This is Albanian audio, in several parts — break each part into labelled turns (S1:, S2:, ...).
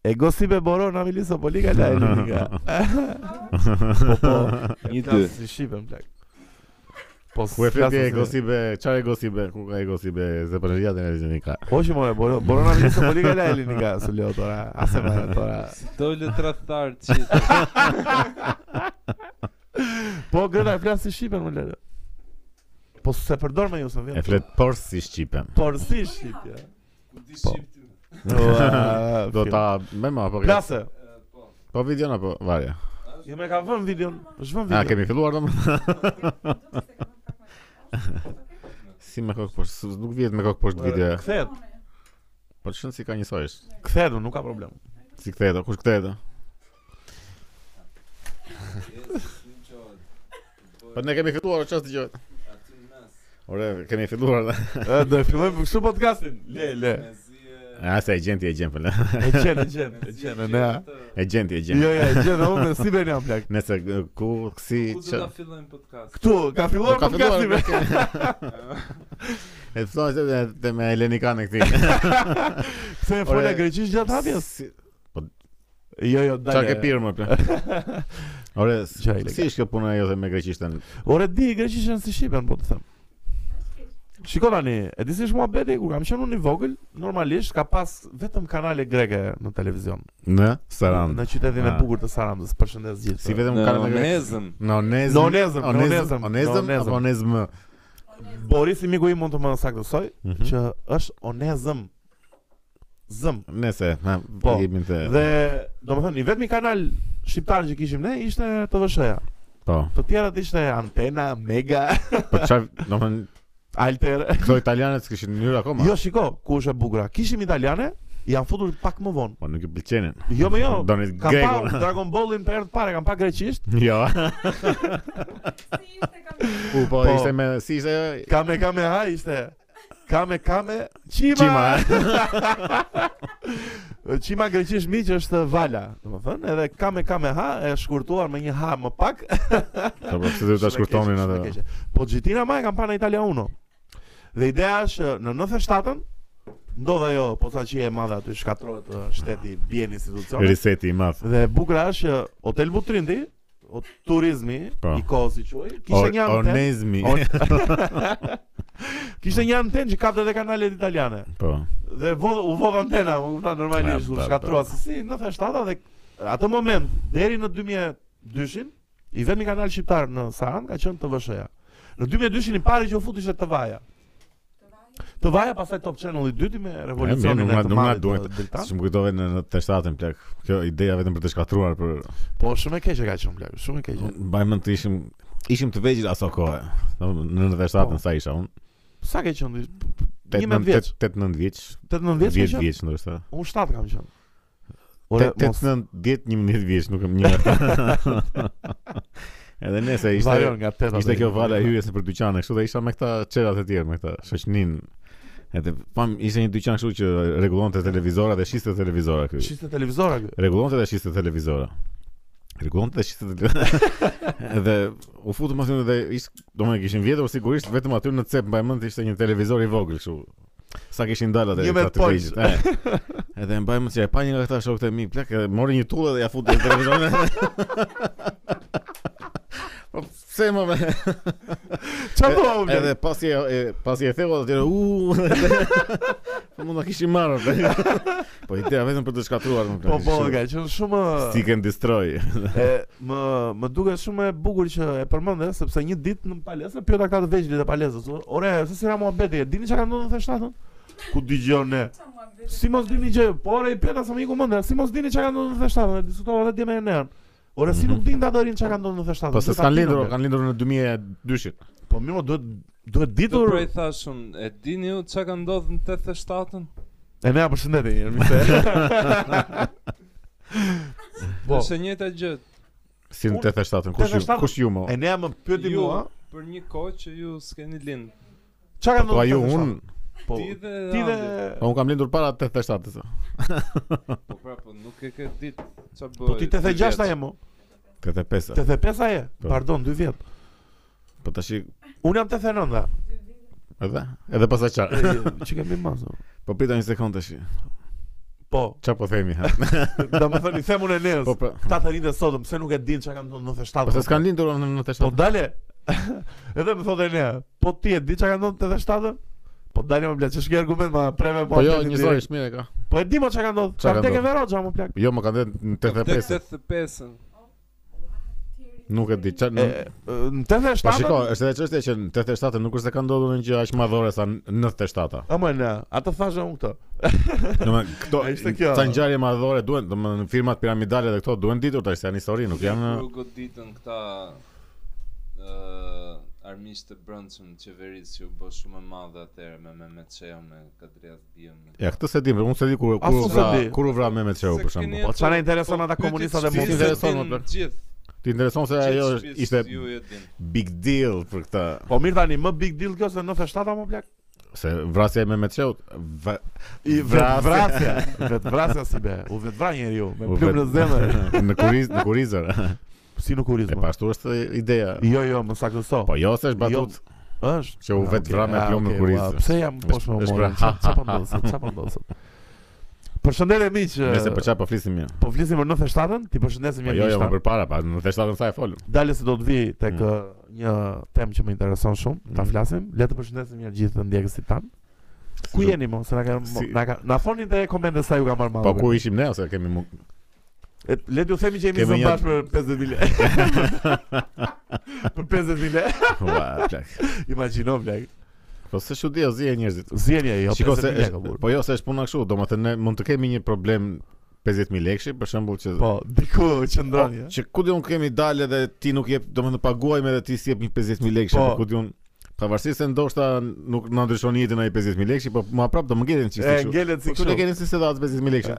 S1: Εγώ είμαι μπορώ να μιλήσω πολύ καλά ελληνικά.
S2: Po po. Një dy.
S1: Flas si shqipen plak. Po
S3: Ku e
S1: flas
S3: fletë e
S1: si-
S3: gosibe, çfarë e gosibe, ku ka e gosibe, se për në gjatë e në zinika.
S1: Όχι μόνο, μπορώ, μπορώ να μιλήσω πολύ καλά ελληνικά, σου λέω τώρα. Άσε μένα τώρα.
S2: Dole tradhtar çit.
S1: Po γκρένα, φλάς στη Shqipen, μου λένε. Po se përdor me ju se
S3: E
S1: vjen.
S3: flet por si shqipen.
S1: Por si shqipja. Po. Ua,
S3: Do
S1: film.
S3: ta më më apo ka-
S1: Plase.
S3: Po videon apo varja.
S1: Jo më ka vënë videon. Zhvën
S3: A
S1: video.
S3: kemi filluar domun? Si me kokë poshtë, s- nuk vjet me kokë poshtë video.
S1: Kthehet.
S3: Po çon si ka njësojsh.
S1: Kthehet, unë, nuk ka problem.
S3: Si kthehet, o, kush kthehet? o? Po ne kemi filluar o, çfarë dëgjohet? Ore, kemi filluar.
S1: E, Do e fillojmë kështu podcastin. Le, le.
S3: A se e gjenti e gjen po. le.
S1: E gjen, e gjen, e gjen, e nea.
S3: E gjenti e gjen.
S1: Jo, jo, e gjen, unë me si bëni plak.
S3: Nëse g- ku si
S2: Ku do ta
S3: qa-
S2: fillojmë podcast?
S1: Këtu ka filluar
S3: Po, ka filluar,
S1: podcasti me.
S3: e thonë se dhe- dhe me Elenikan e këtij.
S1: Se e fola
S3: Ore.
S1: greqisht gjatë hapjes.
S3: Si-
S1: Jo, jo, daj.
S3: Çfarë ke pirë më plan? Ore, s-
S1: Çaj, lega.
S3: si është kjo puna jote me greqishtën?
S1: Ore di greqishtën si shqipen, po të them. Shiko tani, e di si është muhabeti kur kam qenë unë i vogël, normalisht ka pas vetëm kanale greke në televizion.
S3: Në Saran.
S1: Në qytetin e
S3: Ah.
S1: bukur të Sarandës, përshëndes gjithë.
S3: Si vetëm kanë
S2: Në
S3: me greqishtën.
S2: mezëm.
S3: Nonezm.
S1: Nonezm, nonezm,
S3: Nonezm,
S1: nonezm.
S3: apo onezm.
S1: Boris i Po, miku im mund të më saktësoj
S3: Mhm.
S1: që është onezëm. Zëm.
S3: Nëse, ha,
S1: Po,
S3: jemi të.
S1: Dhe domethënë i vetmi kanal shqiptar që kishim ne ishte TVSH-ja.
S3: Po.
S1: Të tjerat ishte Antena, Mega,
S3: Po çfarë, domethënë
S1: Alter.
S3: këto italianët s'kishin mënyrë akoma.
S1: Jo, shiko, ku është e bukur. Kishim italiane, janë futur pak më vonë.
S3: Po nuk i pëlqenin.
S1: Jo, më jo.
S3: Donis
S1: Kam
S3: Gregun.
S1: pa Dragon Ballin për herë të parë, kam pa greqisht.
S3: Jo. U po,
S1: Po.
S3: ishte me si ishte ajo?
S1: Kame kame ha ishte. Kame kame Qima.
S3: Qima.
S1: Qima greqisht miq është vala, domethënë, edhe kame kame ha e shkurtuar me një ha më pak.
S3: Po po, pse
S1: Shumë e
S3: do ta
S1: keqe,
S3: shkurtonin
S1: shumë e
S3: atë?
S1: keqe. Po Gjitina ma e kam pa në Italia Uno. Dhe ideja është në 97-ën ndodha ajo posaçie e madhe aty shkatrohet ë, shteti, bien institucione.
S3: Riseti i madh.
S1: Dhe bukra është që Hotel Butrindi, o turizmi
S3: Po.
S1: i kohës i quaj,
S3: Or-
S1: kishte një antenë.
S3: Onezmi.
S1: On- Kishte një antenë që kapte edhe kanalet italiane.
S3: Po.
S1: Dhe vo, u vodh antena, më kupton normalisht,
S3: Ja,
S1: u
S3: po,
S1: shkatrua se si 97 dhe atë moment deri në 2002-shin i vetmi kanal shqiptar në Saran ka qenë TVSH-ja. Në 2002-shin i pari që u fut ishte TV-ja. TV-ja pastaj Top Channel i dyti me revolucionin
S3: nuk na-
S1: e të
S3: nuk na
S1: madh
S3: duhet.
S1: të Deltan.
S3: Shumë kujtove në në të shtatën plak. Kjo ideja vetëm për të shkatruar për
S1: Po shumë e keqe ka qenë plak, shumë e keqe.
S3: bajmën të ishim ishim të vegjël aso kohë. Domethënë, Në në të shtatën
S1: Po.
S3: sa isha unë?
S1: Sa ke qenë? 11 vjeç,
S3: 8-9 vjeç,
S1: 18 vjeç ke
S3: 10
S1: qenë?
S3: vjeç ndoshta.
S1: Unë 7 kam qenë. Ore, mos
S3: 8-9 10 11 vjeç, nuk kam një. Edhe nëse ishte
S1: varion nga 8.
S3: Ishte kjo vala e hyjes nëpër dyqane, kështu dhe isha me këta çerat e tjerë, me këta shoqnin. Edhe pam ishte një dyqan kështu që rregullonte televizora dhe shiste televizora këtu.
S1: Shiste televizora ky.
S3: Rregullonte dhe shiste televizora. Rregullonte dhe shiste televizora. edhe u futu mos dhe ish, domethënë kishin vjedhur sigurisht vetëm aty në cep mbaj mend ishte një televizor i vogël kështu. Sa kishin dalë atë
S1: Një me
S3: këta të
S1: polç.
S3: vegjël. e. Edhe mbaj mend se e pa një nga këta shokët e mi, plak, edhe mori një tullë dhe ja futi në televizor. Po pse më me
S1: Çfarë do u?
S3: Edhe pasi e- e pasi e theu atë u Po mund ta kishim marrë. atë. Po ideja vetëm për të shkatruar më
S1: Po
S3: plak.
S1: po, ka qenë shumë
S3: Stick and destroy.
S1: e më më duket shumë e bukur që e përmendë sepse një ditë në palesë pyeta këta të vegjëlit e palesës. "O, Ore, se si ra muhabeti, e dini çka ka ndodhur në 37-ën? Ku dëgjon ne? Si mos dini gjë, po ore i pyeta sa miku mendë, si mos dini çka ka ndodhur në 37-ën, e diskutova edhe dje me Enean. Ore si nuk dini ta dorin çka ka ndodhur në 37-ën.
S3: Po se
S1: ta
S3: s'kan
S1: dinë,
S3: lindur,
S1: bre."
S3: kanë lindur në 2002-shit.
S1: Po mirë, mo, duhet duhet
S2: Do
S1: ditur.
S2: pra i thashun, e dini ju çka ka ndodhur në 87-ën?
S1: Enea përshëndetje, jemi se. Po,
S2: Është e njëjta gjë.
S3: Si në
S1: Unë-
S3: 87-ën, kush ju
S1: 87-ën?
S3: kush ju mo?
S1: Enea më pyeti
S2: Ju
S1: mua,
S2: për një kohë që ju s'keni lind.
S1: çka ka
S3: Po
S1: ndodhur?
S3: ju
S1: në
S3: un,
S1: 87-ën? po,
S2: Ti dhe
S1: ti dhe
S2: Andi.
S3: po un kam lindur para 87-s.
S2: Po pra, po nuk e ke ditë ç'a bëj.
S1: po ti 86 aje mo.
S3: 85-a.
S1: 85 aje.
S3: Po.
S1: Pardon, 2 vjet.
S3: Po tash i-
S1: Unë jam 89.
S3: edhe edhe pas qa.
S1: E, Çi kemi masë.
S3: Po prita një sekond tash. i.
S1: Po Po,
S3: Qa po themi, ha?
S1: do më thënë, i them unë Enes.
S3: Po, pra,
S1: Ta të rinë sotëm, se nuk e din çka kanë ndonë 97.
S3: po se s'kan lindur në 97.
S1: Po dale. Edhe më thotë ne, po ti e di çka kanë ndonë 87? Po dale më bla, ç'është ky argument ma preve po.
S3: Po jo,
S1: atë
S3: një
S1: direkt.
S3: zori shmire ka.
S1: Po e di mo çka kanë ndonë.
S3: Çka
S1: Çka
S3: ka
S1: tek e
S3: ndodhur?
S1: verogja më plak.
S3: Jo, më kanë dhënë në 85.
S2: 85.
S3: Nuk e di qa...
S1: E,
S3: nuk-
S1: e, Në
S3: Po shiko,
S1: 87.
S3: është edhe çështja që në 87 nuk është se ka ndodhur një gjë aq madhore sa në 97.
S1: Ama ne, atë thashë unë këtë.
S3: Domethënë këto
S1: E ishte kjo.
S3: ca ngjarje madhore duhen, domethënë firmat piramidale dhe këto duhen ditur tash se janë histori, nuk janë
S1: Ah.
S2: Kur u goditën këta ë armiqtë të brëndshëm të qeverisë që u bë shumë e madhe atëherë me Mehmet Çeu me Kadrias Diën. me-
S3: Ja, këtë se di, unë se di kur
S1: As
S3: kur u
S1: unë se
S3: vra,
S1: di.
S3: kur u vra Mehmet Çeu
S2: Se
S3: për shembull.
S2: keni
S1: Po
S2: ato-
S1: çfarë intereson
S2: po,
S1: ata
S2: pyeti
S1: komunista dhe
S2: shpisë
S1: mos
S3: i intereson,
S2: din
S3: më plak.
S2: Gjithë.
S3: Ti intereson se
S2: gjithë
S3: ajo
S2: shpisë
S3: ishte
S2: ju e din.
S3: big deal për këtë
S1: Po mirë tani, më big deal kjo se 97 më plak.
S3: se vrasja e Mehmet Çeu va-
S1: I
S3: Vrasja.
S1: vrasja, vetë vrasja si be. U vetë vra njeriu me
S3: u
S1: plumë në
S3: vet-
S1: zemër,
S3: në kuriz, në kurizër.
S1: si në
S3: E
S1: kurizëm.
S3: pashtu është ideja.
S1: Jo, jo, më sakëso.
S3: Po jo se është batut
S1: Është.
S3: që u
S1: Ah,
S3: vetë
S1: okay,
S3: vra me
S1: ah,
S3: plumë në
S1: okay,
S3: kuriz.
S1: ua, Pse jam
S3: Është-
S1: poshtë më
S3: është
S1: morë?
S3: pra-
S1: Çfarë po ndodh? sot? Çfarë po ndodh? sot? Përshëndetje miq. eh,
S3: Nëse për çfarë po flisim mirë.
S1: Po flisim për 97-ën, ti përshëndesim
S3: Po
S1: mirë
S3: jo, jo, më
S1: miqtan.
S3: përpara, pa, në 97 sa e folëm.
S1: Dale se do të vi tek
S3: Mm.
S1: eh, një temë që më intereson shumë, ta
S3: Mm.
S1: flasim. Le të përshëndesim mirë gjithë ndjekësit tan. Ku
S3: Si-
S1: jeni mo? Se na ka
S3: Si-
S1: na ka na thoni te komente sa ju ka marrë
S3: Po
S1: mallë.
S3: ku ishim ne ose kemi mu...
S1: E, Le t'ju themi që jemi
S3: Kemi
S1: zënë
S3: një-
S1: bashkë për 50 mijë lekë. për 50 mijë lekë.
S3: Ua, plak.
S1: Imagjino blek.
S3: Po se çudi o zi e njerëzit.
S1: Zjeni jo.
S3: Shiko se
S1: 50.000
S3: është-
S1: lekë, burr.
S3: po jo se është puna kështu, domethënë ne mund të kemi një problem 50000 lekësh, për shembull që
S1: Po, diku eh. qëndron ja.
S3: që ku diun kemi dalë dhe ti nuk jep, domethënë paguajmë edhe ti si jep një 50000 lekësh,
S1: Po.
S3: po ku diun pavarësisht se ndoshta nuk na ndryshon jetën ai 50000 lekësh, po ma prap do më ngelen çështë
S1: E
S3: kështu.
S1: ngelet si
S3: Po kështu
S1: kështu.
S3: e keni si se datë 50000 lekësh.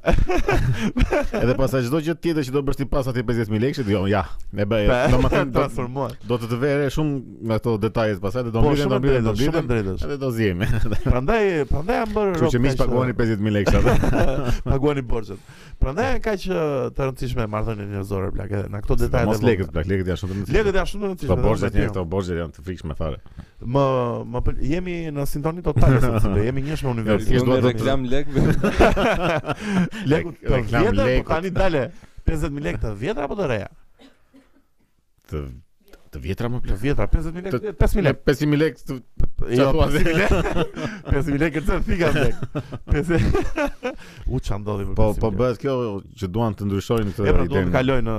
S3: edhe pastaj çdo gjë tjetër që do bësh ti pas atij 50000 lekësh, jo, ja, e bëj.
S1: Pa,
S3: Domethënë do,
S1: transformohet.
S3: do të të vere shumë nga ato detajet pastaj dhe
S1: Po
S3: do
S1: shumë
S3: mblidhen, do
S1: e
S3: mblidhen, do
S1: drejtë, shumë e
S3: mblidhen.
S1: drejtë.
S3: Edhe do zihemi.
S1: Prandaj, prandaj jam bërë. eh.
S3: Kështu që
S1: rob
S3: miq
S1: kaq,
S3: paguani 50000 lekë atë.
S1: paguani borxhet. Prandaj janë kaq ë, të rëndësishme marrëdhëniet njerëzore plak edhe në këto detaje.
S3: Mos
S1: të vogla.
S3: lekët, plak lekët janë shumë të mëdha.
S1: Lekët janë shumë të rëndësishme.
S3: Këto
S1: dhe
S3: borxhet
S1: me
S3: janë
S1: tjera.
S3: këto borxhet janë të frikshme fare.
S1: Më më pël- jemi në sintoni totale sot, se do jemi njësh me
S3: Ja, thjesht
S1: universin.
S3: dua
S2: Unë
S3: të-
S2: reklam lekëve.
S1: Lekut të
S3: Reklam
S1: vjetër, po
S3: lekut.
S1: tani dale 50000 lekë të vjetra apo të reja?
S3: Të të vjetra më
S1: Të
S3: plak.
S1: vjetra 50000 lekë,
S3: Të-
S1: 5000 lekë.
S3: 500000 lekë. të-
S1: Jo,
S3: Qa thua?
S1: 5000 lekë. 5000 lekë të fika lekë. 50. U çan ndodhi për
S3: Po
S1: 50.000
S3: po
S1: lekë?
S3: bëhet kjo që duan të ndryshojnë këtë
S1: E pra duhet
S3: idenë.
S1: të kaloj në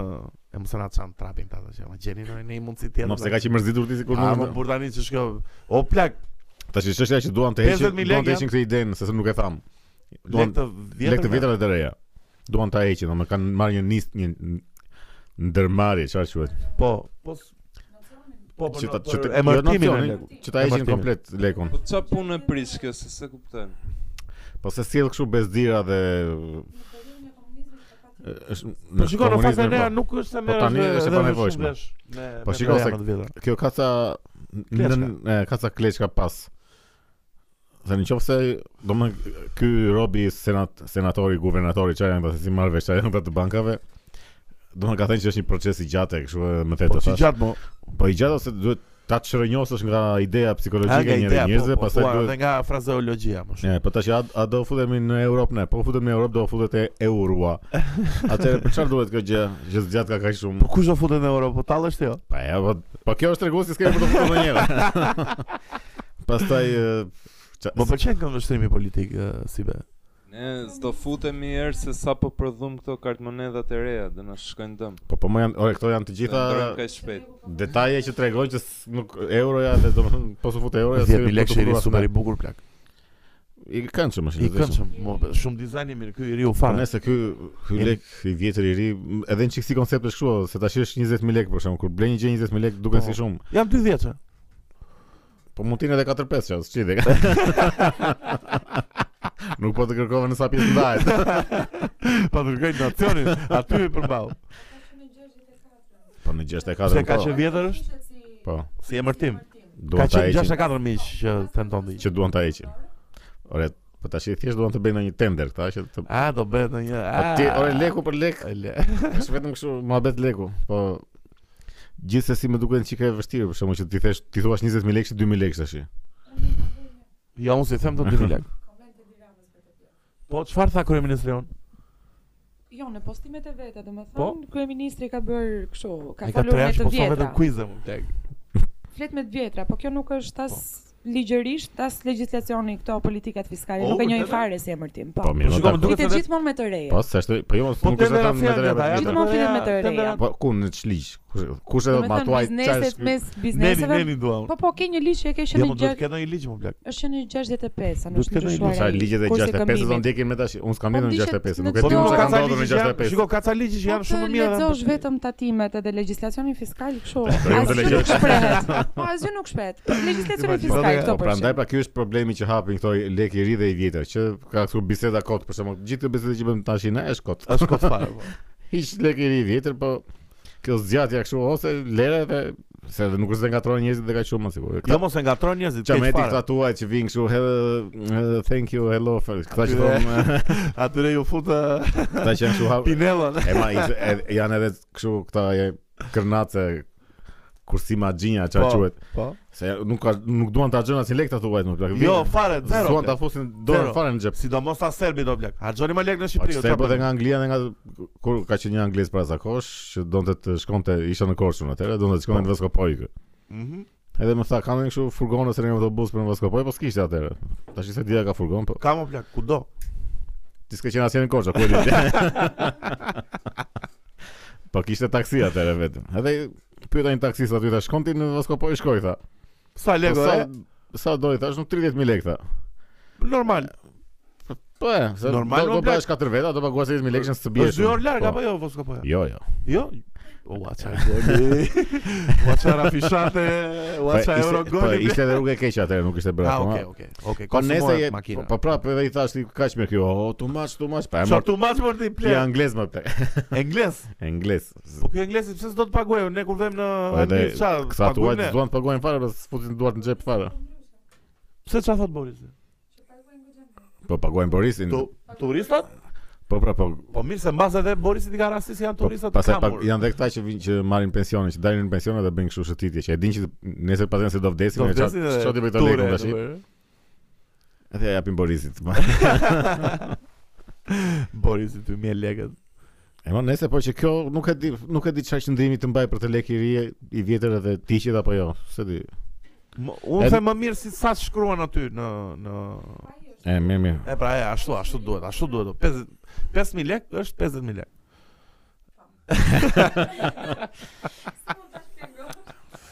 S1: e mos na çan trapin ta që ma gjeni në një mundësi tjetër.
S3: Mos e ka qi mërzitur ti
S1: A
S3: sikur
S1: më bur Ah,
S3: nuk.
S1: po, tani që shko o plak
S3: Tash çështja që duan të heqin,
S1: 50.000
S3: duan të
S1: lekë
S3: heqin këtë idenë, se se nuk e tham.
S1: lek
S3: Duan
S1: të vjetër.
S3: lekë të vjetra dhe të reja. Duan ta heqin, domethënë kanë marrë një nis një n- ndërmarrje, çfarë quhet?
S1: Po, po. s- Po, po.
S3: Që ta që ta-
S1: e martimin
S3: jo,
S1: e
S3: nacionin,
S1: lekut.
S3: që ta heqin
S1: Emërtimin.
S3: komplet lekun.
S2: Po ç'a punë e prish kjo se se kuptoj.
S3: Po se sjell kështu bezdira dhe është
S1: Po shiko në fazën e
S3: komunizmin,
S1: re
S3: po.
S1: nuk është se
S3: Po
S1: merresh
S3: tani
S1: me-
S3: është
S1: dhe
S3: e
S1: me
S3: panevojshme.
S1: shumë vesh me
S3: Po
S1: me
S3: shiko se-
S1: programet e vjetra.
S3: Kjo ka ca
S1: Kleçka.
S3: nën e, ka ca kleçka pas. Dhe në qofë se, do më ky robi senat, senatori, guvernatori, që janë këta se si marrë vesh, që janë këta të bankave, do më ka thënë që është një proces i gjatë, e kështu e më
S1: Po
S3: thetë të
S1: si
S3: thash.
S1: gjatë mo.
S3: Po i gjatë ose duhet ta të shërënjosësh nga ideja
S1: Ha,
S3: psikologjike
S1: nga
S3: e
S1: ideja,
S3: njëri
S1: po,
S3: njerëzve,
S1: po,
S3: pastaj
S1: thua,
S3: duhet
S1: edhe nga frazeologjia më shumë.
S3: Ja, po tash a, a do futemi në Europë ne? Po futemi në Europë do futet e Eurua. Atëherë për çfarë duhet kjo gjë? Gjë zgjat ka kaq
S1: Po
S3: shumë.
S1: kush do futet në Europë? Po tall është jo.
S3: Pa ja, po, po kjo është treguesi s'kemë për të futur ndonjëherë. Pastaj e, qa-
S1: Më Po, pëlqen kënd vështrimi politik e, si be.
S2: Ne s'do futemi herë se sa po prodhum këto kartmonedhat e reja, do na shkojnë dëm.
S3: po po më janë, ore këto janë të gjitha
S2: Ndërëm kaq shpejt.
S3: detaje që tregojnë që s- nuk euroja dhe domethënë po su fut euroja
S1: 10000 lekë
S3: futur
S1: shiri
S3: asnjë.
S1: super i bukur plak.
S3: I kanë çmë
S1: I këndshëm, mo, be, shumë dizajn i mirë, ky i riu
S3: Po
S1: fare.
S3: nëse ky ky
S1: Jemi-
S3: lek i vjetër i ri, m- edhe në çiksi koncept është kështu, se tash është 20000 lekë për shkakun, kur blen një gjë 20000 lekë duken
S1: Po.
S3: si shumë.
S1: Jam 2 vjeçë.
S3: Po mund t'in edhe 4-5 qas, çi dhe. Nuk po të kërkova në sa pjesë ndahet.
S1: Pa dërgoj nacionin, aty i përball.
S3: Po në 64
S1: Se
S3: nuk
S1: ka
S3: po.
S1: që vjetër është
S3: Po,
S1: si emërtim. Ka
S3: duan ta
S1: qenë
S3: heqin,
S1: 64 miq që tenton të
S3: që duan ta heqin. Ore, po tash i thjesht duan të bëjnë një tender këta që të
S1: A do bëhet në një.
S3: Po ti, ore leku për lek,
S1: Le.
S3: është vetëm kështu muhabet leku, po gjithsesi më duket çike e vështirë për shkakun që ti thesh ti thuash 20000 lekë, 2000 lekë tash.
S1: Jo, unë si them të 2000 lekë. Po çfarë tha kryeministri on?
S4: Jo, në postimet e veta, domethënë,
S1: Po.
S4: kryeministri ka bërë kështu, ka
S1: Ai
S4: folur me
S1: trashë,
S4: të
S1: po sa
S4: vjetra.
S1: vetëm quiz-e mu.
S4: Flet me të vjetra, po kjo nuk është as ligjërisht, as legjislacioni këto politikat fiskale,
S1: O,
S4: nuk e njohin
S1: vërtet?
S4: fare si emërtim,
S3: Po
S4: po.
S1: Po
S3: mirë, më
S1: shikoj, më
S3: dakord.
S1: duket
S4: Pritet
S1: se vetë
S4: gjithmonë me të reja.
S3: Po s'ashtu, po jo,
S1: Po te
S3: nuk është ata me të
S1: reja, ata
S3: reja. vetëm
S1: janë
S3: tjetër.
S4: Gjithmonë fillet me të
S1: tendera-
S4: reja.
S3: Po ku në çliç? Kush kush edhe ma
S4: Domethënë,
S3: thuaj çfarë?
S4: bizneset mes
S1: Neni,
S4: bizneseve.
S1: neni duam.
S4: Po po, ke një ligj që e
S1: Ja,
S4: ke qenë
S1: më
S4: në
S1: duhet
S4: gjë-
S1: të ketë një ligj më plak.
S4: është qenë në 65, a
S1: Duhet
S4: nuk
S1: të
S4: është
S1: ketë një
S4: ndryshuar.
S1: ligj.
S3: Sa
S4: ai,
S3: ligjet e
S4: kursi
S3: 65 do
S4: këmbimit.
S3: ndjekin me tash. Unë s'kam
S4: Po,
S3: ndjenë në
S4: dishet
S3: 65, nuk
S4: në
S3: e
S1: Po
S3: di
S4: Jo,
S1: nuk ka
S3: pse kanë
S1: ca
S3: ndodhur në
S1: ligj, shiko
S3: 65.
S1: ka ca ligj që
S4: Po
S1: janë shumë
S4: të
S1: të mira. dhe
S4: Lexosh
S1: më-
S4: vetëm tatimet edhe legjislacionin fiskal kështu.
S3: jo, të
S4: Asgjë nuk
S3: lexosh.
S4: shprehet. Po asgjë nuk shprehet. Legjislacioni fiskal
S1: Po,
S4: këto
S3: Po
S4: për.
S3: prandaj pra ky është problemi që hapin këto lek i ri dhe i vjetër, që ka këtu biseda kot për shembull. Gjithë këto biseda që bëjmë tash ne është kot.
S1: Është kot fare. po.
S3: Jo. Hiç lek i ri i vjetër, po kjo zgjatja kështu ose lere dhe se edhe nuk është se ngatrojnë njerëzit dhe ka shumë më sigurt.
S1: Jo mos e ngatron njerëzit,
S3: Qa me
S1: keq
S3: ti
S1: fare.
S3: këta tuaj që vinë kështu "Hello, uh, Thank you, hello first." Këta që
S1: Atyre-
S3: thonë
S1: Atyre ju fut eh,
S3: Këta që janë kështu hap-
S1: Pinellën.
S3: E ma i- e- janë edhe kështu këta e, kërnace kursima gjinja qa
S1: Po.
S3: quhet.
S1: Po.
S3: Se nuk ka nuk duan ta xhën as lek ta thuaj më plak.
S1: Jo, fare zero.
S3: duan
S1: plak.
S3: ta fusin dorën
S1: Zero.
S3: fare në xhep.
S1: Sidomos ta serbi do plak. Harxhoni më lek në
S3: Po
S1: Shqipëri. jo, o,
S3: se
S1: çfarë
S3: po dhe
S1: bëni?
S3: nga Anglia dhe nga kur ka qenë një anglez para zakosh që donte të shkonte isha në Korçun atëherë, donte të shkonte
S1: Po.
S3: në Voskopoj. kë.
S1: Mhm.
S3: Edhe më tha kam një kështu furgon ose një autobus për në Voskopoj, po s'kishte atëherë. Tash se dia ka furgon, po
S1: Ka më plak, kudo.
S3: ti s'ke qenë asnjë në Korçë, ku e di. jo? po kishte taksi atëherë vetëm. Edhe pyeta një taksist aty ta shkonti në Voskopoj shkoi tha.
S1: Sa
S3: Po,
S1: lego
S3: sa
S1: e?
S3: sa doj tash nuk 30000 lekë tha.
S1: Normal.
S3: Po e, se
S1: Normal,
S3: do,
S1: o,
S3: do
S1: blaq.
S3: bësh katër veta, do paguash 30000 lekë që s'të bie.
S1: Është dy
S3: shumë.
S1: orë larg
S3: Po.
S1: apo jo Voskopoja?
S3: Jo, jo.
S1: Jo. Ua çfarë goli. Ua çfarë afishate, ua
S3: Po,
S1: çfare
S3: ishte-
S1: euro
S3: Po
S1: goli.
S3: ishte edhe rrugë e keqe atëherë, nuk ishte brapa.
S1: Ah, okay, okay. Okay,
S3: Po nese
S1: konsumohet
S3: je,
S1: makina.
S3: po, po prap edhe i thash ti kaq më kjo, o tu maç, tu maç, pa e
S1: Sa
S3: mor.
S1: tu maç për ti
S3: Ti je
S1: plan.
S3: anglez më plak.
S1: Engles.
S3: Anglez.
S1: Po ky anglesi pse s'do të paguajë? Ne kur vëmë në
S3: Po edhe
S1: Angli çfarë?
S3: këta tuaj
S1: paguajnë ne?
S3: duan të paguajnë fare, pas futin duart në xhep fare.
S1: Pse çfarë thot Boris?
S3: Po paguajnë Borisin.
S1: Tu turistat?
S3: Po pra po.
S1: Po mirë se mbas edhe Borisi i ka rasti se janë
S3: po,
S1: turistat të
S3: Pastaj pa,
S1: kamur.
S3: janë dhe këta që vinë që marrin pensionin, që dalin në pension edhe bëjnë kështu shëtitje, që e dinë që nesër pasën se do vdesin,
S1: Do
S3: e
S1: vdesin
S3: çfarë
S1: edhe
S3: çfarë bëj këto
S1: ture,
S3: lekë tash.
S1: ture.
S3: Edhe ja japin Borisit.
S1: Borisi 2000 lekë.
S3: E mo nëse po që kjo nuk e di, nuk e di çfarë qëndrimi të mbaj për të lekë i ri i vjetër edhe tiqet apo jo, se di.
S1: M- Unë
S3: Edhe-
S1: them më mirë si sa shkruan aty në në
S3: E mirë mirë.
S1: E pra e ashtu ashtu duhet, ashtu duhet. o, 50 5000 lekë është 50000 lekë.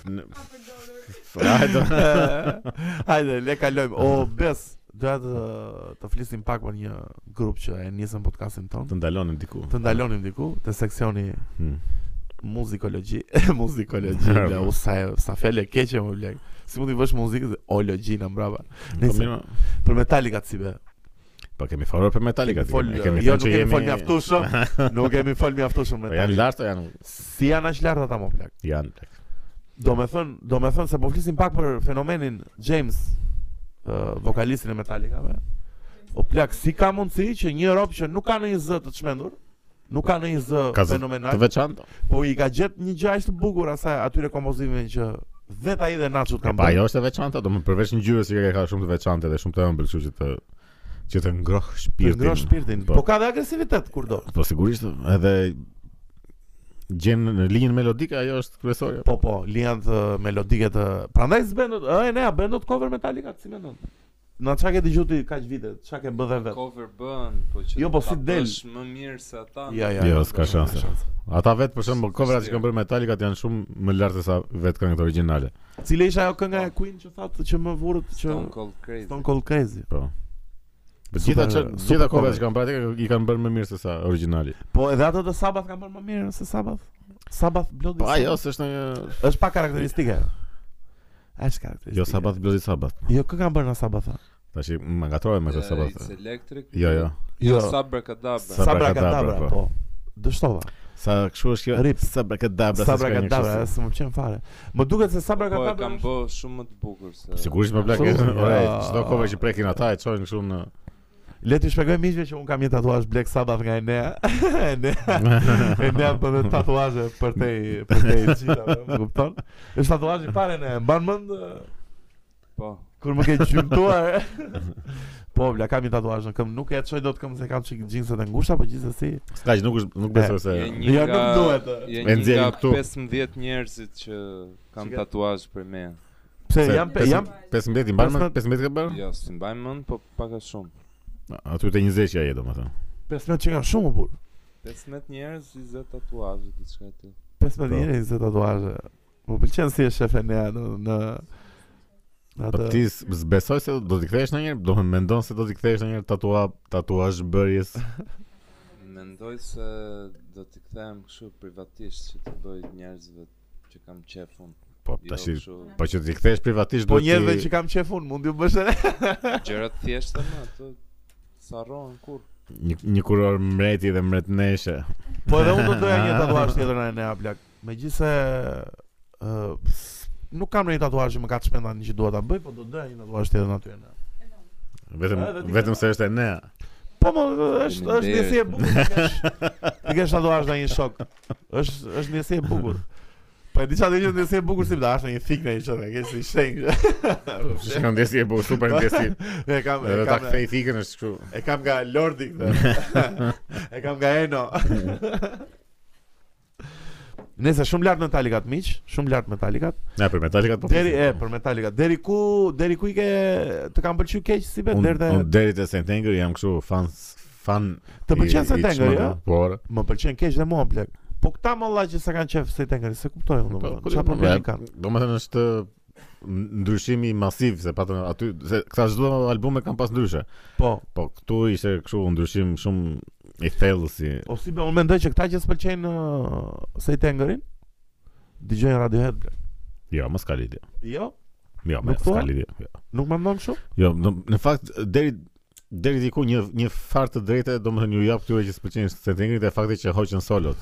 S3: Në- Hajde.
S1: E, Hajde, le kalojmë. O bes, doja të të flisim pak për një grup që e nisën podcastin ton.
S3: Të ndalonin diku.
S1: Të ndalonim diku te seksioni
S3: Hmm.
S1: muzikologji, muzikologji, la u sa sa fjalë e keqe më blek. Si mund të vësh muzikë dhe ologjina mbrapa.
S3: Po
S1: Nëse
S3: mirë.
S1: për Metallica si be.
S3: Po kemi folur për Metallica. ti,
S1: Fol,
S3: ne
S1: jo,
S3: thënë
S1: nuk
S3: që
S1: kemi
S3: jemi-
S1: fol mjaftueshëm. Nuk kemi fol mjaftueshëm
S3: Po janë
S1: Metallica.
S3: lartë, janë
S1: Si janë aq lart ata më blek.
S3: janë.
S1: Do me thënë, do me thënë se po flisim pak për fenomenin James, uh, vokalistin e Metallica, be. O plak, si ka mundësi që një rob që nuk ka në një zë të të shmendur, nuk ka në një zë
S3: Ka zë Të
S1: fenomenal,
S3: veçantë.
S1: po i ka gjetë një gjë aq të bukur asaj atyre kompozimeve që vetë ai dhe Nacho
S3: Po
S1: kanë
S3: ajo është e veçantë, do më përveç ngjyrës që ka shumë të veçantë dhe shumë të ëmbël, kështu që të që të ngroh
S1: Të
S3: shpirtin.
S1: ngroh shpirtin, po,
S3: Po,
S1: ka dhe agresivitet kurdo.
S3: po sigurisht, edhe gjen në linjën melodike ajo është kryesore.
S1: Po po, lian të melodike të Prandaj s'bëndot, e ne a bëndot cover Metallica, si mendon? Na çka ke dëgjuar ti kaq vite, çka ke bën dhe vetë?
S2: Cover bën, po që
S1: Jo, po
S2: ta
S1: si del.
S2: bësh Më mirë se ata.
S1: Ja, ja.
S3: Jo, s'ka shanse. Ata vetë për shembull coverat që kanë bërë Metallica janë shumë më lart se sa vetë këngët origjinale.
S1: Cile ishte ajo kënga e Queen që thatë që më vurët që
S2: Stone Cold Crazy.
S1: Stone Cold Crazy.
S3: Po. Po
S1: Super-
S3: gjitha që
S1: super
S3: gjitha coverat
S1: cover.
S3: që kanë bërë ata i kanë bërë më mirë se sa origjinali.
S1: Po edhe ato të Sabath kanë bërë më mirë se Sabath. Sabath Bloody.
S3: Po ajo
S1: Sabbath.
S3: s'është një
S1: është pa karakteristike. Është karakteristike.
S3: jo po. sabat blodi sabat.
S1: Jo kë kanë bërë në Sabath.
S3: Tash më ngatrove me
S2: Eh,
S3: këtë sabat.
S2: It's Electric.
S3: Jo, jo.
S1: Jo.
S2: Sabrakadabra.
S3: Sa-
S1: Sabra
S3: Sabrakadabra,
S1: Kadabra,
S3: po.
S1: po. Dështova.
S3: Sa kështu është kjo?
S1: Rip.
S3: Sabrakadabra.
S1: Sabra Kadabra, s'ë më qen fare. Më duket se Sabra
S2: Po e
S1: Kadabra.
S2: kam bë shumë më të bukur se.
S3: Sigurisht më plak. eh,
S1: Absolutisht.
S3: Ore,
S1: Ja.
S3: çdo cover që prekin ata e çojnë kështu në
S1: Le t'ju shpjegoj miqve që un kam një tatuazh Black Sabbath nga Enea. Enea. Enea bën dhe tatuazhe për te për te gjitha, po, më kupton? Është tatuazhi fare në mban mend eh,
S2: Po.
S1: kur më ke gjymtuar. Po, vla kam një tatuazh në këmbë, nuk e çoj dot këmbë se kam çik xhinset e ngushta, po gjithsesi.
S3: Kaq nuk është nuk besoj se
S2: Je
S1: Ja, nuk duhet.
S2: Je një
S3: E nxjerrim
S2: nga
S3: këtu.
S2: 15 njerëzit që kam
S1: Çka?
S2: tatuazh për me.
S1: Pse
S3: se
S1: jam pe-
S3: pesë-
S1: jam
S3: 15 i mban
S1: Pesëmet-
S3: më 15 ka bërë?
S2: Jo, si mbaj mend, po pak a shumë.
S3: Aty te 20 që ja je domethënë.
S1: 15 që kanë shumë burr.
S2: 15 njerëz, 20 tatuazhe, diçka e tillë.
S1: 15
S3: Po.
S1: jeni 20 tatuazhe. Më pëlqen si e shef e nea në në në
S3: Po ti s- zbesoj se do t'i kthehesh ndonjëherë, do të mendon se do t'i kthehesh ndonjëherë tatua tatuazh bërjes.
S2: Mendoj se do t'i kthehem kështu privatisht që të bëj njerëzve që kam qef unë.
S3: Po
S2: Jo
S3: tash i-
S2: kështu
S3: po që t'i kthehesh privatisht
S1: Po
S3: duhet
S1: njerëve
S3: ti-
S1: që kam qef unë, mund t'ju bësh edhe
S2: gjëra të thjeshta më, ato sa rrohen kur.
S3: një, një kuror mreti dhe mretneshe.
S1: Po edhe unë do doja një tatuazh tjetër në Enea Blak. Megjithse ë nuk kam ndonjë tatuazh që më ka të shpenda që dua ta bëj, po do doja një tatuazh tjetër në aty në.
S3: Vetëm
S1: Edhe ti-
S3: vetëm se është e nea.
S1: Po më është është ndjesi e bukur. të kesh- Të kesh tatuazh në një shok. Është është ndjesi e bukur. Po e di çfarë do të ndjesi e bukur si dash në një fik në një çfarë, e ke si shenjë.
S3: Shikon ndjesi e bukur, super ndjesi.
S1: E kam e
S3: Edhe ta
S1: Po, kam
S3: kthej fikën është kështu.
S1: e kam nga Lordi këtë. E kam nga Eno. Nëse shumë lart Metallica të miq, shumë lart Metallica.
S3: Na për Metallica po.
S1: Deri e për Metallica, deri ku deri ku i ke të kanë pëlqyer keq si vet deri te
S3: Unë deri te Saint Anger jam kështu fan fan
S1: të
S3: i-
S1: pëlqen
S3: i
S1: se Tanger,
S3: çmendë.
S1: jo?
S3: Po. ora.
S1: Më pëlqen keq dhe mua plak. Po këta më valla që sa kanë qef se Tanger, se kuptoj unë
S3: Po,
S1: domethënë. Çfarë problemi kanë?
S3: Domethënë është n- ndryshimi masiv se patën aty se këta çdo albume kanë pas ndryshe.
S1: Po,
S3: Po këtu ishte kështu ndryshim shumë i thellë si
S1: o po, si be, unë mendoj që këta që s'pëlqejnë uh, se Tangerin dëgjojnë Radiohead plak.
S3: jo, mos ka lidhje.
S1: Jo,
S3: Jo,
S1: Nuk
S3: mos
S1: po?
S3: ka lidhje. Jo.
S1: nuk më mendon kështu.
S3: Jo, në, në fakt deri deri diku një një far të drejtë, domethënë ju jap këtyre që s'pëlqejnë Saint Angerit e fakti që hoqën solot.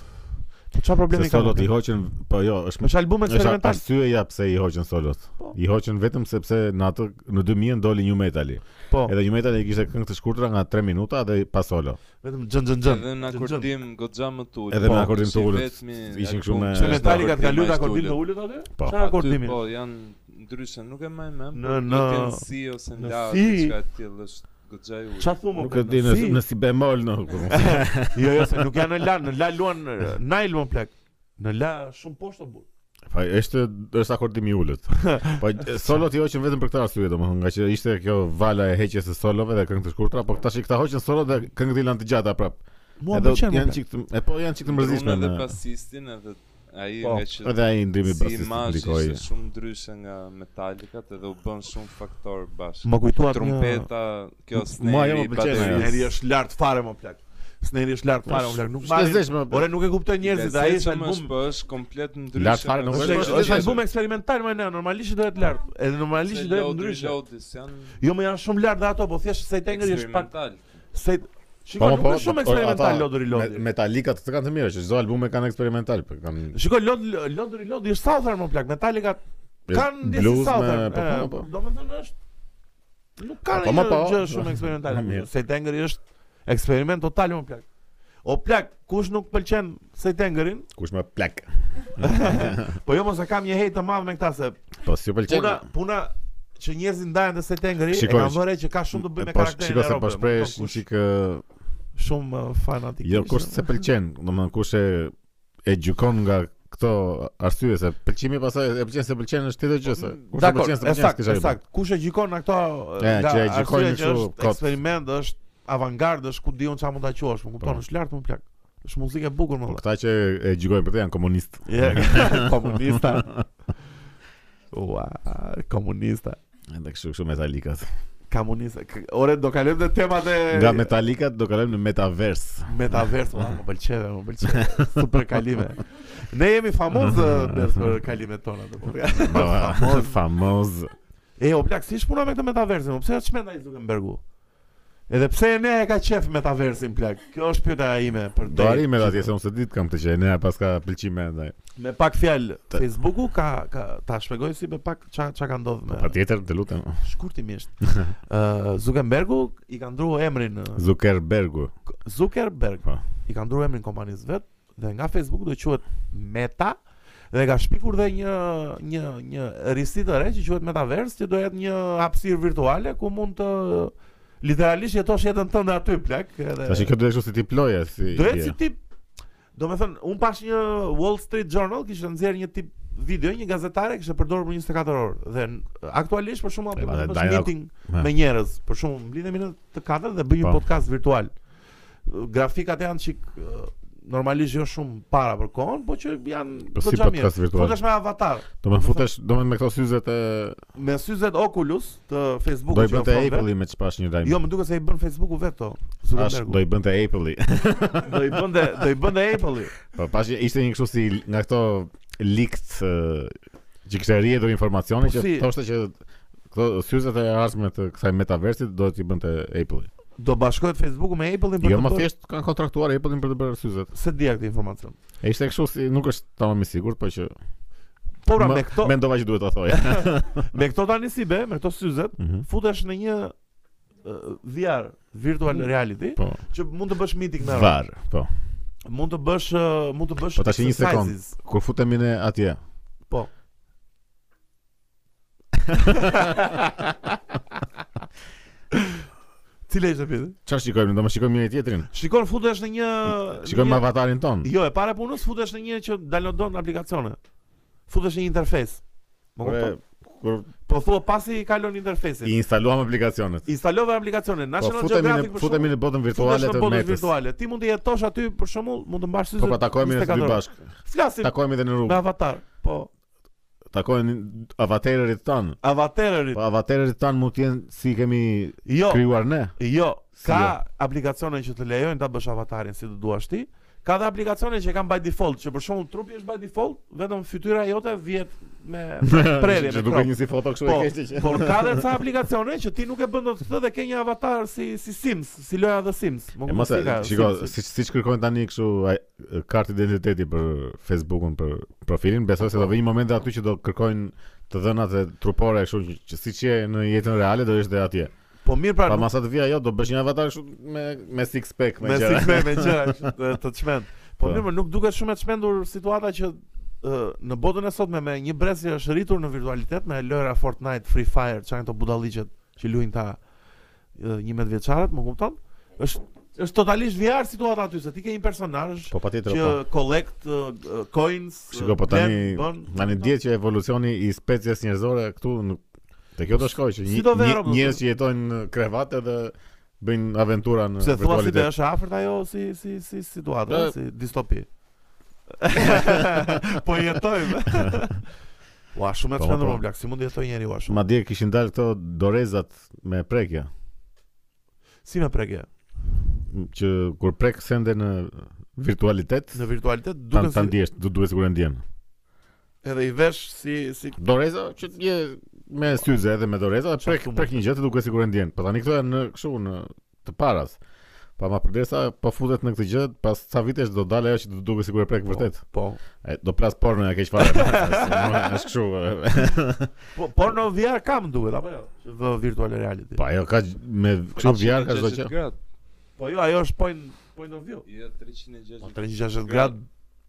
S1: Po çfarë
S3: Se
S1: problemi kanë?
S3: solot i hoqën, po jo, është
S1: Është album
S3: është
S1: eksperimental.
S3: arsye ja pse i hoqën solot.
S1: Po.
S3: I hoqën vetëm sepse në atë në 2000 doli New Metali.
S1: Po,
S3: Edhe New Metali kishte këngë të shkurtra nga 3 minuta dhe pa solo.
S1: vetëm xhën xhën xhën.
S2: Edhe në akordim goxha më të ulët.
S3: Edhe
S1: në
S3: akordim të
S2: si
S3: ulët,
S2: vetmi
S3: ishin kështu
S2: album
S3: me-
S2: që
S1: Se
S3: është
S1: Metallica të kanë luajtur
S2: akordim
S1: akordim të
S2: ulët.
S1: ulët aty?
S3: Po.
S1: Çfarë
S2: Aty,
S1: akordimin?
S2: Po, janë ndryshe, nuk e më mend.
S1: Në-
S2: Në
S1: në-
S2: në si ose
S1: në
S2: në la
S1: si.
S2: diçka e tillë është goxha e ulët.
S1: Çfarë thumë?
S3: Nuk e di në
S1: Si?
S3: në si bemol në.
S1: jo, jo, se nuk janë në la, në la luan eh, Nile më plak. Në la shumë poshtë burr.
S3: Po është është akordimi i ulët. Po solot i hoqën vetëm për këtë arsye domethënë, nga që ishte kjo vala e heqjes së solove dhe këngë të shkurtra, po tash i këta hoqën solot dhe këngët i lanë të gjata prap.
S1: Mua
S3: Edhe
S1: më pëlqen.
S3: janë
S1: Janë
S3: çik të- e po janë çik të mërzitshme.
S2: Unë edhe
S3: në-
S2: basistin edhe ai
S1: Po,
S2: nga që
S3: Edhe ai ndrimi
S2: si
S3: basit
S2: imazh
S3: ndikoi.
S2: ishte shumë ndryshe nga Metallicat edhe u bën shumë faktor bashkë.
S1: Më kujtuat një
S2: Trumpeta, kjo sneri,
S3: Mua ajo më pëlqen
S2: bateria.
S3: ajo.
S1: Sneri është lart fare më plak. Sneri është lart fare më plak. Nuk
S3: Është po.
S1: marrin.
S3: lezetshme.
S1: Ore nuk e kuptoj njerëzit, ai është album.
S2: Po është komplet ndryshe.
S3: Lart fare nuk
S1: Është
S3: është-
S1: është album eksperimental më ne, normalisht duhet lart. Edhe normalisht duhet ndryshe.
S2: Lodis janë
S1: Jo, më janë shumë lart dhe ato, po thjesht se Tengri është pak
S2: eksperimental.
S1: se
S3: Po,
S1: Shikoj,
S3: po,
S1: nuk është shumë
S3: ata-
S1: eksperimental Lodri Lodri.
S3: Me- Metallica të kanë të mira, që çdo album e kanë eksperimental, po kanë
S1: Shikoj Lodri Lodri Lodri është Southern më plak. Metallica kanë ndjesi
S3: blues me
S1: Southern.
S3: po po, po.
S1: Domethënë është nuk ka
S3: Po, ma,
S1: një
S3: po.
S1: gjë shumë eksperimentale.
S3: Mirë.
S1: Sejtengeri është eksperiment total më plak. O plak, kush nuk pëlqen Sejtengerin?
S3: Kush më plak.
S1: Po jo mos e kam një hate të madh me këtë se
S3: Po si u pëlqen?
S1: puna puna që njerëzit ndahen te Sejtengeri e
S3: Shikoj,
S1: kam vënë re që ka shumë të bëjë me
S3: Po,
S1: karakterin
S3: Shiko
S1: e
S3: se po
S1: Robbe,
S3: shpresh
S1: më kupton,
S3: një
S1: kush
S3: çik ë,
S1: shumë uh, fanatik.
S3: Jo, kush se pëlqen, domethënë kush e e gjykon nga këto arsye se pëlqimi pasaj e pëlqen se pëlqen është tjetër gjë se. Kush e
S1: Dakor,
S3: pëlqen se
S1: e
S3: pëlqen
S1: sakt,
S3: s'kisha
S1: e
S3: i bërë.
S1: sakt. Kush e gjikon nga këto
S3: E,
S1: nga
S3: që e gjikojnë
S1: arsyeja që
S3: kështu,
S1: është
S3: kot.
S1: eksperiment, është avangard, është ku diun çfarë mund ta quash, më kupton,
S3: Po.
S1: është lart më plak. Është muzikë e bukur më
S3: Po
S1: valla.
S3: këta që e gjykojnë për të janë komunist.
S1: Je komunista. Ua, komunista.
S3: Edhe kështu kështu metalikat.
S1: Komunista. K- Ore do kalojmë te temat e
S3: Nga metalikat do kalojmë në metaverse.
S1: metaverse, ua, më pëlqeve, më pëlqeve. Super kalime. Ne jemi famoz ë, Bes, për kalimet tona të po.
S3: Famoz. Famoz.
S1: E o plak, si shpuna me këtë metaversin? mo? Pse çmend ai Zuckerbergu? Edhe pse ne e ka qef metaversin plak. Kjo është pyetja ime për
S3: Do
S1: deri-
S3: arrim edhe atje se unë se ditë kam këtë që ne paska pëlqime ndaj.
S1: Me pak fjalë,
S3: Të-
S1: Facebooku ka ka ta shpjegoj si me pak ç'a ç'a ka ndodhur me.
S3: Patjetër, të lutem.
S1: Shkurtimisht. Ë Zuckerbergu i ka ndruar emrin ë,
S3: Zuckerbergu.
S1: Zuckerberg.
S3: Po.
S1: I ka ndruar emrin kompanisë vet dhe nga Facebook do quhet Meta dhe ka shpikur dhe një një një risi të re që quhet Metaverse që do jetë një hapësirë virtuale ku mund të literalisht jetosh jetën tënde aty plak, edhe
S3: Tash kjo do të kështu si ti ploje si.
S1: Do ecë
S3: ide.
S1: si tip. Do me thënë, unë pash një Wall Street Journal, kishte nxjerr një tip video, një gazetare kishte përdorur për 24 orë dhe n- aktualisht për shembull
S3: E,
S1: po
S3: ma,
S1: bësh
S3: Dajna-
S1: meeting
S3: Ja.
S1: me njerëz, për shembull mblidhemi në të katërt dhe bëjmë
S3: Po.
S1: një podcast virtual. Grafikat janë çik ë, normalisht jo shumë para për kohën, po që janë
S3: Po si
S1: goxha
S3: podcast virtual?
S1: Futesh me avatar,
S3: Do më futesh, do më me këto syzet e
S1: me syzet Oculus të
S3: do i
S1: Facebook-ut
S3: bënte
S1: ofron
S3: Apple-i me çfarë një lajm.
S1: Jo, më duket se i bën Facebooku vetë.
S3: Tash do
S1: Zuckerbergu.
S3: i bënte Apple-i.
S1: Do i bënte do i bënte Apple-i.
S3: Po pash ishte një kështu si nga këto leaked ë, që kishte rrjetur informacioni
S1: Po
S3: që
S1: si-
S3: thoshte që këto syzet e ardhshme të kësaj metaversit do t'i bënte Apple-i.
S1: Do bashkohet Facebooku me Apple-in për
S3: Jo,
S1: të
S3: më
S1: bërë
S3: thjesht kanë kontraktuar Apple-in për të bërë syzet.
S1: se di këtë informacion.
S3: E ishte kështu si nuk është tamam i sigurt, po që
S1: Po pra
S3: më-
S1: me këto
S3: mendova që duhet ta thoja.
S1: me këto tani si be, me këto syzet,
S3: Mhm.
S1: futesh në një ë, VR, virtual reality,
S3: Po.
S1: që mund të bësh meeting me radhë.
S3: Var, po.
S1: Mund të bësh ë, mund të bësh
S3: Po, tash një sekond.
S1: exercises.
S3: Kur futemi ne atje.
S1: Po. Cile ishte pyetja?
S3: Çfarë shikojmë? Do më shikojmë njëri tjetrin.
S1: Shikon futesh në një
S3: Shikojmë
S1: një-
S3: avatarin ton.
S1: Jo, e para punës futesh në një që downloadon aplikacione. Futesh në një interfacë. Më
S3: Kur
S1: kupton?
S3: Po, kur
S1: Po thua pasi kalon interfacin.
S3: i instaluam aplikacionet.
S1: instalove aplikacionin
S3: Po
S1: National
S3: futemi
S1: Geographic
S3: në
S1: për
S3: futemi në botën virtuale të
S1: botën
S3: metës.
S1: virtuale. Ti mund të jetosh aty për shembull, mund të mbash syze.
S3: Po pa takojmë ne të dy bashk.
S1: Flasim
S3: Takojmë edhe në
S1: me
S3: rrugë.
S1: avatar. Po,
S3: Takojnë avatarërit tan.
S1: avatarërit.
S3: Po avatarërit tan mund të jenë si kemi
S1: Jo,
S3: krijuar ne.
S1: jo,
S3: Si
S1: ka aplikacione që të lejojnë ta bësh avatarin si të duash ti. Ka dhe aplikacione që kanë by default, që për shembull trupi është by default, vetëm fytyra jote vjet me prerje
S3: Që
S1: me
S3: duket
S1: krop.
S3: një si foto kështu
S1: Po,
S3: e keqe që.
S1: por ka dhe ca aplikacione që ti nuk e bën dot këtë dhe ke një avatar si si Sims, si loja The Sims. Më
S3: E
S1: kupton
S3: mos e
S1: si Po ka,
S3: shiko,
S1: Sims.
S3: siç siç kërkojnë tani kështu ai- kartë identiteti për Facebook-un për profilin, besoj se do vijë një moment aty që do kërkojnë të dhënat e trupore kështu që, që siç je në jetën reale do ishte atje.
S1: Po mirë pra,
S3: Pa
S1: nuk-
S3: masa të vija jo, do bësh një avatar kështu me me six pack me
S1: me
S3: gjëra.
S1: sikme me gjëra që të, të çmend. Po
S3: Po.
S1: mirë, më nuk duket shumë e çmendur situata që ë, në botën e sotme me një brez që është rritur në virtualitet me lojra Fortnite, Free Fire, çan këto budalliqet që luajnë ta ë, 11 vjeçarët, më kupton? Është është totalisht VR situata aty se ti ke një personazh
S3: Po patjetër
S1: që
S3: po.
S1: collect ë, ë, coins, ë,
S3: Shiko, po
S1: blen,
S3: tani
S1: bën.
S3: tani dihet që evolucioni i species njerëzore këtu nuk te kjo do shkoj që
S1: Si
S3: një,
S1: do vero,
S3: një- njerëz që jetojnë në krevate dhe bëjnë aventura në
S1: Pse thua si të
S3: virtualitet.
S1: është afërt ajo si si si situatë, eh,
S3: Po-
S1: si distopi. po jetojmë. Ua, shumë e
S3: Po,
S1: çmendur
S3: po.
S1: më blaq, si mund të jetojë njeriu ashtu?
S3: Madje kishin dalë këto dorezat me prekje.
S1: Si me preke?
S3: që kur prek sende në virtualitet
S1: Në virtualitet
S3: tan
S1: duken
S3: tan
S1: si
S3: ndjesh, du duhet sigurisht ndjen.
S1: edhe i vesh si si
S3: Doreza që je me syze edhe me doreza,
S1: Qa
S3: prek
S1: këtu mund?
S3: prek një gjë të duhet sigurisht ndjen. Po tani këto janë në kështu në të paras. Pa ma përderisa po futet në këtë gjë, pas ca vitesh do dalë ajo që do duket sigurisht e prek vërtet.
S1: Po.
S3: E, do plas porno ja keq fare. Është kështu. e.
S1: Po porno VR kam duhet apo jo? Vë virtual reality.
S3: Po ajo ka gj- me kështu VR ka çdo
S2: 360
S3: gjë.
S2: gradë.
S1: Po jo, ajo është point point of view.
S2: Jo 360.
S1: Po 360 grad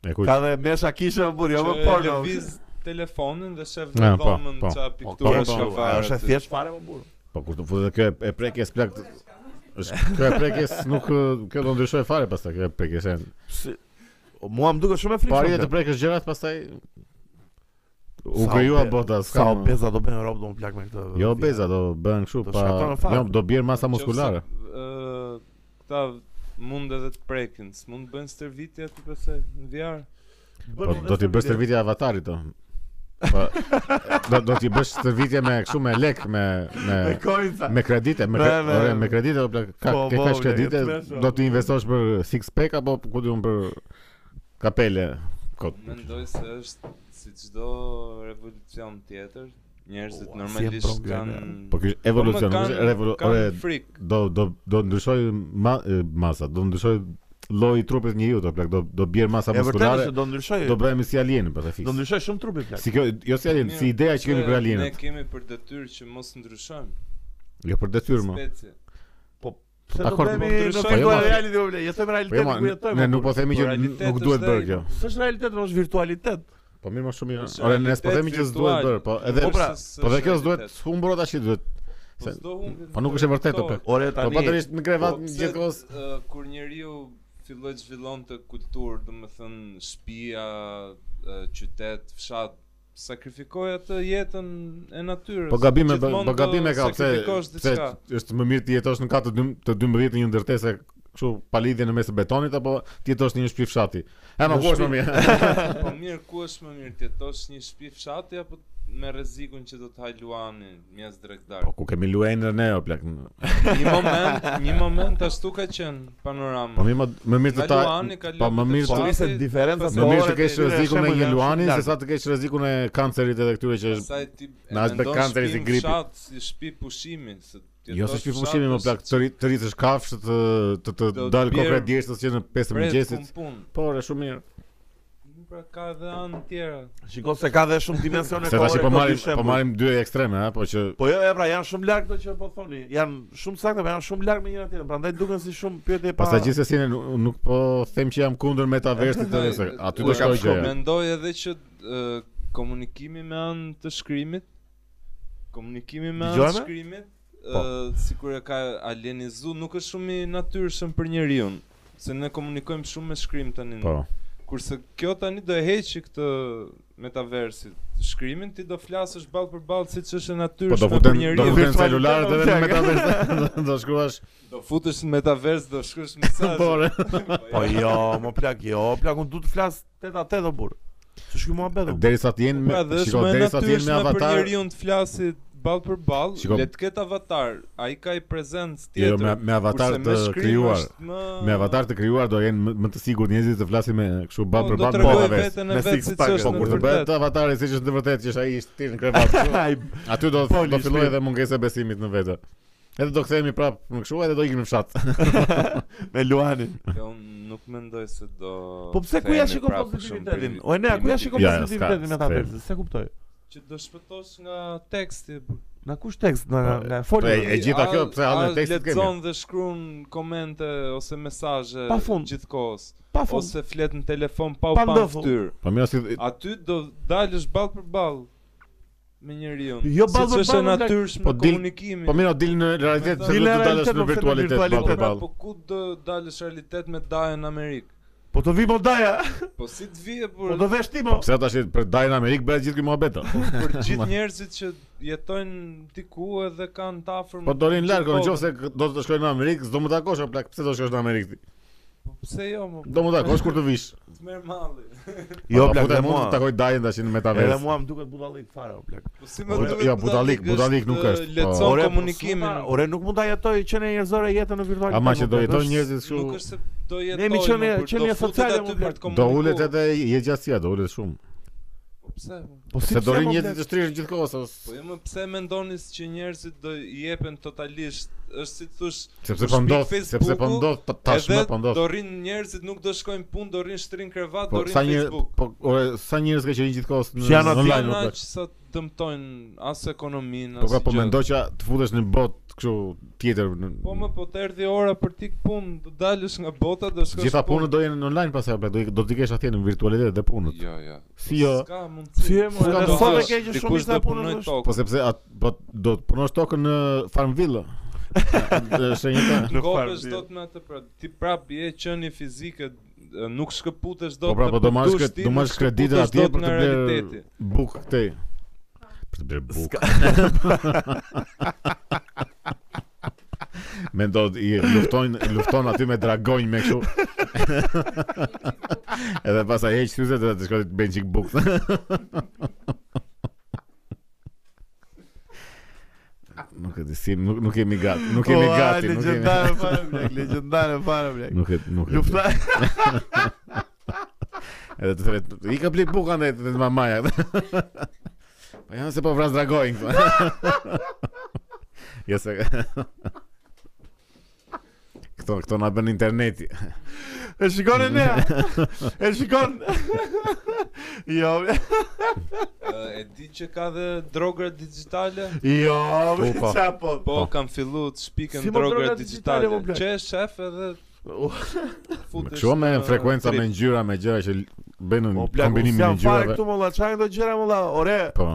S3: E kujt?
S1: ka dhe mesha kishe burr, jo
S2: Që
S1: më porno.
S2: lëviz telefonin dhe shef
S3: Ja,
S2: në
S3: po,
S2: dhomën
S3: po.
S2: qa
S1: Po,
S2: pikturë
S1: po,
S2: shka
S1: po, ajo
S2: farë.
S1: është e thjesht fare më burr.
S3: Po kur të futet kjo e- e prekjes plak është kjo e prekjes nuk ë, kjo do ndryshoj fare pastaj kjo e prekjes. e-
S1: Si O, Mua më duket shumë e
S3: Po arritet
S1: frikshme.
S3: të prekësh gjërat pastaj u
S1: Sa
S3: kriju
S1: obe-
S3: bota
S1: Sa
S3: s'ka.
S1: obeza do bëjnë rob do më plak me këtë.
S3: Jo obeza do bëhen kështu
S1: Do
S3: pa
S1: shkatron fare.
S3: jo do bjerë masa muskulare.
S2: Ë, Këta mund edhe të prekin, s'mund të bëjnë stërvitje aty pse në VR.
S3: Po do t'i bësh stërvitje avatarit do. Po do do t'i bësh stërvitje me kështu me lek me me
S1: Me kojca.
S3: me kredite, me
S1: Me- me-
S3: kredite, me kredite do plak ka
S1: Po,
S3: ke
S1: po,
S3: kash
S1: ble,
S3: kredite
S1: t'mesha,
S3: do
S1: po.
S3: t'i investosh për six pack apo ku diun për kapele. Kot.
S2: Mendoj se është si çdo revolucion tjetër, njerëzit
S1: Ua, si e
S2: normalisht
S1: progre,
S2: kanë
S3: Po ky është evolucion, nuk është revolucion.
S2: Kanë frik.
S3: do do do ndryshoj ma, e, masa, do ndryshoj lloji i trupit të njeriu, do plak, do do bjer masa
S1: E vërtetë
S3: muskulare,
S1: është do ndryshoj.
S3: do bëhemi si alieni pastaj
S1: Do
S3: fiks.
S1: ndryshoj shumë trupi plak.
S3: Si kjo, jo si alien, si ideja që kemi për
S2: Ne
S3: alienët.
S2: kemi për detyrë që mos ndryshojmë.
S3: Jo për detyrë më.
S2: Specie.
S1: Se do
S3: Dakor,
S1: bëhemi
S2: po,
S1: në
S2: ndryshoj,
S1: virtual
S3: po,
S1: reality o vle, jetojmë
S3: Po jo,
S1: realitetin
S3: ma,
S1: ku jetojmë.
S3: ne
S1: o,
S3: nuk po
S1: burr.
S3: themi që
S2: Po,
S3: n-
S2: realitet
S3: nuk duhet
S2: është
S3: bërë
S2: ai.
S3: kjo.
S1: S'është realitet, por është virtualitet.
S3: Po mirë më shumë mirë.
S2: Është
S3: Ore ne s'po
S2: realitet
S3: themi që s'duhet
S2: virtual.
S3: bërë, po edhe
S1: Po pra,
S2: s'është
S3: po dhe kjo s'duhet
S2: realitet.
S3: humbur tash që duhet
S2: Po
S3: Se-
S2: s'do humbin.
S3: po nuk është e vërtetë,
S2: këto.
S3: pe.
S1: Ore
S3: Po
S1: tani.
S3: patërisht në krevat
S2: pse,
S3: në gjithë kohës.
S2: ë, kur njeriu filloi të zhvillon të kulturë, domethënë shtëpia, ë, qytet, fshat, sakrifikoj atë jetën e natyrës.
S3: Po
S2: Gjithmonë
S3: gabime, po
S2: do
S3: gabime ka pse
S2: sakrifikosh
S3: pse
S2: diçka.
S3: është më mirë të jetosh në katë të 12 një ndërtese kështu pa lidhje në mes të betonit apo të jetosh në një shtëpi fshati. E më
S1: Në
S3: kush më
S1: shtëpi.
S3: mirë.
S2: Po mirë, ku është më mirë të jetosh një shtëpi fshati apo me rrezikun që do të haj luani mjes drekdar.
S3: Po ku kemi luajnë ne o plak.
S2: Një moment, një moment ashtu ka qenë panorama.
S3: Po më më- më mirë të
S2: Nga
S3: ta
S2: luani, ka
S3: po
S2: lupi
S3: më
S2: të
S3: mirë
S1: Po
S3: të
S2: fshatit,
S1: nëse diferenca
S2: Më
S3: më mirë të
S1: ore,
S3: kesh
S1: tani,
S3: rrezikun e
S1: shembull
S3: një
S1: janë
S3: luani
S1: shumë
S3: se
S1: lartë.
S3: sa të kesh rrezikun e kancerit edhe këtyre që është
S2: Pastaj ti e
S3: Na është
S2: mendon
S3: bekanteri si
S2: shtëpinë
S3: gripi.
S2: fshat, si shtëpi pushimi, se ti
S3: Jo se shpifu shimi më plak, të rritë të rritësh kafshë, të të të
S2: Do të
S3: dal kokra
S2: bjerë-
S3: djeshtës që në 5 të mëngjesit.
S2: Punë.
S3: Po, është shumë mirë.
S2: Pra ka edhe anë tjera.
S1: Shiko se ka dhe shumë dimensione
S3: Se tash
S1: kohore, ka
S3: po marrim
S1: dy shembuj.
S3: po marrim dy ekstreme, ha, po që
S1: Po jo, e pra janë shumë larg këto që po thoni. Janë shumë saktë, po janë shumë larg me njëra tjetrën. Prandaj duken si shumë pyetje pa.
S3: pastaj gjithsesi ne nuk- nuk po them që jam kundër metaversit të se aty
S2: po
S3: do
S1: Ua,
S3: shkoj
S1: ka
S3: gjë.
S1: shumë.
S2: Mendoj edhe që ë, komunikimi me anë të shkrimit, komunikimi me anë
S1: Dëgjojme?
S2: të shkrimit,
S1: Po.
S2: ë, sikur e ka alienizu, nuk është shumë i natyrshëm për njeriu. Se ne komunikojmë shumë me shkrim tani.
S3: Po.
S2: Kurse kjo tani do e heqi këtë metaversit. Shkrimin ti do flasësh ballë për ballë siç është e
S3: Po do
S2: natyrshme për
S3: futen do
S2: njeriu.
S3: futen
S1: Virtualitet,
S3: celularët edhe në
S1: o, plak.
S3: metavers. Do shkruash
S2: Do futesh në metavers, do shkruash mesazhe.
S3: po. re.
S1: Po jo, më plak, jo, plak, unë du të flas tet a tet o burr. Çu shkoj muhabet. o,
S3: Derisa të jenë me
S2: Pra dhe është
S3: shiko
S2: më
S3: derisa të jenë me
S2: natyrshme për
S3: avatar. jo,
S2: njeriu të flasë ball për ball,
S3: Shiko-
S2: le të ketë avatar, ai ka i prezencë tjetër.
S3: Jo, me me avatar
S2: kurse me
S3: të
S2: shkrim
S3: krijuar.
S2: është ah. Më...
S3: Me avatar të krijuar do jenë më- më të sigurt njerëzit të flasin me kështu
S2: Po,
S3: ballë për po,
S2: me
S3: ballë me
S1: tregoj
S3: metavers.
S2: vetën
S1: me
S2: e vetë
S1: six
S2: siç
S1: pack,
S2: është
S3: Po
S2: në
S3: kur të bëhet
S2: vërtet.
S3: avatari siç është në vërtet që është ai i shtirë në krevat. kështu,
S1: Ai,
S3: Aty do
S2: Po,
S1: Foli,
S3: do fillojë
S1: shtirë.
S3: edhe mungesa e besimit në vete. Edhe do kthehemi prapë në kështu edhe do ikim në fshat.
S1: me Luanin.
S2: Jo, unë nuk mendoj se do
S1: Po pse ku ja
S2: thehemi
S1: shikon
S2: prapë për shumë
S1: pozitivitetin?
S2: privi-
S1: O ne, ku ja shikon po-
S3: Ja, ja,
S1: pozitivitetin
S3: s'ka,
S1: me ta vetë? Se kuptoj.
S2: që do shpëtosh nga teksti. bur.
S1: Na kush tekst na
S3: Po,
S1: na
S3: Po e,
S1: folë.
S3: e gjitha
S2: A-
S3: kjo pse hallën
S2: a
S3: tekstit kemi.
S2: Lexon dhe shkruan komente ose mesazhe
S1: Pa fund.
S2: gjithkohës
S1: Pa fund.
S2: ose flet në telefon pa u
S1: Pa
S2: pa në
S1: ndëfull.
S2: fytyrë.
S3: Po mirë si
S2: Aty do dalësh ball për ball me njeriu.
S1: Jo ball për
S2: Siç është e
S1: ball, o, plak.
S2: natyrshme
S3: Po dil-
S2: komunikimi.
S3: po mirë o, dil në realitet se
S1: Dil
S3: do
S1: në
S3: të dalësh
S1: realitet, po,
S3: në
S1: se në
S3: virtualitet ballë
S1: virtualitet.
S3: për
S2: pra,
S3: ballë.
S2: po ku do dalësh realitet me Daja në Amerikë?
S1: Po të vi modaja,
S2: Po si të vije
S1: po
S2: për
S1: të vesh ti
S3: Po
S1: mo.
S3: pse tash për Dajin në Amerikë bëhet gjithë kjo muhabet. o?
S2: për gjithë njerëzit që jetojnë diku edhe kanë të afër.
S3: Po do rinë larg,
S2: gjithë
S3: në qoftë se k- do të shkojnë në Amerikë, s'do më takosh o plak, pse do shkosh në Amerikë ti?
S2: Po pse jo, më
S3: Do më takosh kur të vish.
S2: të merr malli.
S1: Jo
S3: Po,
S1: plak,
S3: futem
S1: dhe
S3: unë
S1: mua.
S3: të takoj Dajin tash në
S1: Edhe
S3: metavers.
S1: mua më duket budallik fare o plak.
S2: Po si më
S1: Ore,
S2: duhet?
S3: ja, budallik, budallik jo, nuk është, po.
S2: Lecon
S1: Ore, po, s'u
S2: komunikimin.
S1: ta- Ore nuk mund ta jetoj qenë njerëzore jetën në virtualitet.
S3: Ama që
S1: mo,
S3: do
S1: plak,
S3: jetojnë
S1: është-
S3: njerëzit
S2: Nuk
S3: kështu.
S2: është se do jetoj.
S1: Jemi qenie-
S2: më, kur do
S1: qenie
S2: futet
S1: sociale,
S2: aty
S1: më,
S2: për
S1: plak.
S2: të
S3: Do
S2: komunikuar.
S3: ulet edhe je gjatësia, do ulet shumë.
S2: Po pse? mo?
S1: Po si
S3: Se do
S1: pse,
S3: rinë
S1: mo, plak?
S3: njerëzit të shtrirë gjithkohës. o, s-
S2: Po jo më pse mendoni që njerëzit do i jepen totalisht? Është si të thosh,
S3: Sepse
S2: Po
S3: po
S2: shpi
S3: ndodh,
S2: Facebooku,
S3: sepse po ndodh pa- tashmë po
S2: do
S3: ndodh.
S2: rrin njerëzit nuk do shkojnë punë, do rrin shtrin krevat,
S3: Po
S2: do rrin
S3: sa njerëz,
S2: Facebook.
S3: po ore, sa njerëz ka qenë gjithkohës në
S1: Që janë aty,
S3: online.
S2: Online,
S3: o,
S2: na
S3: plak.
S2: që sa dëmtojnë as ekonominë, as
S3: Po pra po
S2: gjë.
S3: mendoj që të futesh në botë kështu tjetër. në-
S2: Po më po të erdhi ora për ti punë, do dalësh nga bota, do shkosh.
S3: Gjitha punët do jenë online pasaj, pra, do i- do t'i kesh atje në virtualitet dhe punët.
S2: Jo, jo.
S3: Si jo?
S2: Ska mundsi.
S1: Si e mo,
S3: Ska
S1: edhe
S3: do
S1: sot e
S3: thosh,
S1: ke që shumë ishte punën është.
S3: Po sepse at, po, do të punosh tokën në Farmville. Është një ta.
S1: Në
S2: Ngopesh
S1: farë,
S2: dot me atë pra ti prap je qenie fizike d- nuk shkëputesh dot.
S3: Po pra
S2: në
S3: po do marrësh
S2: përdush
S3: kre-
S2: ti,
S3: do
S2: nuk
S3: marrësh kreditën
S2: shkëputesh
S3: atje
S2: dot
S3: për të
S2: nga
S3: bler
S2: realiteti.
S3: buk këtej. Për të bler buk. Mendo i luftojnë lufton aty me dragonj me kështu. Edhe pastaj heq syzet dhe të shkoj të bëjnë çik buk. Nuk e di si, nuk, nuk jemi gati, nuk jemi
S1: Ua,
S3: gati, nuk jemi.
S1: Legjendare fare blek, legjendare fare blek.
S3: Nuk e nuk e.
S1: Lufta.
S3: Edhe të thret, i ka blik bukan e të mamaja. Po janë se po vras dragojnë. jo se... Këto, këto na bën interneti.
S1: E shikon e nea. E shikon. Jo, blek.
S2: Ë, E di që ka dhe drogra digjitale.
S1: jo, blek,
S3: Upa.
S1: qa po.
S2: Po
S3: Po.
S2: kam filluar të shpikën
S1: Si mo droga
S2: drogra
S1: digjitale,
S2: digjitale.
S1: mo, plak?
S2: Që e shef edhe
S1: U,
S2: futesh.
S3: Kështu me
S2: në
S3: frekuenca
S2: trip.
S3: me ngjyra me gjëra që l- bëjnë
S1: O
S3: në
S1: Po, plak, unë
S3: kombinimin e
S1: s'jam fare
S3: ngjyrave.
S1: këtu molla, çfarë këto gjëra molla? Ore,
S3: Po.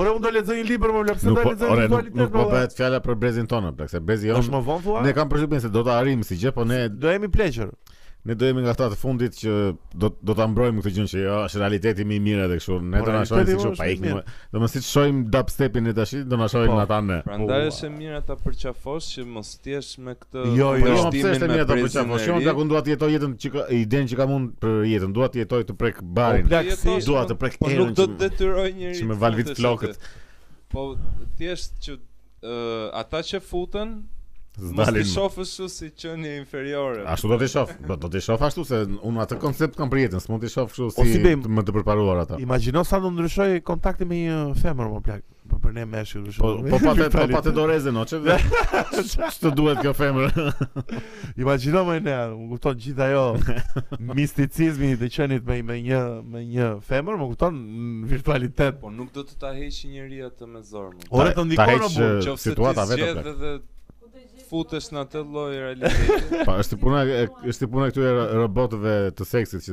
S1: Ore unë do lexoj një libër më vlep se
S3: Nuk
S1: do
S3: po,
S1: lexoj
S3: ore,
S1: një
S3: nuk, nuk
S1: dualitet
S3: po
S1: më.
S3: bëhet fjala për brezin tonë, plak, se brezi
S1: Është
S3: jonë
S1: më vonë thua?
S3: ne kam përshtypjen se do ta arrim si gjë, po ne
S1: Do jemi pleqër.
S3: ne do jemi nga ata të fundit që do do ta mbrojmë këtë gjë që jo, është realiteti më i mirë edhe kështu. Ne
S1: Po,
S3: do na
S1: realiteti më është
S3: shohim si kështu pa
S1: më i
S3: ikim.
S1: mirë.
S3: Domethënë si të shohim dubstepin ne tash, do na shohim
S1: Po.
S3: ata ne.
S2: Prandaj
S1: Po,
S2: Pra, është e mirë ta përqafosh që mos t'jesh me këtë
S1: Jo, jo,
S3: Po jo,
S2: vazhdimin
S3: pse është
S2: me
S3: mirë apo
S2: prezin
S3: çfarë? Po
S2: e
S3: shumë
S2: ri.
S3: ta ku dua të jetoj jetën që ka- idenë që kam unë për jetën, dua të jetoj të prek
S1: Po
S3: barin.
S1: plak si
S2: jetosh,
S3: Dua
S2: po-
S3: të prek
S2: Po nuk
S3: erën
S2: do
S3: që
S2: të
S3: më-
S2: detyroj njëri.
S3: që më
S2: të
S3: val vit
S2: futesh
S3: flokët.
S2: aty. Po thjesht që ë, ata që futen mos
S3: Zdalin.
S2: t'i shofësh kështu si qenie inferiore.
S3: Ashtu do të shoh. Do do të shoh ashtu se unë atë koncept kam për jetën, s'mund të shoh kështu
S1: O,
S3: si
S1: si bëjmë?
S3: të- më të përparuar ata.
S1: Imagjino sa do ndryshoj kontakti me një femër më plak. Po për ne meshi kështu.
S3: Po po pa të po pa të doreze no, çe ç'të duhet kjo femër.
S1: Imagjino më ne, më kupton gjithë ajo misticizmi i të qenit me me një me një femër, më kupton në virtualitet.
S2: Po nuk do të ta heqë njëri atë me zorë. më.
S1: Ore
S3: Ta-
S1: të
S3: ta
S1: ndikon
S3: heq,
S1: apo?
S3: e,
S2: Qofse ti
S3: situata vetë,
S2: zgjedh
S3: plak.
S2: edhe futesh në atë lloj realiteti.
S3: Pa, është puna e- është puna këtyre ro- robotëve të seksit që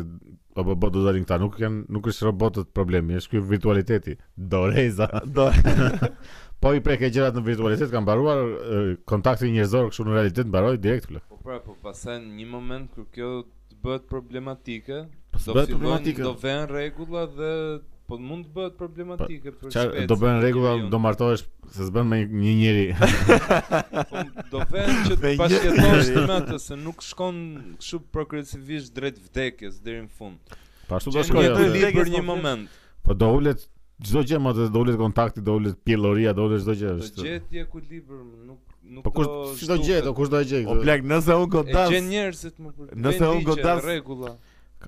S3: apo bot do dalin këta, nuk janë nuk është robotët problemi, është ky virtualiteti. Doreza.
S1: Do
S3: Po i prek e gjërat në virtualitet kanë mbaruar e, kontakti njerëzor kështu në realitet mbaroi direkt plak.
S2: Po pra, po pastaj në një moment kur kjo të bëhet problematike, do
S3: Po s'bëhet
S2: fillojnë-
S3: problematike.
S2: Po, do vënë rregulla dhe po mund të bëhet problematike për
S3: Po, Çfarë
S2: shpejtësinë
S3: do bën
S2: e
S3: rregulla,
S2: njeriu.
S3: do martohesh se s'bën me një njeri.
S2: Po, do vënë që të
S1: Me një-
S2: bashkëtosh me atë se nuk shkon kështu progresivisht drejt vdekjes deri në fund.
S3: Pa ashtu Po do
S2: Që
S3: shkojë.
S2: një të
S1: aty.
S3: apo-
S2: li për
S1: Vdekjes
S2: një
S1: po,
S2: moment.
S3: Po do ulet çdo gjë më të do ulet kontakti, do ulet pjelloria, do ulet çdo gjë.
S2: Të
S3: është.
S2: gjetje ekuilibër, nuk nuk
S3: Po kur çdo gjë, do kush do e gjej.
S1: O
S3: këtë.
S1: plak, nëse unë
S2: e gjen
S1: godas.
S2: njerëzit më për.
S1: Nëse
S2: vënë
S1: unë
S2: ligje,
S1: godas-
S2: rregulla.
S3: Do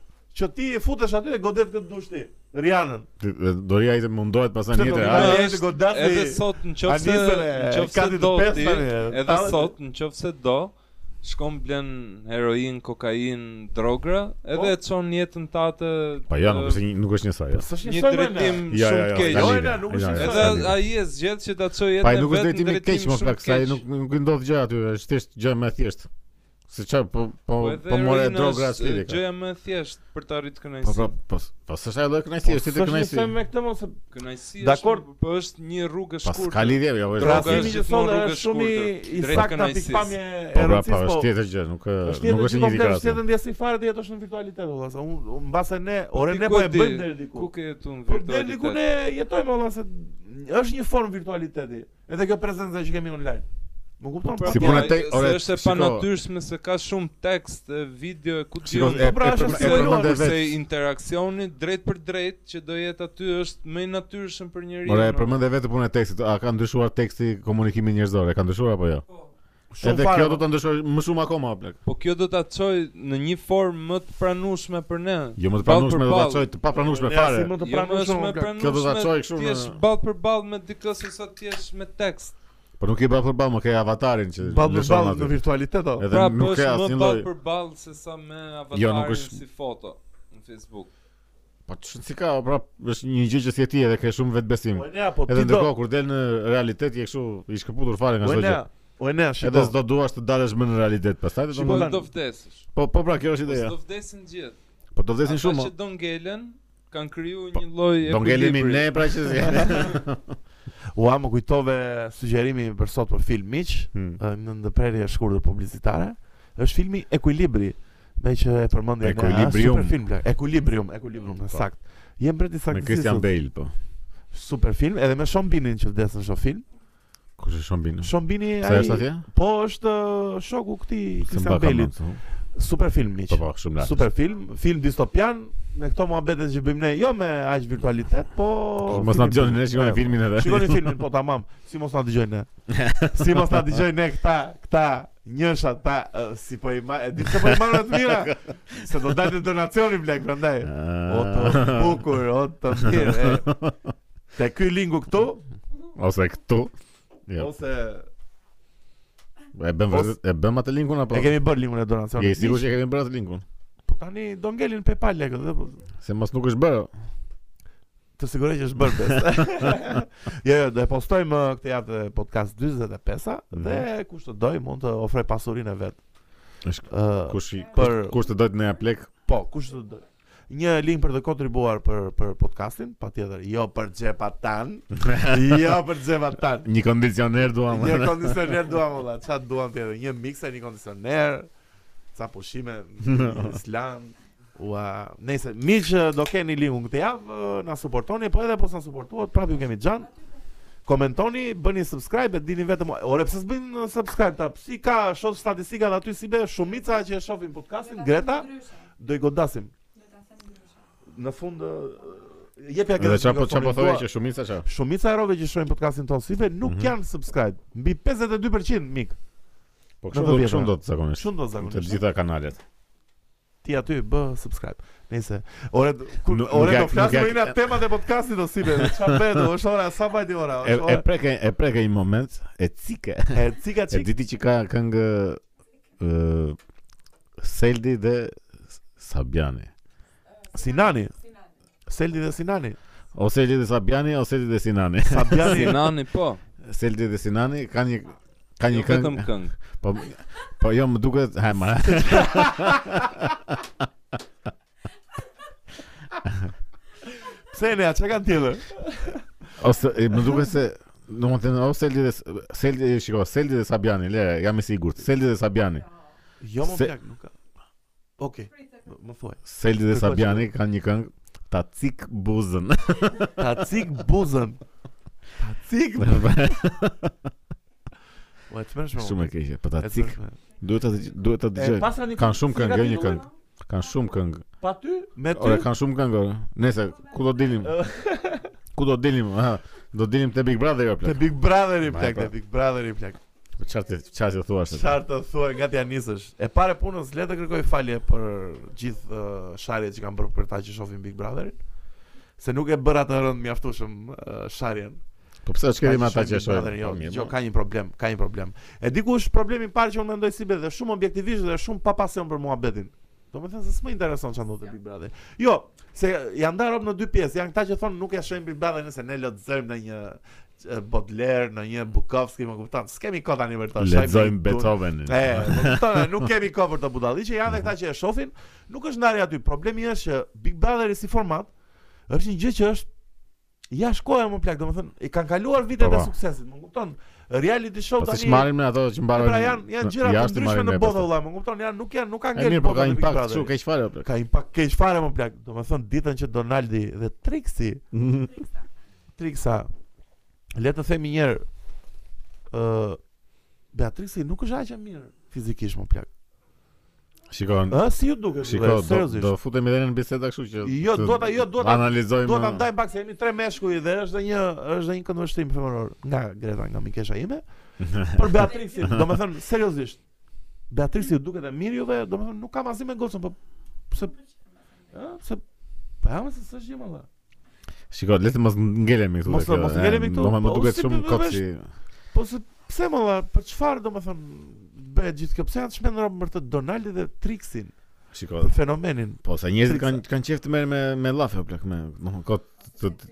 S1: që ti e futesh aty dhe godet këtë dush ti. Rianën.
S3: Doria i të mundohet pasaj
S1: Pse
S3: një
S1: do
S3: tjetër.
S1: Ja,
S3: a?
S1: vjen?
S2: Edhe
S1: jeti godasi-
S2: Edhe sot nëse
S1: Anisën e
S2: nëse
S1: katit të
S2: do
S1: pestë,
S2: ti,
S1: tani, e,
S2: edhe
S1: tallën.
S2: sot nëse do shkon blen heroin, kokainë, drogra,
S1: Po.
S2: edhe e çon jetën tatë.
S3: Pa jo,
S2: e,
S3: nuk është një- nuk është njësaj. jo.
S1: S'është
S2: një
S1: njësoj, më, ne.
S2: drejtim
S3: Jo,
S2: shumë
S3: jo,
S2: të
S3: jo.
S2: keq.
S3: ka
S1: Jo,
S3: ligë,
S1: na, nuk
S3: jo,
S1: është
S3: jo,
S1: njësoj.
S2: Edhe
S3: ka ligë.
S2: ai e zgjedh që ta çojë
S3: Pa
S2: jetën
S3: i nuk është
S2: vetë
S3: drejtimi i
S2: në
S3: keq,
S2: drejtim
S3: më
S2: shumë
S3: pak, sa i
S2: keq.
S3: nuk nuk i ndodh gjë aty, është thjesht gjë më e thjeshtë. Se çfarë po po
S2: Po edhe
S3: po more
S2: heroina
S3: drogra
S2: është,
S3: sfidë.
S2: e, Gjëja më e thjeshtë për të arritë
S3: Po po
S2: kënaqësi.
S3: po po s'është ajo lloj kënaqësi, është
S1: Po,
S3: tjetër kënaqësi.
S1: s'është me këtë mos e-
S2: Kënaqësi
S1: Dakor.
S2: është, po është një rrugë e
S3: Pas
S2: shkurtër.
S3: ka lidhje, jo, është
S2: Droga
S1: Rasimi
S2: është
S1: që
S2: gjithmonë
S1: thonë
S2: rrugë
S1: Pra, është shumë i i
S2: shkurtër, drejt
S1: saktë
S2: kënaqësisë.
S1: pikpamje
S3: Po
S1: e
S3: pra, po
S1: rëndësisë po.
S3: është tjetër gjë, nuk ë,
S1: Është
S3: nuk
S1: tjetër gjë
S3: është
S1: po
S3: një
S1: komplet, është
S3: dikratë.
S1: tjetër ndjesi fare dhe jetosh në virtualitet valla. se Unë unë mbase ne, ore
S2: Ti
S1: ne
S2: ku
S1: po
S2: e
S1: e
S2: di,
S1: bëjmë deri
S2: Ku
S1: diku.
S2: ke jetu në
S1: Po deri diku
S2: virtualitet?
S1: ne jetojmë valla se është një formë virtualiteti. Edhe kjo prezenca që kemi online. Më kupton? Po,
S2: Po,
S3: Si
S2: po,
S1: po,
S3: puna
S2: ai-
S3: tek-
S2: se
S3: ore,
S2: është e
S3: shiko.
S2: panatyrshme se ka shumë tekst, e, video e ku di.
S3: Shiko, e-
S1: Po pra,
S3: e
S1: është
S3: përmen-
S1: si
S3: e
S1: e
S3: përmend
S1: luan,
S3: vetë.
S2: se interaksioni drejt për drejt që do jetë aty është më i natyrshëm për njeriu.
S3: Ora, e
S1: pra.
S2: no?
S3: përmend vetë punën e tekstit. A ka ndryshuar teksti komunikimin njerëzor? E ka ndryshuar apo jo?
S1: Shumë
S3: Edhe
S1: fare,
S3: kjo do
S1: po.
S3: ta ndryshoj më shumë akoma plak.
S2: Po kjo do ta çoj në një formë më të pranueshme për ne.
S3: Jo më të
S2: Ball
S3: pranueshme
S2: për
S3: do ta
S2: ball.
S3: çoj të papranueshme
S1: Ne
S3: fare.
S1: asim më të
S2: Jo më është
S1: pranueshëm.
S2: më
S1: o plak.
S2: pranueshme.
S3: Kjo do ta çoj kështu
S2: Ti
S3: në-
S2: je ball për ball me dikë se sa ti je me tekst.
S3: Po nuk i bë për ball, më ke avatarin që
S1: Ball për
S3: lëshon
S1: ball
S3: aty.
S1: në virtualitet. o.
S3: Edhe
S2: Pra, po
S3: nuk ke
S2: është më
S3: asnjë
S2: ball
S3: lloj.
S2: për ball se sa me
S3: Jo, nuk
S2: avatarin
S3: është-
S2: si foto në Facebook.
S3: Po çu- si ka, pra është një gjë që si e ti edhe ke shumë vetbesim.
S1: Po ne apo
S3: Edhe
S1: ti do.
S3: ndërkohë kur del në realitet je kështu i shkëputur fare nga
S1: Po
S3: çdo
S1: ne.
S3: gjë.
S1: O ne,
S3: Edhe
S1: shiko.
S3: s'do duash të dalësh më në realitet pastaj do të
S2: Po
S1: Shiko,
S3: mund-
S1: Lan.
S2: do vdesësh.
S3: Po po pra kjo është
S2: Po
S3: ideja.
S2: do vdesin gjithë.
S3: Po do vdesin
S2: Ata
S3: shumë.
S2: që do ngelen kanë kriju
S3: Po,
S2: një lloj
S3: Do ngelemi
S2: ekuilibri.
S3: ne pra që si.
S1: Ua, më kujtove sugjerimi për sot për film miq.
S3: Hmm.
S1: Ë, në ndërprerje e shkurtër publicitare, është filmi Ekuilibri, me që e përmendja ne,
S3: Ekuilibrium.
S1: është super film, bla, Ekuilibrium, Ekuilibrium, në
S3: Po.
S1: sakt. Jem breti
S3: Me
S1: saktësisë.
S3: Christian Bale po.
S1: Super film, edhe me Sean Beanin që vdes në shoh film.
S3: Kush është shumë binë?
S1: Sean Bean
S3: Mm. Sa
S1: ai
S3: është atje?
S1: po është ë, shoku këtij
S3: Se
S1: Christian
S3: mba ka
S1: Bale-it.
S3: mend,
S1: Super film miq.
S3: Po po, shumë lart.
S1: Super film, film distopian, me këto muhabete që bëjmë ne, jo me aq virtualitet, po
S3: Mos na
S1: film-
S3: dëgjoni ne shikoni
S1: Po,
S3: filmin edhe.
S1: Shikoni filmin, po tamam. Si mos na dëgjojnë ne. Si mos na dëgjojnë ne këta, këta njësha ta ë, si po i ma, e di pse po i marrën të mira. Se do dalë donacioni blek prandaj.
S3: Ah.
S1: O të bukur, o të mirë. e. Te ky lingu këtu
S3: Ose këtu. Jo.
S1: ose
S3: E bëm vërtet- e bëm atë linkun apo?
S1: E kemi bërë linkun e donacionit.
S3: Je i sigurt që e kemi bërë atë linkun?
S1: Po tani do ngelin PayPal lekët dhe po
S3: Se mos nuk është bërë.
S1: Ah. të siguroj që është bërë pes. jo, jo, do e postojmë ë, këtë javë të podcast 45-a dhe kush të doj mund të ofroj pasurinë e vet.
S3: Mhm. Është
S1: Ë,
S3: kush i
S1: Për-
S3: kush të dojtë në ja plek
S1: po, kush të doj. Një link për të kontribuar për për podcastin, patjetër, jo për xhepat tan, jo për xhepat tan.
S3: një kondicioner dua
S1: Një
S3: më.
S1: kondicioner duam valla, çfarë duam tjetër? Një mikser, një kondicioner, ca pushime, islam. Ua, nëse miq që do keni linkun këtë javë, ë, na suportoni, po edhe pos na suportuat, prapë ju kemi xhan. Komentoni, bëni subscribe, e dini vetëm ore pse s'bën ë, subscribe ta? Si ka shoh statistikat aty si be shumica që e shohin podcastin Greta, do i godasim. Në fund ë, jepja
S3: Edhe
S1: Gretës
S3: çfarë po çfarë
S1: mikrofonin,
S3: po thoya
S1: dua-
S3: që shumica çfarë?
S1: Shumica e rove që shohin podcastin tonë si ve nuk
S3: Mhm.
S1: janë subscribe. Mbi 52% mik.
S3: Po
S1: Në
S3: kështu
S1: të
S3: do
S1: vjetra.
S3: kështu do të zakonisht.
S1: Shumë do
S3: Të
S1: zakonisht.
S3: gjitha kanalet.
S1: Ti aty bë subscribe. Nëse ore kur
S3: Nuk-
S1: ore
S3: nuk ja-
S1: do flasim
S3: nuk ja-
S1: për nga temat e podcastit do si ve. Çfarë bëhet? Është ora sa vajti ora?
S3: E
S1: Është
S3: e
S1: ora.
S3: preke e preke një moment e cike.
S1: E cika
S3: E
S1: çik.
S3: diti që ka këngë ë Seldi dhe Sabiani.
S1: Sinani. Seldi dhe Sinani.
S3: O Seldi dhe Sabiani, o Seldi dhe Sinani.
S1: Sabiani.
S2: Sinani po,
S3: Seldi dhe Sinani kanë një kanë
S2: jo
S3: një
S2: vetëm
S3: këngë.
S2: këngë.
S3: Po po jo më duket, ha më.
S1: Pse ne çka kanë tjetër?
S3: Ose e, më duket se Do më të thënë, o Seldi dhe Seldi, shiko, Seldi dhe Sabiani, le, jam i sigurt. Seldi dhe Sabiani.
S1: Jo më
S3: Se-
S1: plak nuk ka. Okej. Më thuaj.
S3: Seldi dhe
S1: Kërkoj
S3: Sabiani kanë një këngë Ta cik buzën
S1: Ta cik buzën. Ta cik. bu- Ua, çfarë më?
S3: Shumë e keqe, po ta
S1: E
S3: cik
S1: çmërshme.
S3: Duhet ta digj- duhet ta
S1: E,
S3: dëgjoj.
S1: pasra një
S3: Kanë shumë
S1: si
S3: këngë,
S1: ka
S3: jo një
S1: titulli?
S3: këngë. Kanë shumë këngë.
S1: Pa ty, me ty.
S3: Ora kanë shumë këngë. ore. Nese, ku do dilim? Ku do dilim? Ha, do dilim te Big Brother jo
S1: Te
S3: plak.
S1: Big Brother i
S3: Ma,
S1: plak,
S3: po.
S1: te Big Brother i plak.
S3: Po çfarë çfarë ju thua se?
S1: Çfarë të thuaj, gati ja nisësh. E pare punës, le të kërkoj falje për gjithë uh, sharjet që kam bërë për ta që shohin Big Brotherin. Se nuk e bëra të rënd mjaftueshëm uh, sharjen.
S3: Po pse çka me ata
S1: shohin
S3: që
S1: Big Brotherin,
S3: shohin?
S1: Jo,
S3: Po, mirë,
S1: jo,
S3: po.
S1: ka një problem, ka një problem. E di ku është problemi i parë që unë mendoj si be dhe shumë objektivisht dhe shumë pa pasion për muhabetin. Do me thënë se s'më intereson që ndodhë Big Brother. Jo, se janë ndarë rob në dy pjesë, janë këta që thonë nuk e shohim Big Brother nëse ne lexojmë në një e, Baudelaire, në një Bukowski, më kupton. S'kemi kohë tani për të shohim
S3: Lexojmë
S1: një tun-
S3: Beethovenin.
S1: E, më kupton, nuk kemi kohë për të budalliqe, janë dhe këta që e shohin, nuk është ndarja aty. Problemi është që Big Brother si format është një gjë që është jashtë kohë më plak, domethënë, i kanë kaluar vitet
S3: Po,
S1: e
S3: po.
S1: suksesit, më kupton? Reality show
S3: Po si
S1: tani.
S3: marrin me ato që
S1: e
S3: mbarojnë.
S1: pra janë janë gjëra të
S3: jashtë i
S1: ndryshme
S3: marrin
S1: në
S3: me
S1: botë
S3: pastaj.
S1: vëlla, më kupton? Janë nuk janë nuk kanë
S3: E mirë,
S1: ngel
S3: po ka
S1: bota në Big
S3: impakt
S1: Brother.
S3: kështu keq fare jo, plak.
S1: Ka impakt keq fare më plak. Domethënë ditën që Donaldi dhe Trixi, Trixa, le të themi një herë, ë Beatrixi nuk është aq e mirë fizikisht më plak.
S3: Shikon.
S1: Ë si ju duket?
S3: Shiko,
S1: vëlla,
S3: do,
S1: seriozisht.
S3: do futemi edhe në biseda kështu që
S1: Jo,
S3: të
S1: do ta- jo, do ta-
S3: analizojmë.
S1: Do ta ndajmë pak se jemi tre meshkuj dhe është dhe një është dhe një këndvështrim femëror nga Greta, nga Mikesha ime. Për Beatrixin, domethënë seriozisht. Beatrixi ju duket e mirë juve, domethënë nuk kam asnjë me gocën, po pse ë pse Po ja, më se s'është gjë më valla.
S3: Shiko, le të mos ngelemi këtu.
S1: Mos-
S3: dhe kjo,
S1: mos
S3: e,
S1: ngelemi këtu,
S3: Do më- më
S1: po,
S3: duket
S1: si
S3: shumë
S1: për-
S3: kot
S1: vesh-
S3: si
S1: Po se pse më valla, për çfarë domethënë bëhet gjithë kjo? Pse janë shmendur për të Donaldi dhe Trixin,
S3: Shiko,
S1: për fenomenin.
S3: po sa njerëzit
S1: Triksa.
S3: kanë kanë qejf të merren me me llafe o plak me, do më kot të të-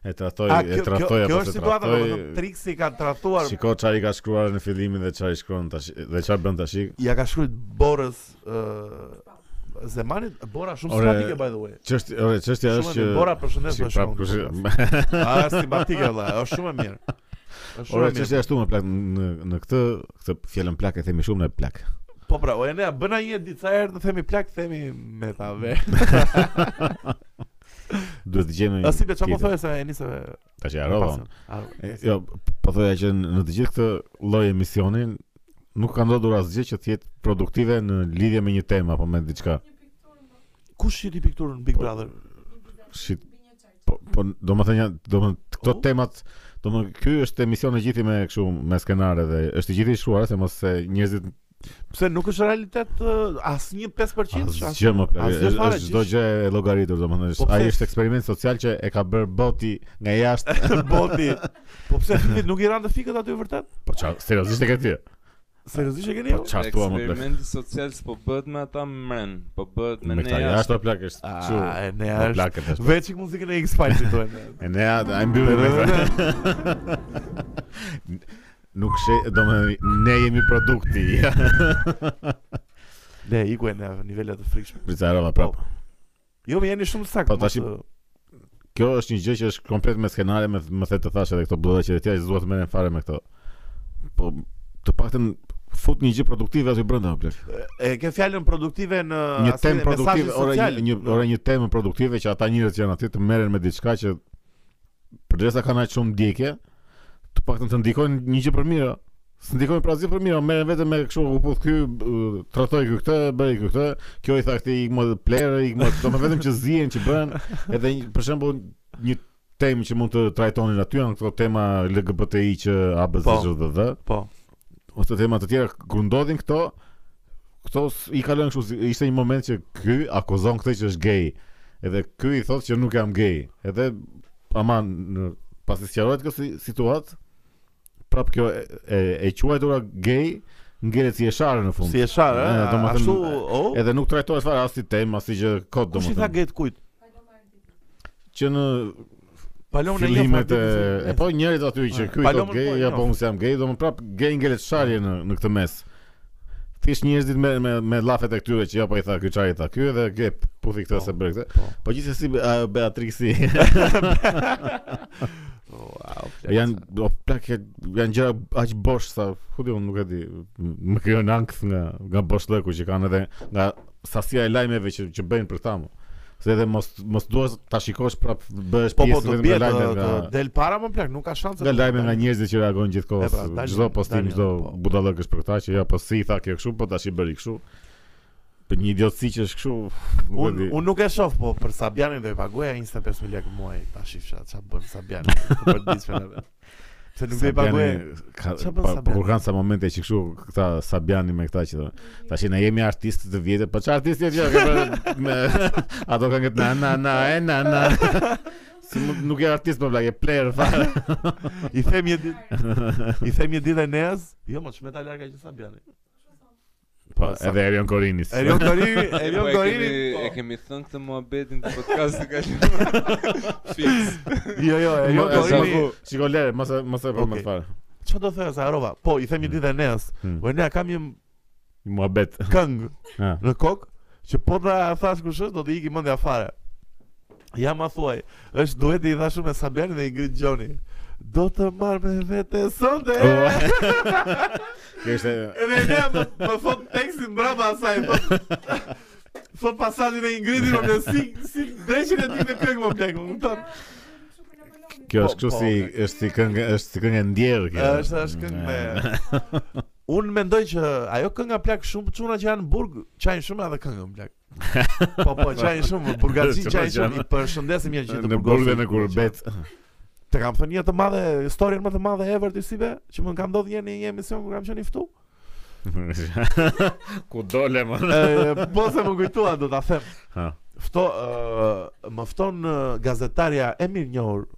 S3: e trahtoj,
S1: A
S3: e
S1: kjo kjo,
S3: trahtoj apo
S1: kjo
S3: se
S1: është situata domethënë
S3: trahtoj.
S1: Trixi ka tratuar
S3: Shiko çfarë i ka shkruar në fillimin dhe çfarë i shkruan tash dhe çfarë bën tash.
S1: ja ka shkruajt Borës ë Zemanit Bora shumë
S3: Ore,
S1: simpatike by the way.
S3: Çështja, ore, çështja
S1: Shumë
S3: është
S1: e
S3: që
S1: mirë. Bora përshëndes
S3: Shiko,
S1: më
S3: prap,
S1: shumë.
S3: kush-
S1: Ah, simpatike valla, është shumë e mirë. Është shumë
S3: Ore,
S1: e
S3: çështja
S1: mirë.
S3: ashtu më plak në në këtë këtë fjalën plak e themi shumë në plak.
S1: Po pra, o ne bëna një ditë sa herë të themi plak, themi metave.
S3: Duhet të gjejmë.
S1: A si be çfarë po
S3: tjetër.
S1: thoje se e nisi me
S3: Tash e harrova. unë.
S1: pasion. Ah,
S3: E, Jo, po thoya që në në të gjithë këtë lloj emisioni nuk ka ndodhur asgjë që të jetë produktive në lidhje me një temë apo me diçka.
S1: Kush shiti pikturën në Big
S3: Po,
S1: Brother?
S3: Shit. Po, po do më thënë, do më këto
S1: Oh.
S3: temat, do më ky është emision e gjithi me kështu me skenare dhe është i gjithi i shkruar se mos se njerëzit
S1: Pse nuk është realitet ë, asnje 5%,
S3: Asgjë më plagë,
S1: asgjë
S3: është
S1: fare,
S3: është çdo gjë e llogaritur domethënë.
S1: Po
S3: është- Ai
S1: pse-
S3: është eksperiment social që e ka bërë boti nga jashtë.
S1: gjë boti. Po pse fillit nuk i ranë të fikët aty vërtet?
S3: Po çfarë, seriozisht e ke ti?
S1: Seriozisht e keni?
S3: Po
S1: ju?
S3: çfarë thua më plagë?
S2: Eksperimenti social s'po bëhet me ata mren, po bëhet me
S3: Me
S2: ne
S3: këta
S2: jashtë.
S3: jashtë o plagë është çu.
S1: A, e nea
S3: Po
S1: është.
S3: plagë tash.
S1: Veçik muzikën e X-Files thuen.
S3: E nea, ai mbyllë me këtë. Nuk she, domethënë ne jemi produkti.
S1: Ne iku e neve nivele të frikshme. Po.
S3: Bicarova prap.
S1: Jo, më jeni shumë saktë.
S3: Po, tash i-
S1: mos,
S3: Kjo është një gjë që është komplet me skenare me me the të thash edhe këto bllëdha që e tjera që duhet merren fare me këto. Po të paktën fut një gjë produktive aty brenda apo.
S1: ë, e ke fjalën produktive në
S3: Një
S1: aspektin
S3: temë
S1: e
S3: produktive,
S1: mesazhit
S3: ora
S1: social.
S3: një, një ora një temë produktive që ata njerëz që janë aty të merren me diçka që përderisa kanë aq shumë ndjekje, të paktën të ndikojnë një gjë për mirë. Së ndikojnë pra asgjë për mirë, merren vetëm me kështu u puth ky, b- tratoj ky këtë, bëri ky këtë, kjo i tha këtij ik më player, ik më këto, më vetëm që zihen që bën, edhe një, për shembull një temë që mund të trajtonin aty janë këto tema LGBTI që ABCDD
S1: Po.
S3: ose tema të tjera kur ndodhin këto këto s- i kalojnë kështu si- ishte një moment që ky akuzon këtë që është gay edhe ky i thotë që nuk jam gay edhe ama në- pasi sqarohet kjo si- situatë prap kjo e, e, e quajtura gay ngjerret si e sharë në fund
S1: Si e sharë,
S3: E,
S1: ë,
S3: domethënë,
S1: ashtu, o.
S3: edhe nuk trajtohet fare as si temë as si gjë kod
S1: Kush i tha
S3: domethënë
S1: gate kujt?
S3: që në
S1: Palomën e
S3: fillimet e, e
S1: e
S3: po njerëzit aty që
S1: E,
S3: ky
S1: palomën
S3: thot gay
S1: po e
S3: ja
S1: njoh.
S3: po unë jam gay domethënë prap gay ngelet sharje në në këtë mes thjesht njerëzit me me me llafet e këtyre që ja po i tha ky çaj i tha ky dhe ke puthi këtë
S1: Po,
S3: se bëri këtë
S1: po.
S3: po gjithsesi be- a, Beatrixi
S1: Po, Wow,
S3: janë o plak e- janë gjëra aq bosh sa ku diun nuk e di më krijon ankth nga nga boshllëku që kanë edhe nga sasia e lajmeve që që bëjnë për këta mo. se edhe mos mos duash ta shikosh prap bëhesh
S1: Po po
S3: pjesë
S1: të
S3: vetëm
S1: bie
S3: nga lajmet
S1: të
S3: nga
S1: del para më plak, nuk ka shanse.
S3: Nga
S1: të-
S3: lajme nga njerëzit që reagojnë gjithkohës.
S1: E pra, dalin-
S3: Çdo postim,
S1: dalin,
S3: çdo
S1: po.
S3: budallëk është për këtë që ja, po si i tha kjo kështu, po tash i bëri kështu. Për një idiotësi që është kështu, nuk e
S1: Un
S3: di.
S1: un nuk e shoh, po për Sabianin do i pagoja 25000 lekë muaj. Tash ifsha ç'a bën Sabiani për ditën. Se nuk do i pagoja.
S3: Sabiani ka-
S1: Çfarë bën
S3: pa- Po
S1: Sabiani?
S3: kur kanë sa momente që kështu këta Sabiani me këta që thonë, tash ne jemi artistë të vjetër, po çfarë artistë janë që kanë me ato kanë këtë na na na e na na. Si mund- nuk je artist po vllaj, je player fare.
S1: I them një ditë. I them një ditë Enes, jo më çmeta larga që Sabiani.
S3: Po, edhe Erion Korinis.
S1: Erion Dorimi, Erion
S3: jo,
S2: Po, e
S1: Dorimi.
S2: kemi- E
S1: po.
S2: kemi thënë këtë muhabetin të podcastit kaluar. Fix.
S1: Jo, jo, Erion
S3: Mo-
S1: Dorimi.
S3: Shiko- Shiko lere, mos e- mos e po më
S1: Okej.
S3: fare.
S1: Çfarë do thoya se harova? Po, i them një ditë Enes.
S3: Hmm.
S1: Po ne kam një
S3: Muhabet.
S1: këngë
S3: Ha.
S1: në kokë që po ta thash kush është do të iki mendja fare. Ja ma thuaj, është dueti i thashur me Sabiani dhe Ingrid Gjoni. Do të marr me vete sonte.
S3: Ua. Kjo ishte
S1: Edhe ne më, më thot tekstin brapa asaj. thot- Thot pasazhin e Ingridit më plek, si si dreqin e tij në këngë më plek, më kupton?
S3: kjo
S1: Po,
S3: është kështu
S1: po,
S3: si
S1: ne.
S3: është si këngë është si këngë e ndjerë kjo. Mm.
S1: Është është këngë me Unë mendoj që ajo kënga plak shumë çuna që janë në burg, çajin shumë edhe këngën plak. Po po, çajin shumë, burgazi
S3: Çuna
S1: çajin
S3: që
S1: shumë.
S3: janë-
S1: I përshëndesim mirë që të
S3: në burg dhe
S1: burgosin.
S3: në kurbet.
S1: Të kam thënë një të madhe, historien më të madhe ever të sibe, që më ka ndodhur një herë në një emision kur kam qenë i ftu.
S3: Ku dole më.
S1: Ë, po se më kujtua do ta them.
S3: Ha.
S1: Fto ë, më fton ë, gazetarja e mirënjohur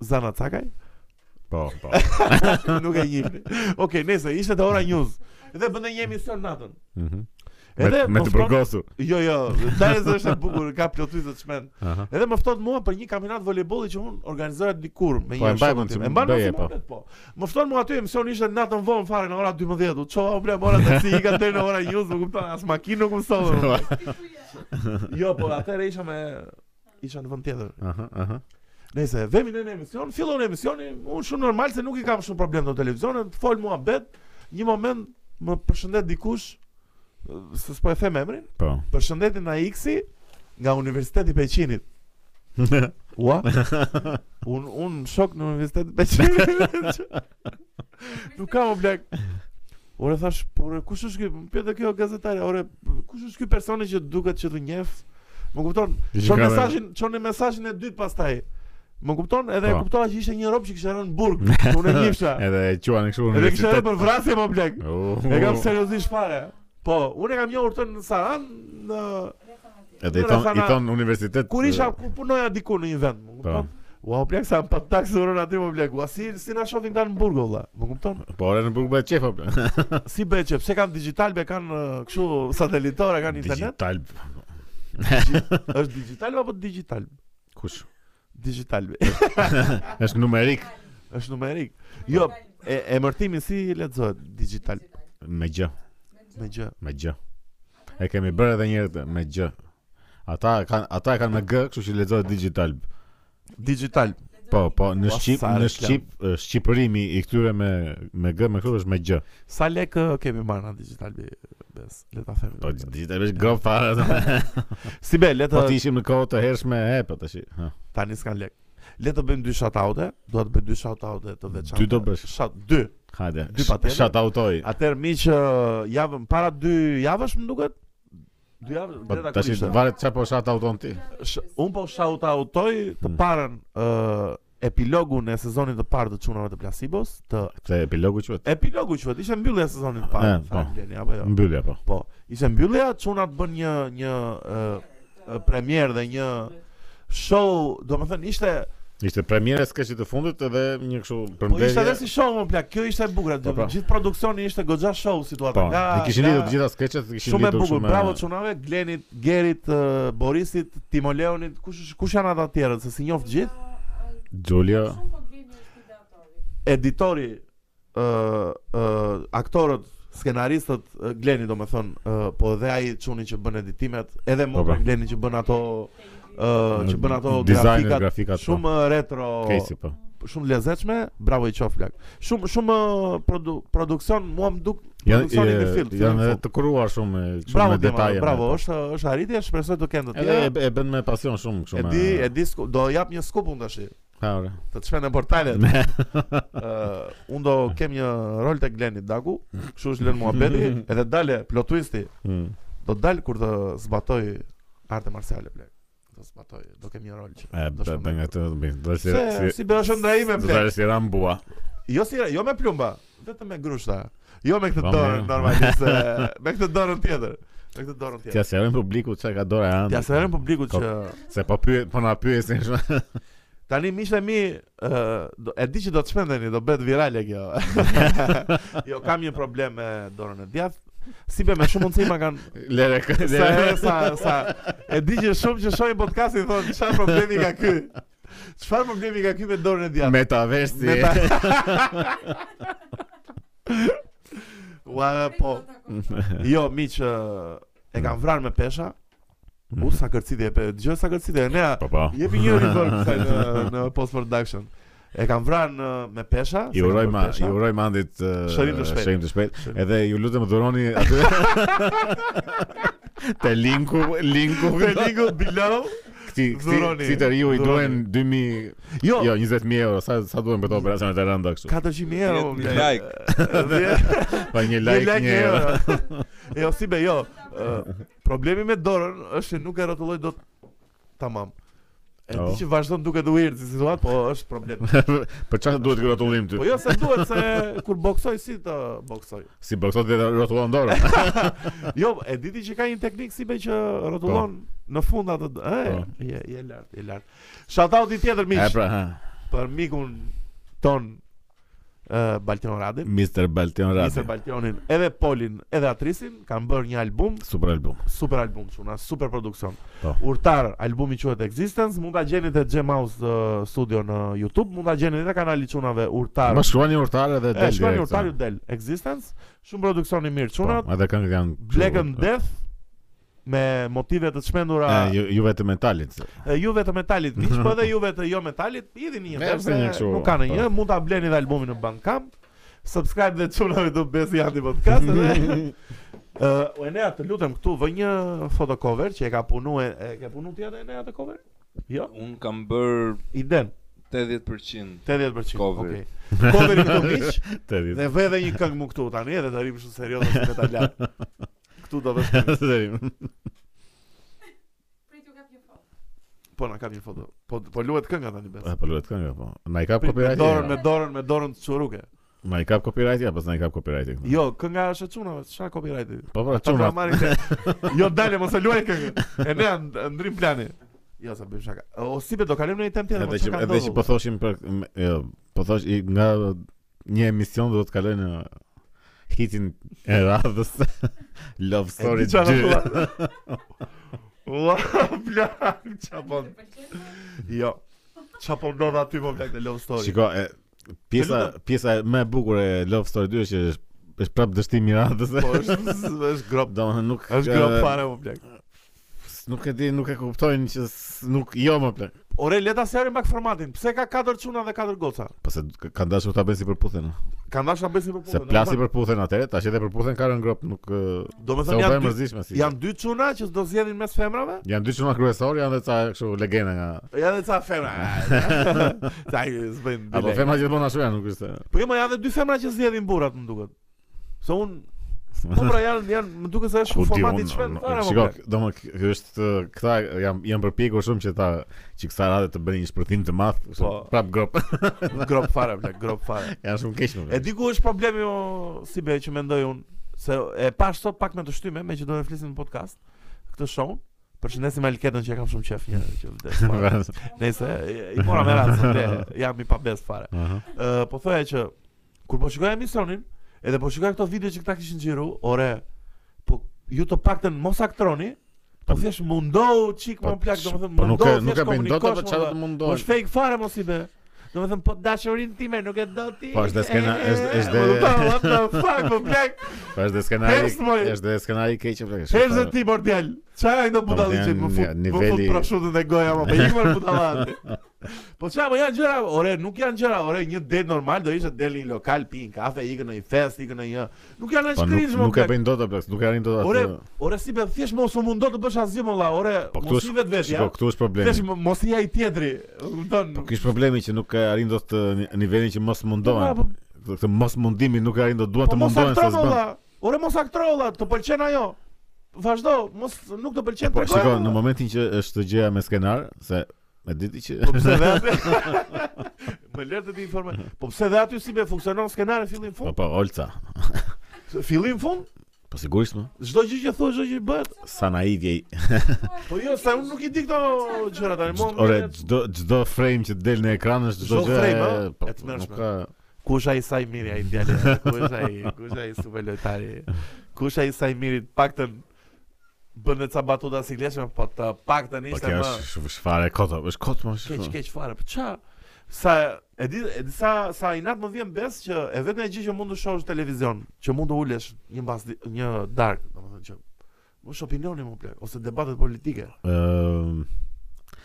S1: Zana Cakaj,
S3: Po, po.
S1: nuk e njihni. Okej, nëse ishte te Ora News dhe bënte një emision natën.
S3: Mhm.
S1: Edhe
S3: Me-
S1: më
S3: Me të
S1: fton-
S3: burgosu.
S1: Jo, jo, dalës është e bukur, ka plotësisë të çmend.
S3: Aha.
S1: Edhe më fton mua për një kampionat voleybolli që unë organizoja dikur me
S3: Po,
S1: një
S3: e mbaj
S1: shokun
S3: mend
S1: tim.
S3: si
S1: E mbaj mend
S3: bëje,
S1: si
S3: po.
S1: mundet, po. Më fton mua aty emisioni ishte natën vonë fare në ora 12. U çova u ble mora taksi i ka deri në ora 1, nuk kupton as makinë nuk më sollë. jo, po atëherë isha me isha në vend tjetër.
S3: Aha, aha.
S1: Nëse vemi në një emision, fillon emisioni, unë shumë normal se nuk i kam shumë problem në televizionin, fol mua bet, një moment më përshëndet dikush, ë, se s'po e them emrin,
S3: Po.
S1: përshëndetin na X-i nga Universiteti i Peqinit. Ua? Un un shok në Universitet të Peqinit. Nuk kam o blek. Ore thash, po, ore kush është ky? Pyet dhe kjo gazetare, ore kush është ky personi që duket që të njeh? Më kupton?
S3: Ishim
S1: Çon
S3: ka-
S1: mesazhin, çon në mesazhin e dytë pastaj. Më kupton? Edhe e
S3: Po.
S1: kuptova që ishte një rob që kishte rënë në burg. që Unë e njihsha.
S3: Edhe e quan kështu në
S1: Edhe kishte rënë për vrasje më blek.
S3: Oh.
S1: E kam seriozisht fare. Po, unë e kam njohur të në Saran, në...
S3: Edhe i thon i thon universitet.
S1: kur isha ku punoja diku në një vend, më
S3: Po.
S1: kupton? Ua, plak sa më pa taksë urën aty më blek. Ua, si si na shohin këta në burg olla, më kupton?
S3: Po ora në Burg bëhet çef apo?
S1: Si bëhet që pse kanë digital, be kanë uh, kështu satelitore, kanë internet?
S3: Digital.
S1: Është digital apo digital?
S3: Kush?
S1: Digital. be.
S3: Është numerik
S1: Është numerik. Jo, e emërtimi si lexohet digital
S3: me gjë,
S1: me gjë.
S3: me gjë. E kemi bërë edhe një herë me gjë. Ata kanë ata e kanë me g, kështu që lexohet digital.
S1: Digital.
S3: Po, po, në
S1: Po,
S3: shqip
S1: sa
S3: në
S1: reklam.
S3: shqip eh, shqipërimi i këtyre me me g, me kështu është me gjë.
S1: Sa lek ë, kemi marrë në digital be, bes, le ta themi.
S3: Po digital është go fare.
S1: si be, le
S3: Po
S1: të
S3: ti ishim në kohë të hershme e po tash. ha.
S1: tani s'kan lek. Le të bëjmë dy shoutoute, do të bëjmë dy shoutoute të veçanta.
S3: Dy do bësh.
S1: Shout dy.
S3: Hajde.
S1: Dy pa tjetër.
S3: Shout outoj.
S1: Atëherë miq ë, javën para dy javësh më duket. Dy javë
S3: Po
S1: drejta
S3: tash varet çfarë po shout outon ti.
S1: Sh- un po shoutoutoj të
S3: Mm.
S1: parën ë epilogun e sezonit të parë të çunave të Placebos, të
S3: Te epilogu quhet.
S1: epilogu quhet, ishte mbyllja e sezonit të parë,
S3: Eh, po.
S1: fal, Leni, apo jo.
S3: Mbyllja po.
S1: Po, ishte mbyllja, çunat bën një një ë premier dhe një show, domethënë ishte
S3: Ishte premiera e sketchit të fundit edhe një kështu
S1: po ishte edhe
S3: përmbledhje.
S1: si show më plak. Kjo ishte e bukur,
S3: Po, po.
S1: domethënë gjithë produksioni ishte goxha show situata.
S3: Po, e kishin lidhur të gjitha sketchet, i kishin
S1: Shumë e
S3: lidhur
S1: bukur,
S3: shumë.
S1: bravo çunave, Glenit, Gerit, ë, Borisit, Timoleonit, kush është- kush janë ata të tjerët, se si njoh të gjithë.
S3: Julia,
S1: Editori ë ë aktorët skenaristët ë, Gleni domethën ë, po edhe ai çuni që bën editimet, edhe
S3: Po,
S1: motra
S3: po.
S1: Gleni që bën ato ë që bën ato
S3: Dizajnet,
S1: grafikat,
S3: grafikat, po.
S1: shumë retro,
S3: Casey po.
S1: shumë lezetshme, bravo i qof plak. Shumë shumë ë, produ, produksion mua më duk
S3: Janë
S1: produksioni në
S3: Jo, e-
S1: film.
S3: janë
S1: film,
S3: edhe
S1: film.
S3: të kuruar shumë e, shumë
S1: Bravo
S3: me
S1: Dima,
S3: detaje.
S1: bravo, është është arritje, shpresoj të kenë të
S3: Edhe
S1: tjera.
S3: e, e bën me pasion shumë kështu.
S1: E di, e di, sku- do jap një skup unë tash. Të të shkoj në portale. Ë, unë do kem një rol tek Gleni Daku, kështu është lën muhabeti, edhe dale plot twisti.
S3: Hmm.
S1: Do dal kur të zbatoj arte marciale plek. Do zbatoj, do kem një rol që.
S3: E
S1: do shkon
S3: bën nga
S1: me-
S3: të bën. Do si
S1: Se si bësh ndraime
S3: do
S1: plek.
S3: të si rambua.
S1: Jo si jo me plumba, vetëm me grushta. Jo me këtë
S3: Po,
S1: dorën
S3: mirë.
S1: normalisht, e, me këtë dorën tjetër. Me këtë dorën
S3: T'ia
S1: tjetër.
S3: sjellën publiku çka ka dora janë.
S1: Ja se herën publikut
S3: Ko-
S1: që
S3: Se po pyet, po na pyesin shumë.
S1: Tani miqtë e mi, ë, do- e di që do të shpendeni, do bëhet virale kjo. jo, kam një problem me dorën e djathtë. Si be me shumë mundësi ma kanë
S3: Lere,
S1: sa
S3: lere.
S1: sa sa e di që shumë që shohin podcastin thonë çfarë problemi ka ky. Çfarë problemi ka ky me dorën e djathtë?
S3: Metaversi.
S1: Me ta- Ua po. Jo, miq, ë, e kam vrarë me pesha. U sa kërcitje, e pe- dëgjoj sa kërcitje. Nea,
S3: Po po.
S1: Jepi një rivër kësaj në në post production. E kam vrarë në- me pesha.
S3: Ju
S1: se kam
S3: uroj
S1: bërë
S3: ma,
S1: pesha.
S3: ju uroj mandit uh,
S1: Shërim të shpejtë.
S3: Shërim po të shpejtë.
S1: Shërim.
S3: Edhe ju lutem dhuroni aty. te linku, linku
S1: Peligu below.
S3: këti
S1: dhuroni,
S3: këti të riu i duhen 2000
S1: Jo,
S3: jo 20000 euro sa sa duhen për të operacionet e rënda kështu.
S1: 400.000 euro.
S2: Një
S1: bler.
S2: like.
S1: Dhe-
S3: Pa një like një euro.
S1: Jo, si be, jo. Ë, Problemi me dorën është që nuk e rrotulloj dot tamam. E
S3: Oh.
S1: di që vazhdon duke të weird si situatë, po është problem.
S3: Për çfarë duhet ky rrotullim ty?
S1: Po jo se duhet se kur boksoj si të boksoj.
S3: Si boksot dhe rrotullon dorën.
S1: Jo, e diti që ka një teknik si be që rrotullon
S3: Po.
S1: në fund atë, ë, je je lart, je lart. Shoutout i tjetër miq.
S3: E pra, ha.
S1: për mikun ton uh, Baltion Radin,
S3: Mr. Baltion
S1: Nisër
S3: Radi.
S1: Baltionin, edhe Polin, edhe atrisin, kanë bërë një album,
S3: Super album.
S1: super album çuna, super produksion.
S3: Po.
S1: Urtar, albumi quhet Existence, mund ta gjeni te Gem House ë, Studio në YouTube, mund ta gjeni edhe kanali çunave Urtar.
S3: Më shkruani urtarë
S1: e
S3: dhe del.
S1: shkruani
S3: direkt, po.
S1: Urtar ju
S3: ha.
S1: del Existence, shumë produksion i mirë
S3: Po,
S1: çunat,
S3: Edhe këngët janë
S1: Black and Death me motive të çmendura
S3: po. E, jo. ju, ju vetëm mentalit. se-
S1: E, juve të metalit miq, po edhe juve të jo metalit, idhini një
S3: Me
S1: herë
S3: pse
S1: se
S3: një kështu,
S1: nuk kanë
S3: po.
S1: një, mund ta bleni edhe albumin në Bandcamp. Subscribe dhe çunave do besi anti podcast edhe ë uh, Enea të lutem këtu vë një foto cover që e ka punuar e e ke punuar ti atë Enea të cover? Jo,
S2: Unë kam bërë
S1: i den
S2: 80%.
S1: 80%.
S2: Cover.
S1: Okej. Coveri këtu miq
S3: Të ditë.
S1: dhe vë edhe një këngë mu këtu tani edhe të rrim shumë serioze si metalar. Këtu do vesh.
S3: Zërim.
S1: po na kap një foto. Po po luhet kënga tani bes.
S3: E, po luhet kënga po. Na i kap
S1: Me
S3: copyright.
S1: dorën,
S3: ja.
S1: me dorën, me dorën të çoruke.
S3: Na i kap copyright, ja, pas na i kap copyright. këtu.
S1: Jo, kënga është e çunave, çfarë copyright.
S3: Po po,
S1: Ta pra
S3: çuna.
S1: marrin. te- Jo dalë mos e luaj këngën. E ne and- ndrim plani. Jo, sa bëjmë shaka. O si be do kalojmë në një temë tjetër, po
S3: Edhe
S1: çka
S3: që edhe që po
S1: ndodh?
S3: thoshim për m- jo, po thosh i- nga një emision do të kaloj në hitin e radhës Love
S1: E di
S3: Story
S1: çfarë
S3: 2.
S1: thua. Ua, plak, çfarë po. Jo. Çfarë po ndodh aty po plak në love story.
S3: Shiko, e, pjesa
S1: lutem.
S3: pjesa më e bukur e Love Story 2 është që është- është prap dështimi i radhës.
S1: Po është është grop.
S3: Domethënë nuk
S1: Është
S3: e,
S1: grop fare po plak.
S3: Nuk e di, nuk e kuptojnë që s- nuk jo më plak.
S1: Ore, le ta sjarim pak formatin. Pse ka 4 çuna dhe 4 goca?
S3: Pse kanë dashur ta bëjnë si përputhen. ë.
S1: Kanë dashur ta bëjnë si përputhje.
S3: Se plasi përputhen atëherë, tash edhe përputhen kanë në grop, nuk ë, se
S1: Domethënë
S3: u
S1: janë
S3: bën
S1: dy,
S3: mërzitshme si.
S1: janë dy çuna që do zgjedhin mes femrave?
S3: Janë dy çuna kryesor, janë edhe ca kështu legjenda nga.
S1: Ja dhe ca femra. Ta i zbëjnë dy
S3: Apo
S1: lekë.
S3: fema gjithmonë ashtu janë, nuk është.
S1: Po jo, ma janë dhe dy femra që zgjedhin burrat, më duket. Se un Po pra janë janë më duket se është
S3: Ku
S1: shumë
S3: di
S1: format i
S3: unë,
S1: çmend
S3: unë-
S1: fare.
S3: Shiko, domo ky është ë, këta jam jam përpjekur shumë që ta që kësa radhe të bëjnë një shpërthim të madh, kështu,
S1: Po.
S3: prap grop.
S1: shiko, grop fare, bla, grop fare.
S3: janë shumë keq nuk.
S1: E di ku është problemi o si be që mendoj un, se e pash sot pak me të shtyme, me që do të flisim në podcast këtë show. Përshëndesim Alketën që e kam shumë qef një herë që vdes. fare. Nëse i- i mora me radhë, se vde, jam i pabes fare.
S3: Aha.
S1: Ë, po thoya që kur po shikoj emisionin, edhe po shikoj këto video që këta kishin xhiru, ore, po ju të paktën mos aktroni, po thjesht mundohu çik më plak, domethënë
S3: po nuk e
S1: mundohu
S3: nuk e
S1: thjesht
S3: bëjnë dot apo
S1: komunikosh.
S3: çfarë të
S1: mos- Po
S3: mundohen.
S1: është fake fare mos i bë. Domethënë po dashurinë time nuk e do ti.
S3: Po, është dhe skena- është- është dhe-
S1: Po, do ta, what the fuck, po plak.
S3: Po është dhe skenari,
S1: Hers, moj.
S3: është dhe skenari keq që plak.
S1: Herze ti mordial. Çfarë ai do budalli
S3: Domethënë,
S1: që më fut,
S3: janë
S1: më fut
S3: niveli-
S1: proshutën e goja më, po ikën budallati. Po çfarë, po janë gjëra, ore, nuk janë gjëra, ore, një det normal do ishte del në një lokal pin kafe, ikën në një fest, ikën në një. Nuk janë
S3: Po
S1: as
S3: nuk
S1: krizë më.
S3: nuk e
S1: plak.
S3: bëjnë dot apo plak, nuk e arrin dot
S1: Ore,
S3: atë.
S1: ore si be thjesht mos u mundo të bësh asgjë më valla, ore,
S3: Po
S1: mos
S3: këtu
S1: i
S3: është
S1: vetvetja.
S3: Shiko, këtu është problemi.
S1: Thjesht mos i ai tjetri, u kupton.
S3: Po kish problemi që nuk e arrin dot të ni- nivelin që mos mundohen.
S1: Po,
S3: Këtë këtë mos mundimi nuk e arrin dot duan
S1: Po
S3: të
S1: mos
S3: mundohen se
S1: aktro
S3: s'bën.
S1: valla. Ore mos aktro valla, të pëlqen ajo. Vazhdo, mos nuk të pëlqen.
S3: Po
S1: tregoj,
S3: shiko,
S1: valla.
S3: në momentin që është gjëja me skenar, se e diti që
S1: Po pse dhe aty? Më lër të të informoj. Po pse dhe aty si be funksionon skenari fillim
S3: Po
S1: fund?
S3: po, Olca.
S1: Fillim fund?
S3: Po sigurisht më.
S1: Çdo gjë që thua, çdo gjë që bëhet.
S3: Sa naivje. i-
S1: Po jo, se unë nuk i di këto gjëra tani. Mo,
S3: Ore, çdo çdo frame që del në ekran është çdo
S1: Çdo
S3: gjë.
S1: frame,
S3: e-
S1: ë?
S3: po,
S1: E të mërshme.
S3: nuk ka-
S1: kush ai sa i miri ai djalë? Kush ai? Kush ai super lojtari? Kush ai sa i miri? Paktën bën ca batuta si gleshme, po të paktën
S3: Po
S1: ishte
S3: kjo
S1: më
S3: është sh- shfare koto, është kot më
S1: keq
S3: shumë.
S1: keq fare. Po ça? Sa e di e di sa sa i nat më vjen bes që e vetmja gjë që mund të shohësh në televizion, që mund të ulesh një mbas di- një dark, domethënë që mos opinioni më plak ose debatet politike.
S3: Ëm,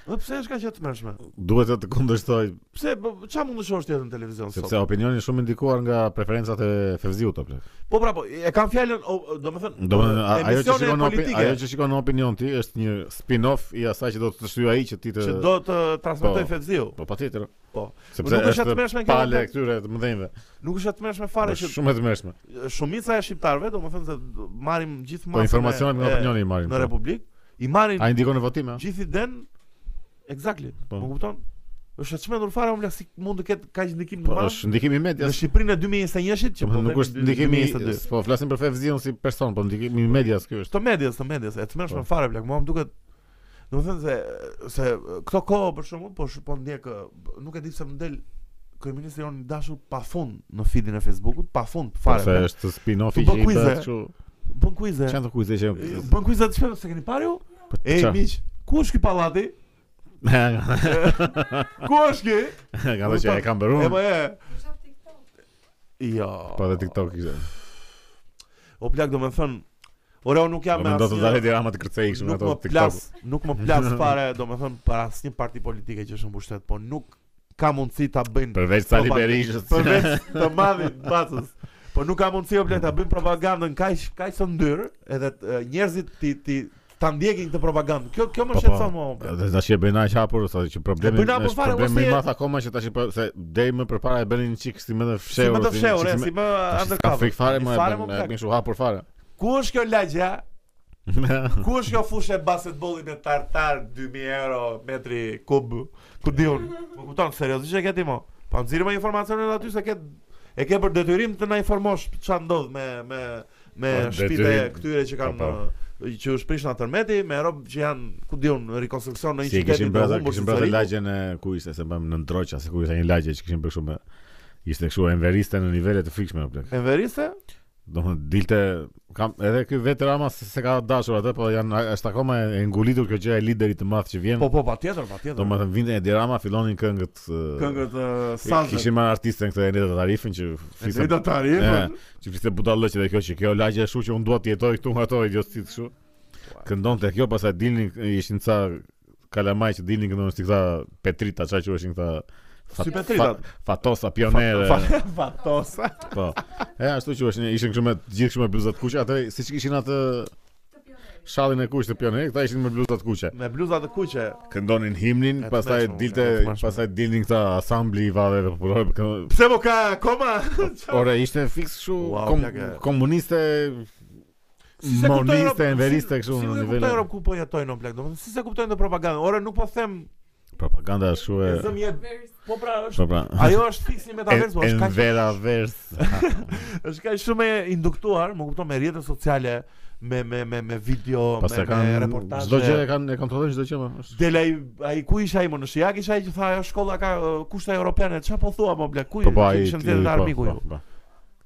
S1: Dhe pse është kaq e tmerrshme?
S3: Ehm, duhet të të kundërshtoj
S1: Pse po çfarë mund të shohësh tjetër në televizion Po, sot?
S3: sepse opinioni është shumë indikuar nga preferencat e Fevziut apo. jo?
S1: Po pra, po, e kam fjalën, o, domethënë,
S3: Domethënë a- ajo që
S1: emisione
S3: shikon në opinion,
S1: politike
S3: ajo që shikon në opinion ti është një spin-off i asaj që do të shtyjë ai që ti të
S1: që do të transmetoj
S3: Po.
S1: Fevziu.
S3: Po patjetër.
S1: Po.
S3: Sepse
S1: Nuk është e
S3: është
S1: tmerrshme kjo,
S3: pale
S1: po.
S3: këtyre të mëdhenjve.
S1: Nuk është e tmerrshme fare
S3: Është
S1: që
S3: Po, shumë e tmerrshme.
S1: shumica e shqiptarëve, domethënë se marrim gjithë
S3: Po
S1: masën e-
S3: informacionet nga
S1: e-
S3: opinioni i marrin.
S1: në Republikë, i marrin
S3: Ai ndikon në votime. a?
S1: Gjithë i den Exactly.
S3: Po.
S1: Po. Më kupton? Është e çmendur fare umbla si mund të ketë kaq ndikim të
S3: Po
S1: madh.
S3: është ndikimi i
S1: Në
S3: medias.
S1: Shqipërinë e 2021-shit që
S3: Po nuk
S1: vemi
S3: është ndikimi,
S1: 2022.
S3: po flasim për Fevziun si person, po ndikimi i medias ky është.
S1: Të medias, të medias, e tmerrshme
S3: Po.
S1: fare blaq, mua më duket Domethënë se se këto kohë për shembull, po sh- po ndjek ë, nuk e di pse më del kryeministri jon i dashur pafund në feedin e Facebookut, pafund
S3: Po
S1: fare.
S3: se
S1: blaq.
S3: është spin-offi
S1: Tu bë
S3: që i
S1: quize.
S3: bëhet kështu.
S1: Bën kuize.
S3: Çan të kuize që.
S1: Bën kuize të shpejtë, se keni parë ju?
S3: Po,
S1: Ej
S3: qa?
S1: miq, ku është ky pallati? Ku është ky?
S3: Ka thënë që e kam bërë
S1: E
S3: unë.
S1: po e. Jo.
S3: Po edhe TikTok ishte.
S1: O plak do me thënë Ore unë nuk jam me
S3: Më do të dalë
S1: asnjë
S3: dirama të kërcej kështu me
S1: Nuk
S3: ato
S1: më
S3: TikTok.
S1: plas Nuk më plas fare do me thënë Për asnjë parti politike që është në pushtet Po nuk ka mundësi ta bëjnë
S3: Përveç Sali
S1: propagandë.
S3: Berishës.
S1: Po, Përveç të madhin bacës Po nuk ka mundësi o plak ta bëjnë propagandën Kaq kaq së ndyrë Edhe të- njerëzit ti ti ta ndjekin këtë propagandë. Kjo kjo më
S3: Po, po.
S1: shqetëson mua. o plak.
S3: Dhe tash e bëna aq hapur sa që problemi
S1: E bëjnë hapur
S3: është
S1: fare,
S3: problemi
S1: mos
S3: i
S1: e-
S3: madh akoma që tash po se deri më përpara e bënin çik si më të
S1: Si
S3: fshehur.
S1: më të fshehur, e,
S3: çik
S1: si më
S3: tash s'ka
S1: undercover.
S3: frikë fare më e
S1: Fare,
S3: bën
S1: më plak.
S3: kështu hapur fare.
S1: Ku është kjo lagja? Ku është kjo fushë e basketbollit me tartar 2000 euro metri kub? Ku diun? Më kupton seriozisht e ke ti mo? Pa nxirë më informacionin aty se ke e ke për detyrim të na informosh çfarë ndodh me me me
S3: Po,
S1: shtëpitë
S3: detyrim.
S1: këtyre që kanë
S3: Po,
S1: që u shprish në tërmeti me rob që janë ku diun në rekonstruksion në një
S3: Si e
S1: qytet
S3: kishin
S1: të
S3: bërë,
S1: humbur
S3: kishin
S1: si
S3: bërë
S1: Sariku.
S3: lagjen e ku ishte, se bëmë në ndroqa, se ku ishte një lagje që kishin bërë shumë ishte kështu enveriste në nivele të frikshme o plak.
S1: Me veriste?
S3: Domethënë dilte kam edhe ky vetë Rama se, se ka dashur atë, po janë është akoma e ngulitur kjo gjë e liderit të madh që vjen.
S1: Po po patjetër, patjetër.
S3: Domethënë vinte Edi Rama fillonin këngët. eh,
S1: Këngët e, Sanzës.
S3: Kishin marrë artistën këtë Enida Tarifin që fliste
S1: Zeta tarifën.
S3: që fliste budallëqe dhe kjo që kjo lagje është kështu që unë dua të jetoj këtu nga ato idiotë kështu. Këndonte kjo pastaj dilnin ishin ca kalamaj që dilnin këndon si këta Petrita çaj që ishin këta
S1: Si Petritat?
S3: fatosa pionere.
S1: Fatosa.
S3: Po. E ashtu që ishin ishin kështu me të gjithë kështu me bluza të kuqe, atë siç kishin atë shallin e kuq të pionerit, këta ishin me bluza të kuqe.
S1: Me bluza të kuqe.
S3: Këndonin himnin,
S1: E të
S3: pastaj
S1: mëshme,
S3: dilte,
S1: e të mëshme.
S3: pastaj dilnin këta asambli i valleve popullore. këndo-
S1: Pse mo ka akoma?
S3: Po, Ore, ishte fiks kështu
S1: Wow,
S3: kom,
S1: plaka.
S3: komuniste,
S1: Si se kuptojnë
S3: moniste,
S1: Europë-
S3: enveriste
S1: si-
S3: kështu
S1: si
S3: në
S1: nuk e
S3: nivele.
S1: kuptojnë Europë ku po jetojnë në plak, domethënë si se kuptojnë të propagandën. Ore nuk po them,
S3: Propaganda është
S1: e
S3: shumë
S1: zëm jetë. Po pra është
S3: Po pra.
S1: Ajo është fiksi metavers, po është kaq
S3: Envera vers.
S1: është kaq shumë e induktuar, më kupton, me rrjetet sociale, me me me me video, me,
S3: Pastaj
S1: me
S3: Po, kanë
S1: reportazhe.
S3: çdo gjë e kanë e kontrollojnë çdo gjë më. është-
S1: Del ai ai ku isha ai më në Shijak isha ai që tha ajo shkolla ka uh, kushte europiane. Çfarë po thua më blek? Ku
S3: Po po ai.
S1: ishin nxjerrë nga armiku ju?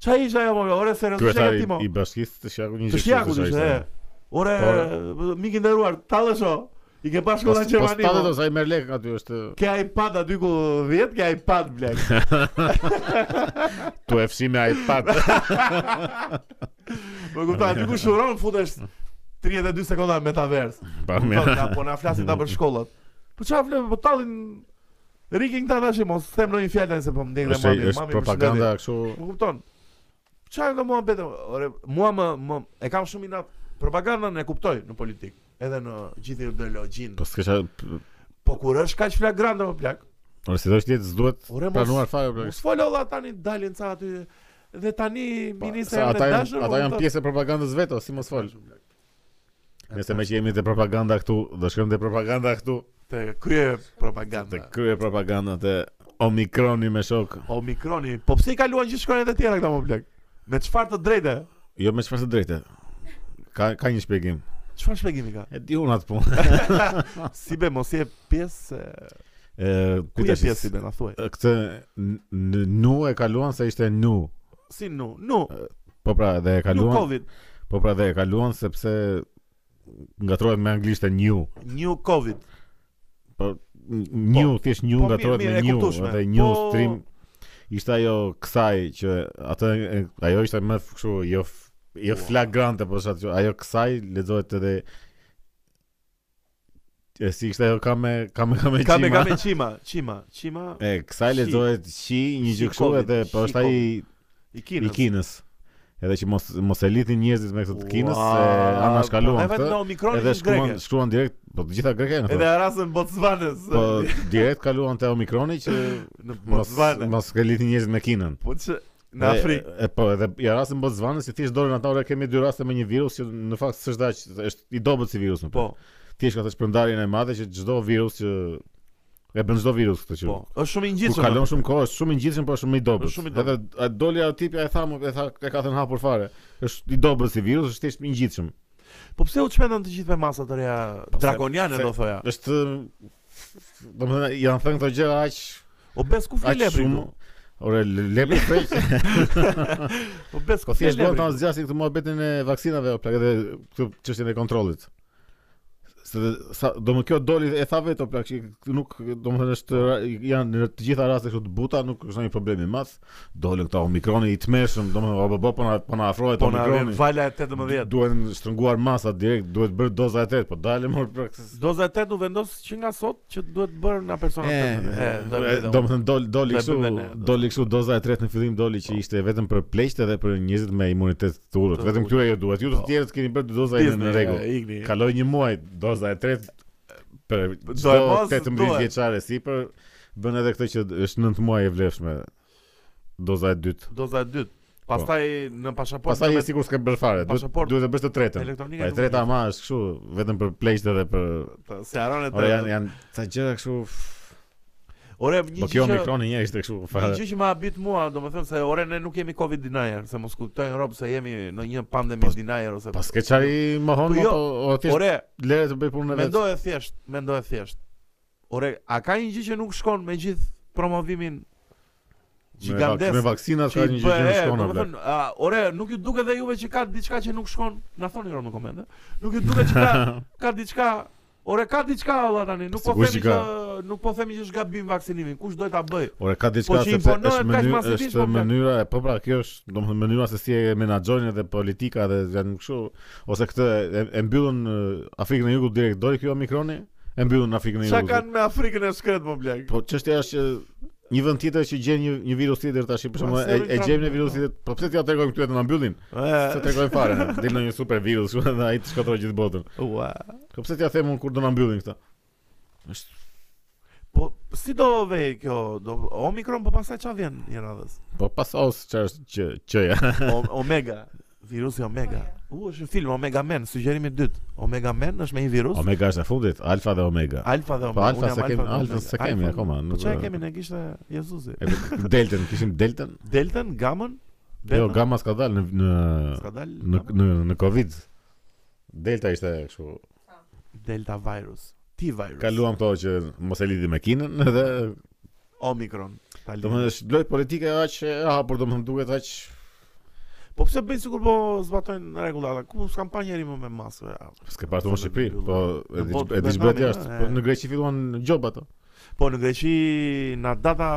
S1: Çfarë isha ajo më? Ore seriozisht e
S3: Kryetari
S1: ti mo.
S3: i bashkisë të Shjakut një
S1: Të Shjakut
S3: kështu
S1: ishte.
S3: ishte.
S1: e.
S3: Po,
S1: Ore mik i nderuar, tallesho. I ke pas shkolla
S3: Pas
S1: në
S3: pas
S1: Gjermani. po.
S3: tatet
S1: mo.
S3: ose ai po, merr lek aty është
S1: Ke iPad aty ku 10, ke iPad blek.
S3: tu e fshi me iPad.
S1: Po, Më kupton, aty ku shuron futesh 32 sekonda me tavers.
S3: Pa
S1: Po
S3: mirë.
S1: ta- po na flasin ta për shkollat. Po çfarë flet, po tallin Rikin këta tash mos them ndonjë fjalë tani se po më ndjen dhe
S3: Është
S1: mami,
S3: është
S1: mami. më
S3: propaganda kështu.
S1: shëndetje. Më kupton. Çfarë do mua betë? Ore, mua më, më e kam shumë inat propagandën e kuptoj në politikë, edhe në gjithë ideologjinë.
S3: Po s'kisha
S1: Po kur është kaq flagrante më plak.
S3: Ora si do të jetë s'duhet
S1: Ore, mos-
S3: planuar fare. pra, bla.
S1: Mos fol olla tani dalin ca aty dhe tani ministri
S3: Se
S1: e
S3: ata janë
S1: dashur. po
S3: ata
S1: më
S3: janë
S1: kupton?
S3: pjesë e propagandës vetë, o, si mos fol. Nëse me që jemi te propaganda këtu, do shkojmë te propaganda këtu,
S1: Te krye
S3: te
S1: propaganda.
S3: krye propaganda te Omikroni me shok.
S1: Omikroni, po pse i kaluan gjithë shkronjat e tjera këta më plak? Me çfarë të drejtë?
S3: Jo me çfarë të drejtë. Ka ka një shpjegim.
S1: Çfarë shpjegimi ka?
S3: E di unë atë punë. Ah.
S1: Si be, mos je pjesë, e,
S3: E
S1: ku je
S3: pyetash
S1: pjesë si be, na thuaj.
S3: këtë n- n- nu e kaluan se ishte nu.
S1: Si nu, nu,
S3: Po pra, dhe
S1: nu
S3: e kaluan.
S1: Covid,
S3: Po pra, dhe e kaluan sepse ngatrohet me anglisht e new.
S1: new Covid.
S3: N- New, thjesht new
S1: po,
S3: ngatrohet
S1: mirë,
S3: me
S1: mirë, e
S3: new,
S1: kuptueshme.
S3: edhe new
S1: Po-
S3: stream. Ishte ajo kësaj që atë e- ajo ishte më f- kështu jo f- jo flagrante, po sa ajo kësaj lexohet edhe e si ishte ajo ka me ka me ka me
S1: Ka me
S3: qima.
S1: ka me qima, qima, qima
S3: E, kësaj
S1: Shi.
S3: lexohet shi, një
S1: Shi
S3: gjë kështu
S1: Covid,
S3: edhe po
S1: shi
S3: është ai
S1: i
S3: i
S1: Kinës.
S3: Kinës. Edhe që mos mos e lidhin njerëzit me këtë të Kinës,
S1: Ua,
S3: se
S1: po,
S3: anashkaluan
S1: prandaj vetë
S3: këtë.
S1: në Omikronin
S3: Edhe
S1: është greke.
S3: shkruan shkruan direkt, po të gjitha greke janë
S1: Edhe
S3: ato.
S1: rasën Botswanës.
S3: Po direkt kaluan te Omikroni që
S1: në
S3: mos
S1: Botswanë.
S3: mos e lidhin njerëzit me Kinën.
S1: Po që në
S3: Dhe-
S1: Afrikë.
S3: E po, edhe ja rasti në Botsvanë si thjesht dorën ata ora kemi dy raste me një virus që në fakt s'është dash, është i dobët si virus në.
S1: Po,
S3: Thjesht ka të shpërndarjen e madhe që çdo virus që e bën çdo virus këtë që.
S1: po. Është shumë i
S3: Kur
S1: ngjitshëm.
S3: kalon shumë kohë, është shumë i ngjitshëm, por shumë i dobët.
S1: Është shumë i
S3: Edhe a doli ajo tipi, a e tha, më- e tha, e ka thënë hapur fare. Është i dobët si virus, është thjesht i ngjitshëm.
S1: Po pse u çmendën të gjithë me masa të reja drakoniane
S3: Po, se-
S1: do thoja.
S3: Është domethënë janë thënë këto gjëra aq
S1: O bes ku fli
S3: aq
S1: lepri.
S3: shumë.
S1: këtu?
S3: Ore, lepri freq,
S1: O bes
S3: Po
S1: ku fli
S3: thjesht duan ta
S1: lepri.
S3: zgjasin këtë muhabetin e vaksinave o plak edhe këtë çështjen e kontrollit. Se dhe- sa do më kjo doli e tha vetë o plak që nuk do më thënë është ra- janë në të gjitha raste këtu të buta nuk është ndonjë problem i madh. Dolën këta omikroni i tmerrshëm, do më thënë o bo, po na po na afrohet
S1: Po na vjen
S3: omikroni.
S1: vala e 18.
S3: Duhen shtrënguar masa direkt, duhet bërë doza e tretë, po dalë më plak. se-
S1: Doza e 8 u vendos që nga sot që duhet bërë nga persona
S3: E,
S1: të tjerë.
S3: e, Eh, do më thënë doli doli
S1: Eh, do e
S3: kështu
S1: bëjmë ne, do-
S3: doli kështu doza e tretë në fillim doli që ishte vetëm për pleqtë dhe për njerëzit me imunitet të urët.
S1: Të
S3: Vetëm
S1: urët.
S3: këtyre ju duhet. Ju të
S1: Po. eh,
S3: tjerët keni bërë dy doza e në rregull.
S1: Igni.
S3: Kaloi një muaj doza e tretë për
S1: Do e
S3: çdo
S1: mos,
S3: 18
S1: duhet.
S3: vjeçare sipër bën edhe këtë që është 9 muaj e vlefshme doza e dytë.
S1: Doza e dytë. Pastaj në pashaportë.
S3: Pastaj je
S1: Po, me-
S3: sigurt s'ke bërë fare. Duhet
S1: pasaportë.
S3: duhet të bësh të tretën.
S1: elektronika.
S3: Pa e
S1: nuk-
S3: treta ama është kështu vetëm për pleqtë dhe për
S1: Ta- Se haron e
S3: Ora janë
S1: të.
S3: janë ca gjëra kështu. f-
S1: Ore, një
S3: Po
S1: gjë
S3: kjo
S1: që-
S3: mikroni një ishte kështu
S1: Një
S3: fare.
S1: gjë që më habit mua, domethënë se ore ne nuk jemi covid denier, se mos kuptojnë rob se jemi në një pandemi
S3: Pas-
S1: denier ose
S3: Pas ke çari
S1: Po
S3: mohon mo,
S1: jo,
S3: po o thjesht
S1: Ore,
S3: lere të bëj punën vetë.
S1: mendoj e thjesht, mendoj e thjesht. Ore, a ka një gjë që nuk shkon me gjithë promovimin
S3: Me vak-
S1: gigantes?
S3: Me vaksinat ka
S1: që i
S3: një gjë që
S1: bëhe,
S3: nuk shkon
S1: domethënë,
S3: apo.
S1: a, ore, nuk ju duket edhe juve që ka diçka që nuk shkon? Na thoni ron në komente. Nuk ju duket që ka ka diçka Ore ka diçka valla tani, nuk po
S3: Sigurisht
S1: themi
S3: që ka.
S1: që nuk po themi që është gabim vaksinimin, kush do ta bëj?
S3: Ore ka diçka
S1: Po që
S3: sepse
S1: imponohet
S3: është
S1: kaq
S3: mënyrë
S1: masivisht,
S3: është
S1: po, plak.
S3: mënyra e po pra kjo është domethënë mënyra se si e menaxhojnë edhe politika dhe janë kështu ose këtë e, e mbyllën eh, Afrikën e Jugut direkt doli kjo Omikroni e mbyllën Afrikën e
S1: Çka
S3: Jugut.
S1: kanë me Afrikën e shkret më blek?
S3: Po çështja është që një vend tjetër që gjen një, një virus tjetër tash për shembull
S1: se
S3: e,
S1: rrin
S3: e gjejmë
S1: Po, Trump,
S3: në virus tjetër. Po pse t'ja tregojmë këtu edhe na mbyllin? Se
S1: E,
S3: tregojmë fare. Del në një super virus kështu dhe ai të shkatërroi gjithë botën.
S1: ua.
S3: Po pse t'ja them unë kur do na mbyllin këta?
S1: Po si do vej kjo? Do Omikron po pastaj çfarë vjen një radhës?
S3: Po pas os çfarë është që çja.
S1: O, omega, virusi Omega. U është një film Omega Man, sugjerimi i dytë. Omega Man është me një virus.
S3: Omega është e fundit, alfa dhe omega.
S1: Alfa dhe
S3: Po
S1: Omega. Unë
S3: alfa
S1: jam
S3: se kemi,
S1: dhe
S3: alfa se
S1: Omega.
S3: kemi
S1: Alfa-
S3: akoma.
S1: Po
S3: nuk-
S1: çfarë kemi ne kishte Jezusi.
S3: E, Deltën, kishim Deltën?
S1: Deltën, gamën,
S3: Jo,
S1: betën,
S3: Gamma s'ka dalë në në
S1: s'ka dal
S3: në në, në Covid. Delta ishte kështu.
S1: Delta virus. T virus.
S3: Kaluam këto që mos e lidhi me Kinën edhe
S1: Omikron. Ta lidhim.
S3: domethënë është lojë politike aq e hapur domethënë duket aq
S1: Po pse bëjnë sikur po zbatojnë rregullata? Ku s'kan pa njeri më me maskë? a?
S3: s'ke parë të në Shqipëri, po
S1: Në
S3: edhe
S1: botë,
S3: edhe
S1: në
S3: zbret
S1: Vietnam,
S3: jashtë.
S1: e.
S3: Po në Greqi filluan gjob ato.
S1: Po në Greqi na data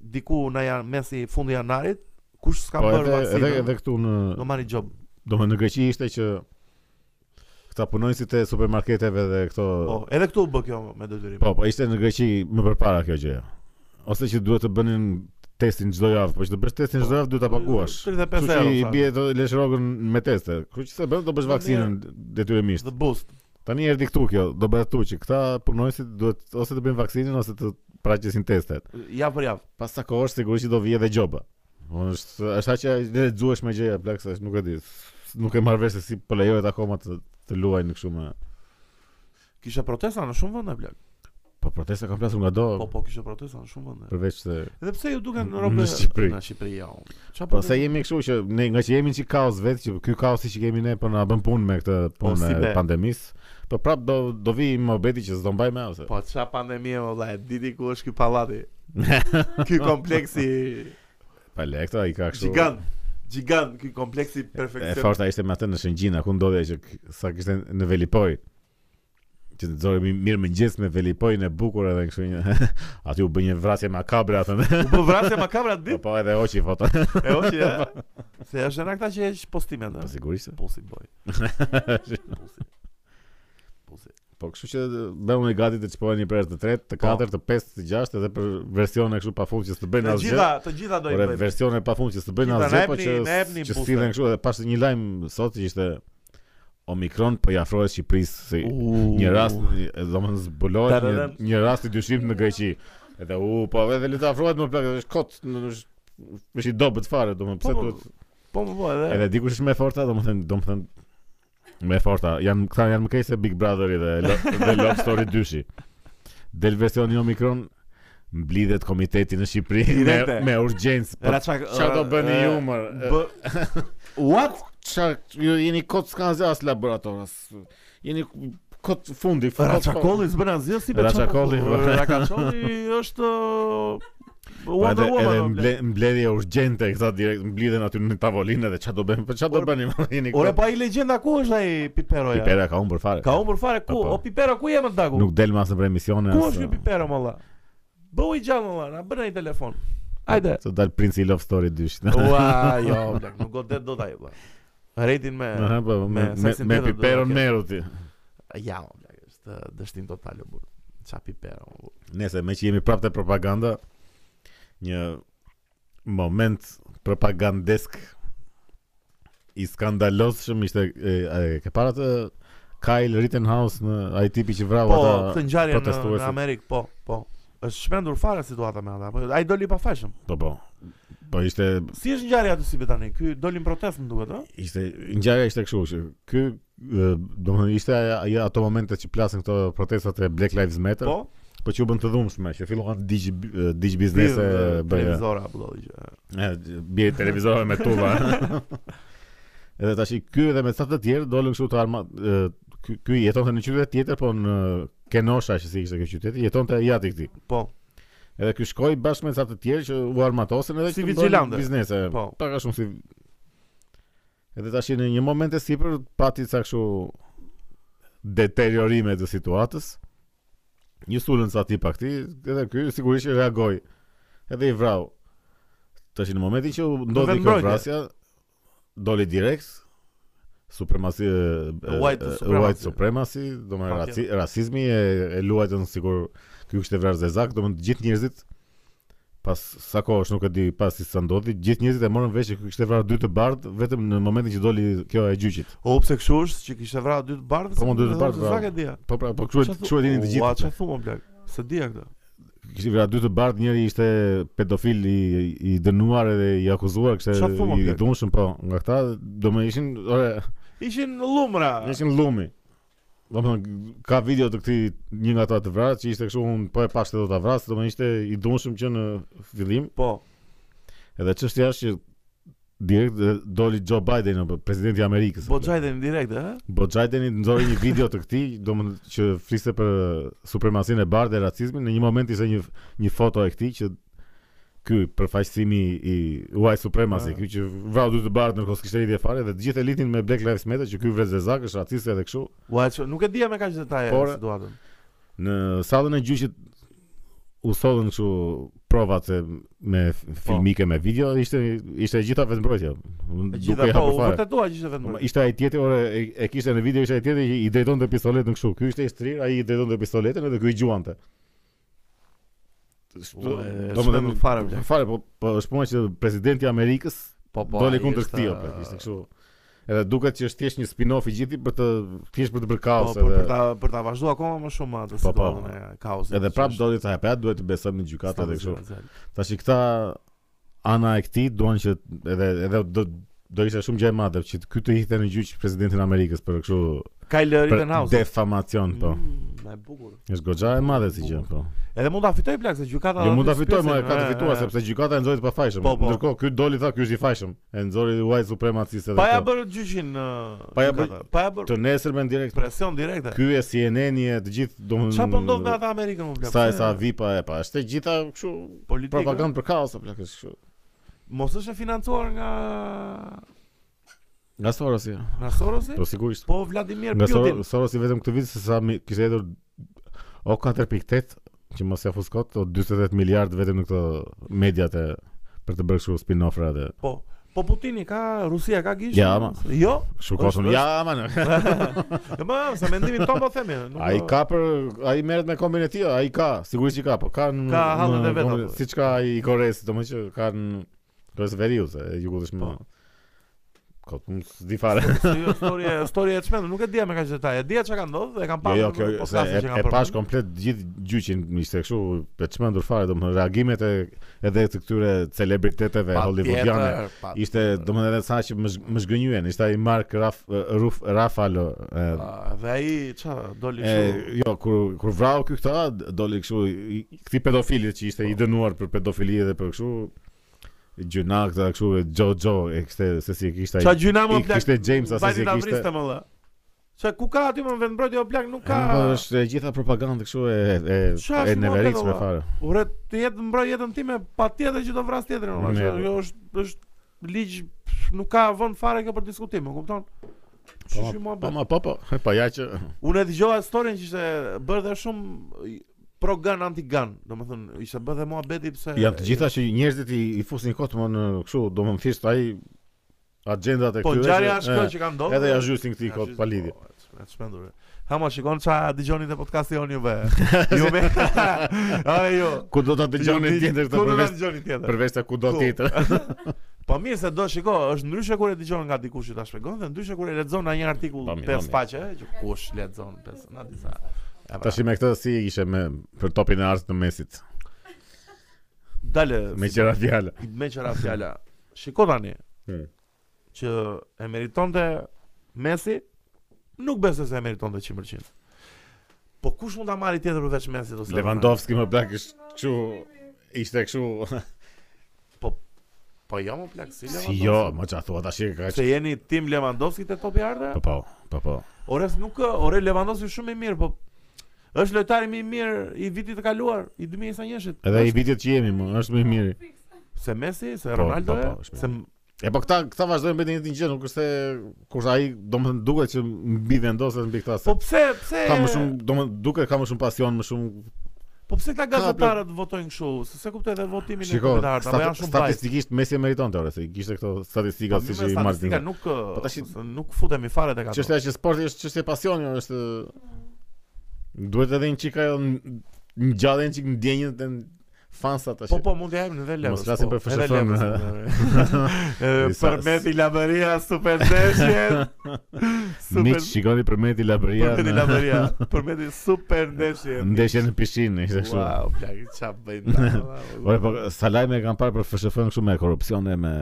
S1: diku në janë mesi fundi janarit, kush s'ka
S3: Po
S1: bërë
S3: edhe
S1: vaksinë.
S3: edhe edhe këtu në
S1: do marri job.
S3: domethënë në Greqi ishte që këta punonjësit e supermarketeve dhe këto
S1: Po, edhe këtu u bë kjo me detyrim.
S3: Po, po ishte në Greqi më përpara kjo gjë. Ose që duhet të bënin testin çdo javë, po që të bësh testin çdo javë duhet ta paguash.
S1: 35
S3: Kështu që
S1: euro.
S3: i
S1: sa.
S3: bie të lesh rrogën me teste. Kështu që se bën do bësh
S1: Po,
S3: vaksinën detyrimisht.
S1: The boost.
S3: Tani erdhi këtu kjo, do bëhet këtu që këta punonjësit duhet ose të bëjnë vaksinën ose të praqesin testet.
S1: Javë për javë.
S3: Pas sa kohësh sigurisht që do vijë edhe gjoba. Unë është është aq e lexuesh me gjëja plak se është- nuk e di. s- Nuk e marr vesh se si po lejohet akoma të të luajnë kështu me.
S1: Kisha protesta në shumë vende blaq.
S3: Po protesta kanë plasur nga do
S1: Po po kisha protesta në shumë vende.
S3: përveç se
S1: Edhe pse ju duken
S3: Në
S1: robe
S3: Shqipëri.
S1: Në Shqipëri ja. unë. Çfarë po?
S3: Po se jemi kështu që ne nga që jemi në kaos vetë që ky kaosi që kemi ne po na bën punë me këtë
S1: Po,
S3: punë
S1: si
S3: e
S1: be.
S3: pandemisë. Po prap do do vi mohbeti që s'do mbaj me ose.
S1: Po çfarë pandemie valla, e diti ku është ky pallati. ky kompleksi
S3: Pa lekta i ka kështu.
S1: gigant. Gigant ky kompleksi
S3: E
S1: perfekcion.
S3: forta ishte me atë në Shëngjina ku ndodhe që k- sa kishte në Velipoj. Që të zori mirë mëngjes me Velipojin e bukur edhe kështu një. Aty u bën një vrasje makabre atë.
S1: U bë vrasje makabra
S3: Po
S1: ditë.
S3: po edhe oqi foto.
S1: E o që ja. Se është edhe këta që heq postimet.
S3: Po sigurisht. se.
S1: Pusi boy. Pusi. Pusi.
S3: Po kështu që bëu i gati të çpoheni për herë të tretë, të
S1: Po.
S3: katërt, të pestë, të gjashtë edhe për versione kështu pafund që s'të bëjnë
S1: Të
S3: asgjë.
S1: gjitha, të gjitha do i
S3: Ore
S1: bëjmë.
S3: versione pa fund që s'të bëjnë
S1: Gjitha,
S3: asgjë,
S1: na
S3: po
S1: jepni-
S3: që
S1: na jepni
S3: që
S1: booster.
S3: sillen kështu dhe pas një lajm sot që ishte Omikron po i afrohet Shqipërisë si
S1: Uuu.
S3: një rast, domethënë zbulohet një,
S1: Tararem.
S3: një rast i dyshimit në Greqi. Edhe u po edhe le të afrohet më plak, është kot, në- është është i dobët fare, domethënë pse
S1: Po, po,
S3: duhet.
S1: Po më po edhe.
S3: Edhe dikush është më e forta, domethënë domethënë më e forta. Janë këta janë më keq se Big Brotheri dhe Lo- dhe Love Story 2-shi. Del versioni Omikron mblidhet komiteti në Shqipëri me,
S1: Direkte.
S3: me urgjencë. Po
S1: Raçak.
S3: Qa do bëni ju mërë?
S1: Bë... What?
S3: Qa, ju jeni kot s'ka zë as laboratoras. Jeni kot fundi. kot-
S1: Raçakolli s'bën asgjë si be.
S3: Raçakolli, po.
S1: Raçakolli është
S3: Po
S1: Wonder
S3: Edhe, edhe
S1: Woman.
S3: mble, mbledhje urgjente këta direkt mblidhen aty në tavolinë dhe ç'a do bëjmë? Po ç'a do
S1: Ore-
S3: bëni? mo, Jeni
S1: Ore
S3: kot.
S1: pa i legjenda ku është ai Piperoja?
S3: Pipera ka humbur fare.
S1: Ka humbur fare ku?
S3: Po, po.
S1: O Pipero ku je më dagu?
S3: Nuk del më as në për emisione.
S1: Ku
S3: as-
S1: është ky Pipero molla? Bëu i gjallë molla, na bën ai telefon. Hajde.
S3: Se uh, dal princi i Love Story 2.
S1: Ua, jo, blek, nuk godet dot ai, blek. Rating me
S3: Aha, po,
S1: me
S3: me, me,
S1: seksin
S3: me
S1: tjetër do
S3: piperon
S1: ta kem.
S3: meru ti.
S1: ja, o, blek, është dështim total o burr. Ça Pipero. o, burr.
S3: Nese, me që jemi prapë te propaganda, një moment propagandesk i skandalosshëm ishte e, e, ke para të Kyle Rittenhouse në ai tipi që vrau
S1: Po,
S3: ata
S1: këtë ngjarje në,
S3: protestuesit.
S1: në Amerikë, po, po. është shpendur fare situata me ata, apo ai doli pa fashëm.
S3: Po po. Po ishte
S1: Si është ngjarja aty si tani? Ky doli në protestë më duket, ëh?
S3: ishte ngjarja ishte kështu që ky e, domethënë ishte ajo ajo- ato momente që plasin këto protestat e Black Lives Matter,
S1: Po.
S3: po, që u bën të dhunshme, që filluan digj e, digj biznese
S1: Biznese
S3: bëja.
S1: televizora apo lloj gjë.
S3: E, Bje televizorë me tuba Edhe tash i ky edhe me sa të tjerë dolën kështu të arma e, ky- Ky jetonte në qytet tjetër po në Kenosha që si ishte kjo qytet jetonte jati këtij.
S1: Po.
S3: Edhe ky shkoi bashkë me sa të tjerë që u armatosen edhe
S1: Si
S3: këtu bëhen
S1: vigjilante.
S3: biznese.
S1: Po.
S3: Pak a shumë si Edhe tash në një moment e sipër pati ca kështu deteriorime të situatës. Një sulën sa tipa këtij, edhe ky sigurisht që reagoi. Edhe i vrau. Tash në momentin që u ndodhi kjo
S1: vendbrojtje.
S3: vrasja, doli direkt supremaci e,
S1: White
S3: e,
S1: supremacy.
S3: white supremacy, domethënë
S1: Pa
S3: raci, rasizmi e, e luajtën sigur ky kishte vrarë Zezak, domethënë të gjithë njerëzit pas sa kohësh nuk e di pas si sa ndodhi, gjithë njerëzit e morën vesh që ky kishte vrarë dy të bardhë vetëm në momentin që doli kjo e gjyqit.
S1: O pse kështu është që kishte vrarë dy të bardhë?
S3: Po, mo, dy të bardhë,
S1: Sa
S3: bravo.
S1: ke dia?
S3: Po pra, po kështu e- kështu e dinin të
S1: Ua,
S3: gjithë.
S1: çfarë thua blaq? Se dia këtë.
S3: Kishte vrarë dy të bardhë, njëri ishte pedofil i, i dënuar edhe i akuzuar, kishte
S1: Çfarë thua, mo,
S3: i, i
S1: plak?
S3: dhunshëm po, nga këta domethënë ishin ore,
S1: Ishin lumra.
S3: ishin lumi. Domethënë ka video të këtij një nga ata të vrarë që ishte kështu un po e pashte do ta vrasë, domethënë ishte i dhunshëm që në fillim
S1: Po.
S3: Edhe çështja është që direkt e, doli Joe Biden, apo presidenti i Amerikës.
S1: Boxhajdën po direkt, ëh?
S3: Bo Biden nxori një video të këtij, domethënë që fliste për supremasinë e bardhë e racizmin, në një moment ishte një një foto e këtij që ky përfaqësimi i white supremacy,
S1: Ah.
S3: ky që vrau dy të bardhë ndërkohë s'kishte lidhje fare dhe të gjithë e lidhin me Black Lives Matter që ky vrezezak është racist edhe kështu.
S1: Ua, që- nuk e dia me kaq detaje
S3: Por-
S1: situatën.
S3: Në sallën e gjyqit u sodën kështu provat se me f-
S1: Po.
S3: filmike me video ishte ishte e gjitha vetëmbrojtje.
S1: E
S3: Duke
S1: gjitha
S3: i
S1: po,
S3: hapur
S1: u
S3: fare.
S1: vërtetua që ishte
S3: Po,
S1: vetëm.
S3: Ishte ai tjetri, ore, e- e kishte në video ishte ai tjetri që i drejtonte pistoletën kështu. Ky ishte i shtrir, ai i drejtonte pistoletën edhe ky i gjuante.
S1: Ua, e shpendur fare, bla.
S3: Fare, po po është puna që presidenti i Amerikës
S1: Po, po.
S3: doli
S1: ai
S3: kundër
S1: është,
S3: këtij,
S1: ëh,
S3: apo ishte kështu. Edhe duket që është thjesht një spin-off i gjithë për të thjesht për të bërë
S1: Po,
S3: kaos
S1: po, për
S3: edhe
S1: ta për ta vazhduar akoma më shumë atë
S3: Po, po.
S1: situatën e kaosit.
S3: edhe prap doli të hapë, duhet të besojmë në gjykatë edhe kështu. Tash i këta ana e këtij duan që edhe edhe do do ishte shumë gjë e madhe që ky të hidhte në gjyq presidentin e Amerikës për kështu
S1: Kyle
S3: për
S1: Rittenhouse.
S3: defamacion, po.
S1: Mm, Na e bukur.
S3: Është goxha e madhe si gjë, po.
S1: Edhe mund ta fitoj plak se gjykata.
S3: Jo mund ta
S1: aty
S3: fitoj, më
S1: shpesin,
S3: ka të
S1: Po, e, e.
S3: fituar sepse gjykata e nxori të pafajshëm.
S1: Po, po.
S3: Ndërkohë ky doli tha ky është i fajshëm. E nxori White supremacist edhe.
S1: Pa ja
S3: kjo.
S1: bërë gjyqin. e,
S3: Pa ja
S1: gjykata. pa ja bërë
S3: të nesërmen direkt. po.
S1: presion direkte.
S3: Ky e CNN-i e të gjithë domun.
S1: Çfarë po ndodh me ata Amerikën më plak?
S3: Sa e
S1: Se
S3: sa vipa e pa, është e gjitha kështu
S1: politika.
S3: propagandë për kaos apo plakësh kështu.
S1: Mos është e financuar nga
S3: Nga Sorosi. ja.
S1: nga Sorosi?
S3: Po sigurisht.
S1: Po Vladimir
S3: Nga
S1: Putin.
S3: Sor- Sorosi vetëm këtë vit se sa mi- kishte hedhur o 4.8 që mos ia fuskot o 48 miliard vetëm në këto mediat e për të bërë kështu spin-offra dhe
S1: Po. Po Putini ka Rusia ka gish?
S3: Ja, ama.
S1: Jo.
S3: kështu
S1: Është-
S3: kohën.
S1: është-
S3: Ja, man.
S1: E Ma, sa mendimin ton po themi. nuk-
S3: Ai ka për ai merret me kombin e tij, ai ka, sigurisht që ka, po ka në
S1: Ka hallën e vet,
S3: kombin-
S1: apo?
S3: Siç ka ai i Koreas, domethënë që ka në Koreas veriu, se e jugut është më.
S1: Po.
S3: Ka unë s'di fare.
S1: Se jo, storia, storia e çmendur, nuk e dia me kaq detaje. Dia çka ka ndodhur, e kam
S3: Jo,
S1: parë.
S3: jo,
S1: në
S3: kjo se
S1: podcastin
S3: e,
S1: po që kam
S3: e pash
S1: përmendur.
S3: komplet gjithë gjyqin ishte kështu e çmendur fare, domethënë reagimet e edhe të këtyre celebriteteve
S1: Pa
S3: hollywoodiane.
S1: tjetër, pa
S3: Ishte domethënë edhe sa që më zh- më zgënjyen, ishte ai Mark Raf, Ruf, Rafalo, e,
S1: Ah, Dhe ai ç'a doli kështu.
S3: E, jo, kur kur vrau ky këta d- doli kështu i- i- këti pedofili që
S1: Po.
S3: ishte i dënuar për pedofili dhe për kështu gjuna këta kështu e Jojo e kishte se si e kishte
S1: Ç'a
S3: ai.
S1: gjyna më
S3: i
S1: plak.
S3: kishte James asë
S1: Vajti
S3: si e
S1: ta
S3: kishte.
S1: vriste më valla. Ç'a ku ka aty më vendmbrojtje o plak nuk
S3: Ka
S1: ka.
S3: është e gjitha propagandë kështu e e
S1: Çfarë
S3: e
S1: është
S3: neveritshme
S1: modello,
S3: fare.
S1: Ure të jetë mbroj jetën time patjetër që do vras tjetrin. valla.
S3: Mirë.
S1: Ç'a, Jo është është ligj nuk ka vend fare kjo për diskutim, e kupton?
S3: Po,
S1: Shishi
S3: Po
S1: mua.
S3: ma po po, he, pa ja që
S1: Unë e dëgjova historinë që ishte bërë dhe shumë i- pro gun anti gun, domethënë ishte bërë dhe muhabeti pse
S3: janë të gjitha që njerëzit i, i fusin kot më në kështu, domethënë thjesht ai agjendat e
S1: Po
S3: këtyre
S1: ngjarja
S3: që-
S1: është kjo
S3: e,
S1: që ka ndodhur.
S3: Edhe ja zhysin këtij
S1: Ja,
S3: kot
S1: zhysin,
S3: pa lidhje.
S1: po, e çmendur. Ha mo shikon ça dëgjoni te podcasti on juve. Juve. A jo.
S3: Ku do ta dëgjoni tjetër këtë
S1: Ku do ta
S3: përveç
S1: dëgjoni tjetër?
S3: përveç ta ku do
S1: Ku?
S3: tjetër.
S1: Po mirë se do shiko, është ndryshe kur e dëgjon nga dikush që ta shpjegon dhe ndryshe kur e lexon nga një artikull
S3: Po mirë, po
S1: pesë
S3: mirë.
S1: faqe, që kush lexon pesë na disa. Ja, pra.
S3: Tash me këtë si ishe me për topin e artit të mesit.
S1: Dale.
S3: me qëra fjala.
S1: me qëra fjala. Shiko tani.
S3: Hmm.
S1: që e meritonte Messi, nuk besoj se e meritonte 100%. Po kush mund ta marrë tjetër përveç Messi ose
S3: Lewandowski më plak është kështu ishte kështu
S1: Ronaldo? Po jo, më plak si
S3: si
S1: Lewandowski.
S3: jo, më çfarë thua tash e ka
S1: Se jeni tim Lewandowski te topi ardhe?
S3: Po po, po po.
S1: Ore s- nuk, ore Lewandowski është shumë i mirë, po është lojtari më i mirë i vitit të kaluar, i 2021-shit.
S3: Edhe i
S1: Është-
S3: vitet që jemi më, është më i miri.
S1: se Messi, se
S3: Po,
S1: Ronaldo,
S3: po, po,
S1: e,
S3: është mirë.
S1: se
S3: E po këta këta vazhdojnë me të njëjtin gjë, nuk është se kur ai domethënë duket që mbi vendoset mbi këta se
S1: po pse pse
S3: ka më shumë domethënë duket ka më shumë pasion, më shumë
S1: po pse këta
S3: Ka plot-
S1: gazetarët votojnë kështu? Se se kuptoj edhe votimin e
S3: Shiko,
S1: gazetarëve, apo
S3: stati-
S1: janë shumë bajt.
S3: statistikisht Messi e meriton ore, se i kishte këto statistika
S1: Po,
S3: siç
S1: mirë,
S3: i martin.
S1: statistika nuk po
S3: tash i-
S1: nuk futemi fare tek ato.
S3: Çështja që sporti është çështje pasioni, ore, është duhet edhe një çik ajo ngjallën një çik ndjenjën të fansa tash.
S1: Po po mund t'ja japim edhe levës.
S3: Mos flasim
S1: po,
S3: për
S1: edhe
S3: fshëfëm,
S1: levës,
S3: ha.
S1: e,
S3: Disa-
S1: Për Meti Lamëria super ndeshje.
S3: Miq shikoni për Meti Labria.
S1: Për Meti Lamëria, për Meti super ndeshje.
S3: Ndeshje në pishinë, ishte kështu.
S1: Wow, plak, çfarë bëjnë?
S3: Ore, po Salaj me e kanë parë për FSHF-n kështu me korrupsion e me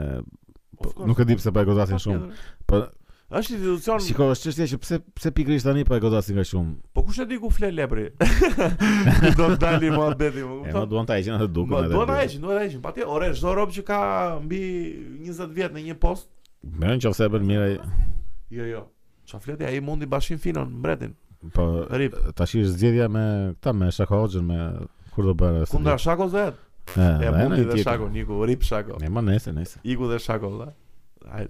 S3: po, nuk e di pse po e godasin shumë. Po
S1: Është institucion,
S3: shiko, është çështja që pse pse pikërisht tani po e godasin nga shumë.
S1: po kush e di ku fle lepri? Ku do të dali muhabeti, më
S3: E ma
S1: kupton?
S3: duan ta heqin atë dukun
S1: Ma
S3: edhe.
S1: Duhet ta heqin, duhet ta heqin. Patjetër, ore, çdo rob që ka mbi 20 vjet në një post,
S3: Merë nëse e bën mirë, ai-
S1: jo, jo. Çfarë fleti ai mundi bashin finon mbretin.
S3: po
S1: Rip.
S3: tash është zgjedhja me këta me Shako Hoxhën me kur do bëra.
S1: Kundra Shako zot. E mundi dhe Shako, Niku, rip Shako.
S3: Ne ma nesër, nesër.
S1: Iku dhe Shako vëlla. Ai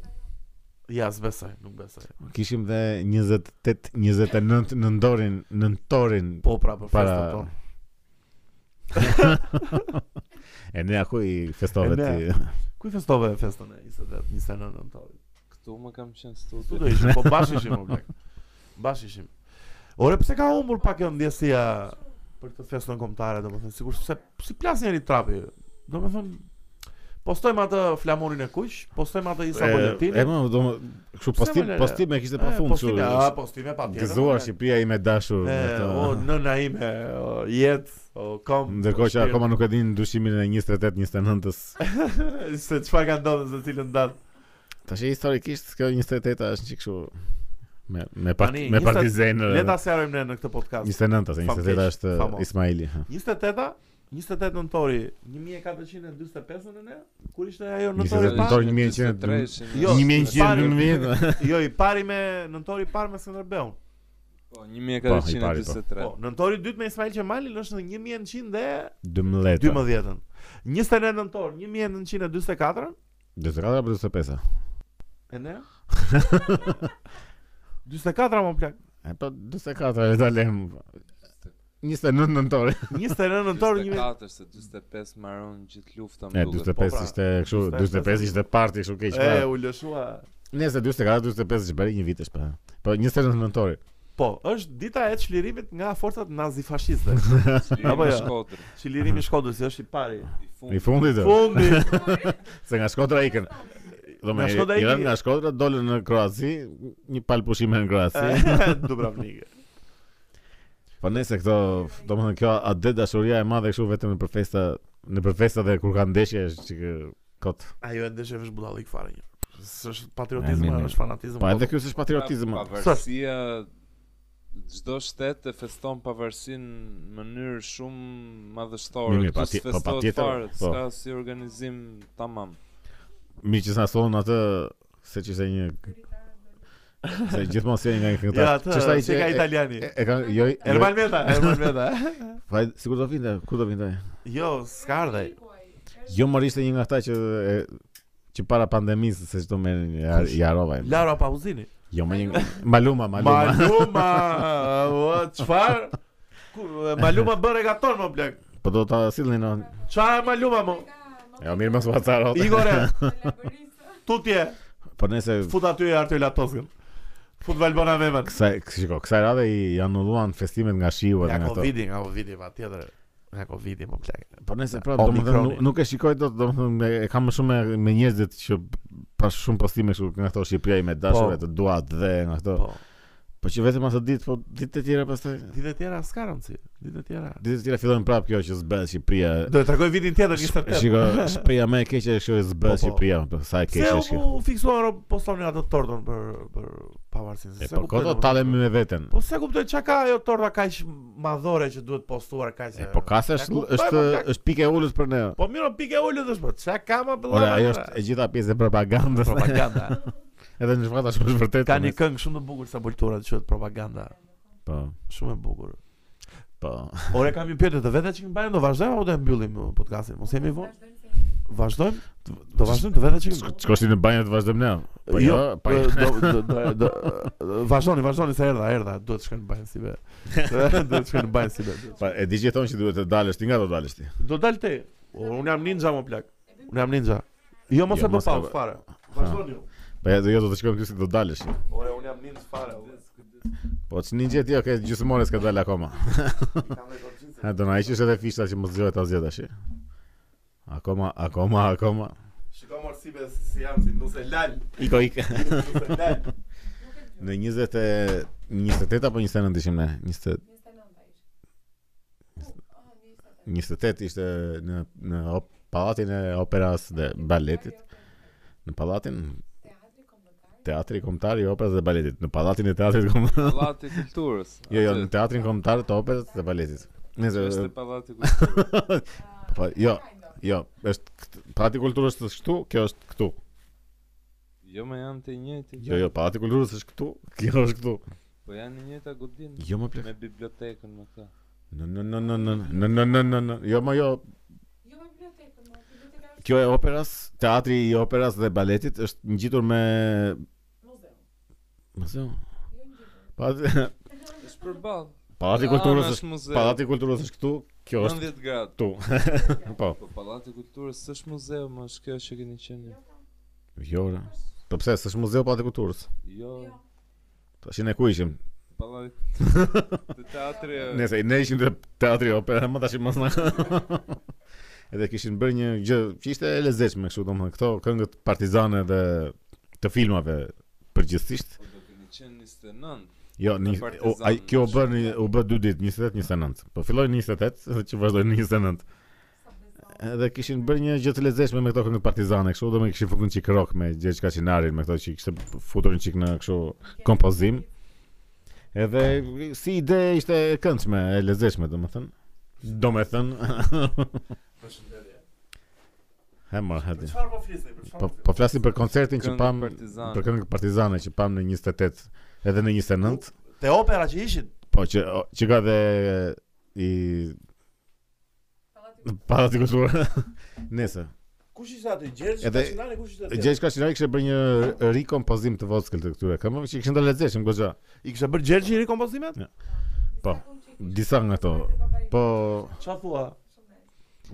S1: ja s'besoj, nuk besoj.
S3: Kishim dhe 28 29 në ndorin, në nëntorin.
S1: Po pra për
S3: Para-
S1: festën tonë.
S3: E ne aku i festove
S1: E ne-
S3: ti.
S1: Ku i festove festën e 28, 29 nëntorit?
S2: Këtu më kam qenë
S1: Ku do
S2: studi.
S1: ishim? Po bash ishim o blek. Bash ishim. Ore pse ka humbur pak kjo ndjesia për këtë festën kombëtare, domethënë sikur se si plas njëri trapi. Domethënë postojmë atë flamurin e kuq, postojmë atë Isa
S3: E, e
S1: Boletin.
S3: më do më kështu
S1: Pse
S3: postim
S1: po më le-
S3: postim e kishte pa fund kështu.
S1: Eh, postime, a, po, postime patjetër.
S3: Gëzuar
S1: ore.
S3: Shqipëria ime po, e dashur. me
S1: E, eh,
S3: këto-
S1: o nëna ime, o jetë, o kom.
S3: Ndërkohë që
S1: shpirt.
S3: akoma nuk e din ndryshimin e 28-29-s.
S1: se çfarë ka ndodhur se cilën datë.
S3: Tash historikisht kjo 28-a është një kështu me me part,
S1: Tani,
S3: me
S1: 20
S3: partizanë.
S1: Le ta sqarojmë ne në këtë podcast.
S3: 29-a, se 28-a
S1: Famkeq,
S3: është
S1: famo.
S3: Ismaili. ha.
S1: 28-a 28 nëntori 1445 në kur ishte ajo nëntori i
S3: 28
S1: parë.
S3: nëntori. 1900.
S1: Jo,
S3: 1100
S1: Jo, i pari me nëntori i parë me Skënderbeun.
S2: Po,
S3: Po, i pari, po.
S2: 1443.
S1: Po, nëntori i dytë me Ismail Qemalin është në 1912-ën.
S3: 12.
S1: 29 nëntor 1944
S3: 24 apo 25-a?
S1: e ne 44 më plak.
S3: E po 24 e ta lem. 29 nëntori.
S1: 29 nëntor 1000
S2: 44 se 45 marron gjithë lufta
S3: E
S2: më duket. Po,
S3: 45
S1: pra,
S3: ishte kështu,
S1: 25
S3: 45 ishte parti kështu keq.
S1: E
S3: pra.
S1: u lëshua.
S3: Nëse 44, 45 është bëri një vitesh pa. Po 29 nëntori.
S1: Po, është dita e çlirimit nga forcat nazifashiste. Apo
S2: Apo
S1: jo?
S2: ja. Shkodër.
S1: Çlirimi i Shkodrës është i pari.
S2: I
S3: I
S2: fundit.
S3: fundit. do.
S1: Fundi.
S3: Se nga Shkodra ikën. Do me
S1: Nga Shkodra
S3: i- i
S1: ikën-
S3: rënë nga Shkodra dolën në Kroaci, një palë pushime në
S1: Eh.
S3: Kroaci.
S1: Dubravnik.
S3: Po nëse këto, domethënë kjo atë dashuria e madhe kështu vetëm për festa, në për festa dhe kur ka ndeshje është çik kot.
S1: Ajo e ndeshjeve është budallik fare një. S'është
S3: E,
S1: patriotizëm,
S3: mirë, mirë.
S1: është fanatizëm.
S3: Po edhe ky s'është patriotizëm.
S2: Pa- pra Pavarësia çdo shtet e feston pavarësinë në mënyrë shumë madhështore.
S3: Mirë, mirë,
S2: Këtu
S3: patje- po,
S2: s'festohet
S3: patjetër,
S2: fare,
S3: po.
S2: S'ka si organizim tamam.
S3: Mi që sa thonë atë se që ishte një se gjithmonë sjellin nga një këngëtar.
S1: Ja, atë
S3: Ç'është ai
S1: që ka italiani.
S3: E, e ka jo jo-
S1: Ermal Meta, Ermal Meta.
S3: Faj, sigur do vinte, kur do vinte? ai?
S1: Jo, s'ka ardhe.
S3: Jo, më ishte një nga ata që e, që para pandemisë se çdo merrin ja- ja harova. im.
S1: Lara Pauzini.
S3: Jo, më një Maluma, Maluma.
S1: Maluma, o çfar? Ku- Maluma bën regaton më blek.
S3: Po do ta sillnin on.
S1: Çfarë Maluma më?
S3: Jo, mirë mos vacarot.
S1: Igore. Tutje,
S3: Po nëse
S1: fut aty e Artur Latoskën. Fut Valbona Memën.
S3: kësaj shiko, kësaj rade i anulluan festimet nga shiu edhe
S1: Nga
S3: nga ato.
S1: Covidi, nga Covidi patjetër. Nga Covidi më blek.
S3: Po nëse pra,
S1: Nga
S3: domethënë nuk,
S1: Omikroni.
S3: nuk e shikoj dot, domethënë me- e kam më shumë me, me njerëzit që pas shumë postime kështu nga ato Shqipëria i me dashurve
S1: Po.
S3: të duat dhe nga ato.
S1: Po.
S3: Po që vetëm atë ditë, po ditë të tjera pastaj.
S1: Ditë e tjera s'ka rëndsi. Ditë e tjera.
S3: Ditë të tjera fillojnë prapë kjo që zbëhet Shqipëria.
S1: Do e takoj vitin tjetër
S3: Sh-
S1: 28.
S3: Shiko, Shqipëria më e keqe është që
S1: Po, po.
S3: zbëhet Shqipëria, po sa e
S1: Se
S3: keqe
S1: u
S3: është. kjo.
S1: po fiksuan ro postoni atë tortën për për pavarësinë.
S3: E
S1: se
S3: po
S1: kuptoj
S3: kodo
S1: domethënë.
S3: talem me veten.
S1: Po se kuptoj çka ka ajo torta kaq madhore që duhet postuar kaq.
S3: E po kasa
S1: Ja,
S3: është
S1: kuptoj,
S3: është
S1: po, kak-
S3: është pikë e ulës për ne.
S1: Po mirë, o, pikë e ulët është po. Çka ka më bëllë?
S3: Ora, ajo është e gjitha pjesë e propagandës.
S1: propaganda.
S3: Edhe në fakt është vërtet.
S1: ka një këngë shumë të bukur sa Bultura që quhet propaganda.
S3: Po,
S1: Shumë e bukur.
S3: po.
S1: Ore kam një pyetje të vetë që më bën do vazhdojmë apo do e mbyllim uh, podcastin? Mos jemi vonë. Vazhdojmë? Do vazhdojmë të vetë që
S3: Sk- Shkosh ti në banjë të vazhdojmë ne. Po jo, pa
S1: do do- do do uh, vazhdoni, vazhdoni se erdha, erdha, duhet të shkojnë në banjë si be. Duhet të shkojnë në banjë si be. duhet.
S3: pa Po, e di që thonë që duhet të dalësh ti nga do dalësh ti.
S1: Do dal te. Unë jam ninja më plak. Unë jam ninja. Jo mos
S3: Jo,
S1: e bë
S3: mos e
S1: pauzë
S3: bë.
S1: fare. Vazhdoni. ju.
S3: Po ja, do- jo do të shkojmë këtu si do dalësh.
S1: Ore, unë jam ninja fare. ore.
S3: Po ç'ni gjë ti, okay, gjysmore s'ka dalë akoma. Ha do na hiqësh edhe fishta që mos zgjohet asgjë tash. Akoma, akoma, akoma.
S1: Shikoj mor si be si jam si nuse lal,
S3: Iko ik.
S1: nuse lal.
S3: Në 20 e- 28 apo 29 ishim ne? 20 28 ishte në në op, pallatin e operas dhe baletit. Në pallatin Teatri Kombëtar i Operës dhe Baletit, në pallatin e Teatrit Kombëtar.
S2: Pallati i kulturës.
S3: Jo, jo, në Teatrin Kombëtar të Operës dhe Baletit. Nëse
S2: Është pallati i kulturës.
S3: po, jo, jo, është këtë- Pallati i Kulturës është këtu, kjo është këtu.
S2: Jo, më janë të njëjtë.
S3: Jo, jo, Pallati i Kulturës është këtu, kjo është këtu.
S2: Po janë në njëjta godin
S3: Jo më plek.
S2: me bibliotekën më të.
S3: Në në në në në në në në në në jo më jo kjo e operas, teatri i operas dhe baletit është ngjitur me muzeu. Pallati
S2: Është përballë.
S3: Pallati i
S2: Ah,
S3: kulturës
S2: në
S3: është
S2: muze.
S3: Pallati i kulturës është këtu, kjo është
S2: 90 gradë.
S3: këtu. po,
S2: Po pallati i kulturës s'është muzeu, më është kjo që keni qenë. ju.
S3: jo. ora. Po pse s'është muzeu Pallati i kulturës?
S2: Jo,
S3: Tashin ne ku ishim?
S2: pallati të teatri. Ne
S3: Nëse ne ishim te teatri opera, më tash mos na. Edhe kishin bërë një gjë që ishte e lezetshme kështu domethënë këto këngët partizane dhe të filmave përgjithsisht.
S2: do keni qenë 29.
S3: Jo,
S2: Me
S3: një, o,
S2: partizan,
S3: ai kjo u
S2: në
S3: bë një- u bë 2 ditë, 28, 29. Po filloi 28 dhe që vazhdoi 29. Edhe kishin bërë një gjë të lezetshme me këto këngë partizane, kështu do më kishin futur një çik rock me Gjergj Kaçinarin, me këto që kishte futur një çik në kështu kompozim. Edhe si ide ishte e këndshme, e lezetshme domethënë. Domethënë.
S1: Përshëndetje.
S3: He më hadi.
S1: Çfarë po flisni? Për çfarë
S3: Po
S1: po flisni?
S3: po flasim për koncertin që
S2: Këngë
S3: pam
S2: partizane.
S3: për këngë partizane që pam në 28 edhe në 29.
S1: Te opera që ishin?
S3: Po që o, që ka dhe i Pallati i kulturë. Nëse.
S1: Kush ishte aty? Gjergj
S3: Edhe-
S1: Kaçinani, kush ishte? atje?
S3: Gjergj Kaçinari kishte bërë një rikompozim të vockël të këtyre këmbëve që kishin të lezetshëm goxha.
S1: I kishte bërë Gjergji rikompozimet?
S3: Po. Disa nga ato. Po
S1: Çfarë thua?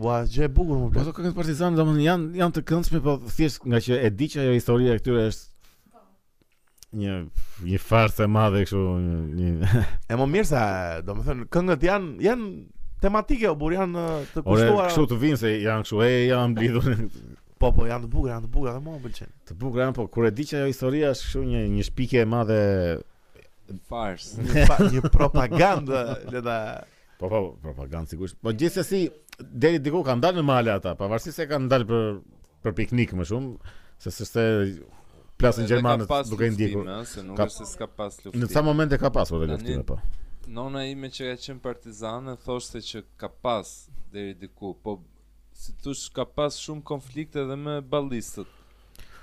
S1: Ua, gjë e bukur më
S3: Po
S1: plot.
S3: ato këngët partizane domethënë janë janë të këndshme, po thjesht nga që e di që ajo historia e këtyre është një një farsë e madhe kështu një, një
S1: E më mirë se, domethënë, këngët janë janë tematike, o bur janë uh, të
S3: ore
S1: kushtuara.
S3: kështu të vinë se janë kështu e janë mblidhur
S1: Po, po, janë të bukura, janë të bukura dhe mua më pëlqen.
S3: të bukur janë po kur e di që ajo historia është kështu një një shpikje e madhe
S2: Fars.
S1: Një, pa, një propagandë, le ta
S3: po po propagandë sigurisht po gjithsesi deri diku kanë dalë në male ata pavarësisht se kanë dalë për për piknik më shumë se s'është plasin gjermanët duke i ndjekur
S2: Se nuk
S3: Ka-
S2: është se s'ka pas
S3: në ca
S2: luftim.
S3: momente ka pasur edhe
S2: Tani-
S3: luftime po
S2: Nona ime që ka qenë partizane thoshte që ka pas deri diku, po si thosh ka pas shumë konflikte edhe me ballistët.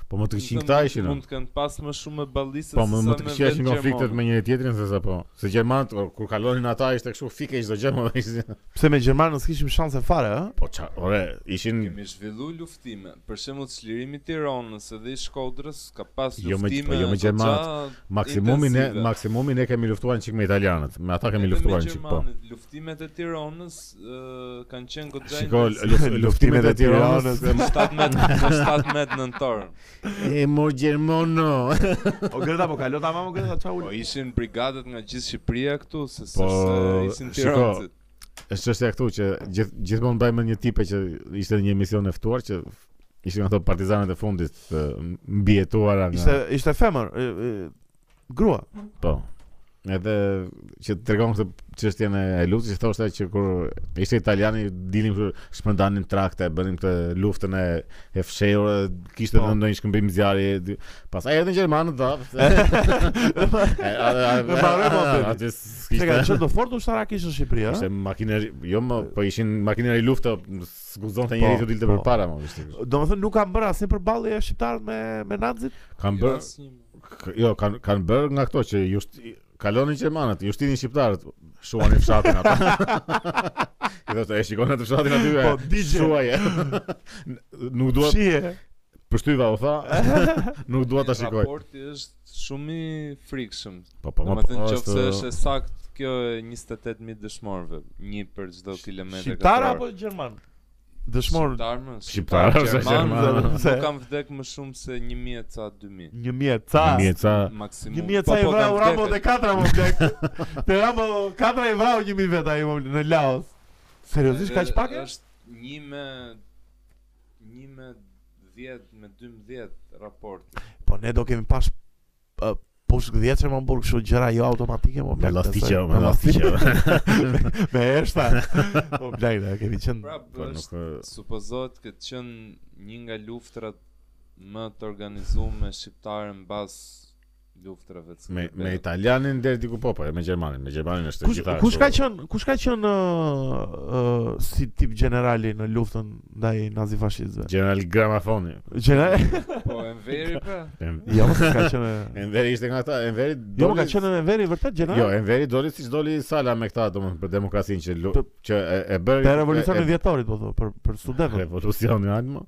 S3: po më të kishin këta ishin o.
S2: Mund të kenë pas më shumë me ballistët.
S3: Po, më
S2: sesa
S3: më të
S2: me
S3: këshia
S2: vetë
S3: ishin konfliktet
S2: gjermanët.
S3: me njëri tjetrin se sa po. Se gjermanët o, kur kalonin ata ishte kështu fike çdo gjë, më ishin.
S1: Pse me gjermanët s'kishim shanse fare, ë?
S3: Po ça, ore, ishin
S2: Kemi zhvillu luftime, për shembull çlirimi i Tiranës edhe i Shkodrës ka pas
S3: Jo me-
S2: luftime.
S3: po jo me
S2: goxha
S3: gjermanët, maksimumin e
S2: intensive.
S3: maksimumin e kemi luftuar një çik me italianët. Me ata kemi
S2: Edhe me
S3: luftuar një çik po.
S2: gjermanët. Luftimet e Tiranës ë, kanë qenë goxha
S3: Shiko,
S2: intensive.
S3: luf- luftimet e Tiranës.
S2: Në 17 në 17 nëntor.
S3: E mo gjermono.
S1: O Greta po kalo tamam, o Greta çau.
S2: Po ishin brigadat nga gjithë Shqipëria këtu, se se
S3: Po,
S2: se ishin
S3: shiko.
S2: Tiranësit.
S3: Është çështja këtu që gjith, gjithmonë mbajmë një tipe që ishte në një emision e ftuar që ishin ato partizanët e fundit të mbijetuara nga
S1: Ishte ishte femër, e- e, grua.
S3: po. Edhe që tregon këtë çështjen e luftës, që thoshte që kur ishte italiani dilim kështu shpërndanin trakte, bënim këtë luftën e e fshehur, kishte
S1: Po.
S3: edhe ndonjë shkëmbim zjarri. dy- Pastaj erdhën gjermanët dha.
S1: Dhe mbaroi mohabeti.
S3: Atë
S1: Se ka
S3: kishte
S1: qenë do fort ushtarak ishte në Shqipëri,
S3: Ishte
S1: ëh.
S3: makineri, jo më, po ishin makineri luftë, s'guzonte njëri
S1: Po,
S3: të dilte
S1: po.
S3: përpara më, vështë.
S1: Domethënë nuk kanë bërë asnjë përballje shqiptar me me nazit.
S3: Kan
S2: Jo,
S3: bërë
S2: asnjë.
S3: K- Jo, kanë kanë bërë nga këto që just kalonin gjermanët, justinin shqiptarët, shuanin fshatin ata. I thotë, e shikon atë fshatin aty.
S1: Po,
S3: Po,
S1: digje.
S3: Shuaj. e." N- Nuk dua
S1: Shije.
S3: përshtyva u tha. Nuk dua ta shikoj.
S2: Raporti është shumë i frikshëm.
S3: Po, po,
S2: Do
S3: më
S2: me thënë
S3: po,
S2: qoftë se
S3: është
S2: është e sakt kjo e 28.000 dëshmorëve, një për çdo kilometër
S1: Shqiptar
S2: katror.
S1: apo gjerman? Dëshmor
S2: Shqiptar më?
S1: Po,
S3: Shqiptar, ose
S1: gjerman.
S2: Nuk kam vdek më shumë se 1000 e ca 2000.
S1: 1000 ca.
S3: mjeca.
S2: Maksimum.
S1: 1000
S2: Po,
S1: ca i
S2: po,
S1: vrau
S2: kam
S1: Rambo
S2: vdekur.
S1: dhe katra më blek. Te Rambo katra i vrau 1000 vet ai më në Laos. Seriozisht kaq
S2: Ë,
S1: pak? e?
S2: Është një me një me 10 me 12 raport.
S1: Po ne do kemi pas ë, pushk 10 që më burg kështu gjëra jo automatike më
S3: Me
S1: blek.
S3: lastiqe,
S1: se-
S3: me lastiqe.
S1: Me eshta. Po blek, ne kemi qenë.
S2: Prap
S3: Po nuk
S2: Pra, është supozohet këtë qënë një nga luftrat më të organizume shqiptare mbas luftrave të
S3: me me
S2: Skënderbeut.
S3: italianin deri diku po, po, e me gjermanin, me gjermanin është
S1: Kush
S3: gjithashtu.
S1: kush ka qen kush ka qen ë ë, si tip generali në luftën ndaj nazi fashistëve?
S3: General Gramafoni.
S1: General
S2: Po Enveri pra.
S3: Em-
S1: Jo, mos ka qenë.
S3: Enveri ishte nga ata, Enveri
S1: Jo, më ka
S3: doli-
S1: qenë në veri vërtet general.
S3: Jo, Enveri doli siç doli Sala me këta domethënë për demokracinë që lu-
S1: Për-
S3: që e, e bëri
S1: Te revolucionin
S3: e-
S1: vjetorit po thon, për për studentët.
S3: Revolucioni alma.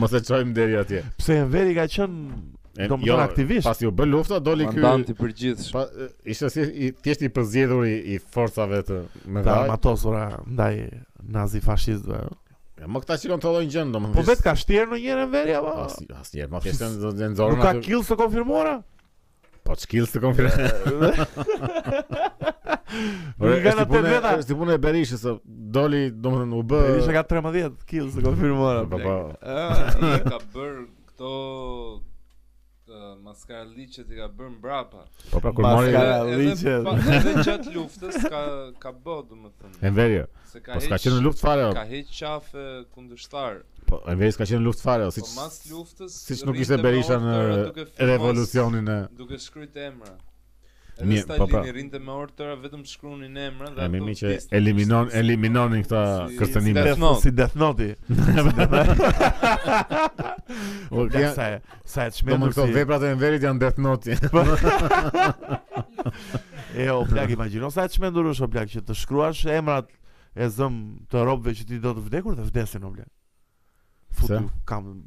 S3: Mos e çojmë deri atje.
S1: Pse Enveri ka qenë
S3: E-
S1: domethënë aktivist.
S3: Pasi u bë lufta doli ky.
S2: Komandanti përgjithshëm.
S3: Pa, e, ishte si i thjesht i përzgjedhur i, i forcave të
S1: Të
S3: mëdha.
S1: armatosura ndaj nazi fashistëve.
S3: Ja, Më këta shikon të llojin gjën domethënë.
S1: Po vetë ka shtjerë në njërë Enveri apo?
S3: As asnjë, ma thjesht janë do- janë
S1: Nuk
S3: zorën
S1: po? ka
S3: aty.
S1: kill të konfirmuara?
S3: Po skills të konfirmoj.
S1: Nuk i kanë atë veta.
S3: Është punë e Berishës, o, doli domethënë u bë.
S1: Berisha ka 13 kills të konfirmuara.
S3: Po
S1: blek.
S3: po.
S2: Ai ka bërë këto uh, maskaraliqet i ka bërë mbrapa.
S3: Po pra kur mori
S1: Maskara.
S2: Edhe
S1: Maskaraliqet.
S2: pa- edhe gjatë luftës ka ka bë domethënë.
S3: Enveri.
S2: Se ka
S3: Po s'ka
S2: heq-
S3: qenë në luftë fare. o.
S2: Ka heq qafe kundërshtar.
S3: Po Enveri s'ka qenë në luftë fare, o,
S2: Po
S3: siç
S2: mas luftës
S3: siç nuk
S2: rrinte
S3: ishte
S2: me
S3: Berisha në
S2: ortëra duke filmuar-
S3: revolucionin e
S2: duke shkryt emra.
S3: Mirë,
S2: Edhe
S3: po, pra.
S2: Stalini rinte me orë tëra vetëm shkrunin emra dhe
S3: E mimi
S2: ato
S3: që
S2: pjesë-
S3: eliminon eliminonin këta
S2: Si-
S3: kërcënime.
S2: Death Note.
S1: Si Death Note.
S3: O,
S1: Ja,
S3: kja-
S1: sa e- sa e
S3: Do më
S1: çmendur
S3: këto
S1: si.
S3: veprat e Enverit janë Death Note.
S1: E o plak imagjino sa e çmendur është o plak që të shkruash emrat e zëm të robëve që ti do të vdekur dhe vdesin o plak. Futu
S3: Pse?
S1: kam.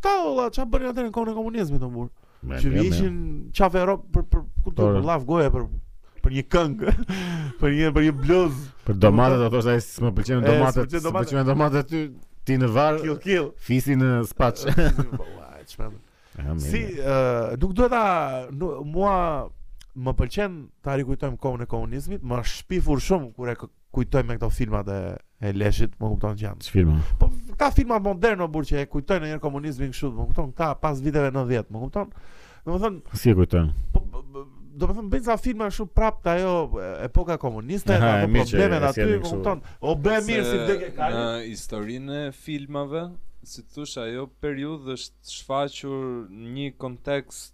S1: Ta olla ç'a bërin atë në kohën e komunizmit o burr.
S3: Me-
S1: Që
S3: me- me-
S1: ishin qafe e robë për për kultur,
S3: Ore.
S1: për llav goje për për një këngë, për një për një bluz,
S3: Për domatet do thosh ai s'më pëlqen
S1: E, s'më
S3: domatet,
S1: pëlqen
S3: s'më
S1: domatet.
S3: pëlqen domatet ty ti në var,
S1: kill kill.
S3: fisi në spaç.
S1: Ua, e çmendur. Si ë, nuk duhet ta nu- mua më pëlqen ta rikujtojmë kohën e komunizmit, më shpifur shumë kur e k- kujtoj me këto filmat e, e leshit, më kupton gjë.
S3: çfilma.
S1: Po këta filmat moderne o burr që e kujtojnë ndonjëherë komunizmin kështu, më kupton, këta pas viteve 90, më kupton? Domethënë,
S3: Si e kujton?
S1: po b- b- domethënë bëjnë sa filma kështu prap të ajo e, epoka komuniste,
S3: Aha,
S1: ato
S3: e mirë që
S1: problemet
S3: e
S1: aty,
S3: sjellin
S1: më
S3: kështu.
S1: kupton? O bë
S2: Se
S1: mirë si vdekë
S2: Në
S1: Kali.
S2: historinë e filmave, si të thush, ajo periudhë është shfaqur në një kontekst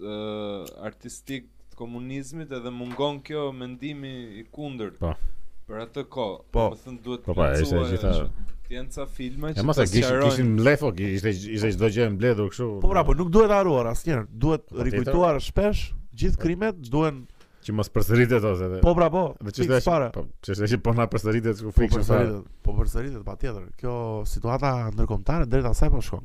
S2: uh, artistik të komunizmit edhe mungon kjo mendimi i kundërt.
S3: Po.
S2: Për atë kohë,
S1: Po.
S2: më thënë duhet
S3: Po, po, ishte gjitha-
S2: Tjenë ca filme
S3: E
S2: që
S3: mos e
S2: të
S3: kishin
S2: sqarojnë.
S3: kishin mblefo, ishte ishte çdo gjë e mbledhur kështu.
S1: Po pra, po nuk duhet haruar asnjëherë, duhet
S3: Po, tjetër.
S1: rikujtuar shpesh gjithë krimet, duhen
S3: që mos përsëritet ose. edhe-
S1: po pra po.
S3: Dhe
S1: fiks
S3: ç'është
S1: fare.
S3: ajo? Po ç'është ajo që po na përsëritet ku
S1: Po
S3: fikshën fare.
S1: përsëritet, po përsëritet patjetër. Kjo situata ndërkombëtare drejt asaj po shkon.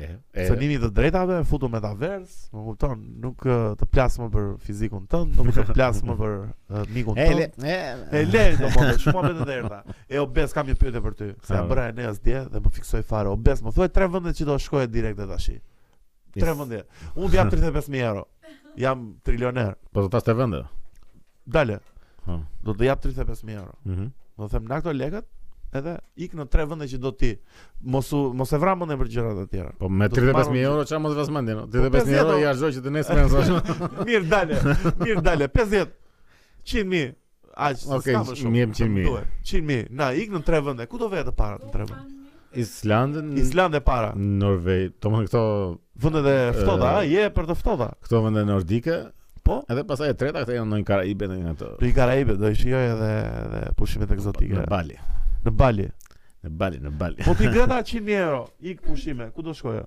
S3: E, e,
S1: Sënimi të drejtave, futu metavers, më kupton, nuk ë, të plas më për fizikun tënd, nuk të plas më për ë, mikun
S3: E, le,
S1: tënd. E le do më thotë, shumë vetë të erta. E obes kam një pyetje për ty. Se ja
S3: Ha.
S1: bëra Eneas dje dhe më fiksoi fare. Obes, më thuaj tre vende që do shkoje direkte tash. Tre vende. Unë jam 35000 euro. Jam trilioner.
S3: Po do ta ste vende.
S1: Dale.
S3: Ha.
S1: Do të jap 35000 euro.
S3: Mhm.
S1: Do të them na këto lekët edhe ik në tre vende që do ti. Mos u mos e vra mendën për gjërat e tjera.
S3: Po me
S1: Do të Po,
S3: 35000
S1: marrun-
S3: euro çfarë mos vras mendje, no? 35000 euro
S1: 50
S3: i harxoj që të nesër më zonë.
S1: mirë dale, mirë dale, 50 100 mijë. Aq, s'ka
S3: Okej,
S1: më shumë.
S3: më jep 100.000.
S1: Duhet, 100 mijë. Na ik në tre vende. Ku do vete parat në tre vende?
S3: Islandën,
S1: Island e para.
S3: Norvegj, to më këto
S1: Vendet e
S3: Eh,
S1: ftohta, a? Je për të ftohta.
S3: këto vende nordike,
S1: Po.
S3: edhe pastaj e treta këta janë në Karajibe në një ato.
S1: Në i Karaibe do i shijoj edhe edhe pushimet
S3: Në
S1: ekzotike.
S3: Bali,
S1: Në Bali.
S3: në Bali, në Bali.
S1: Po ti greta 100.000 euro, ik pushime, ku do shkoja?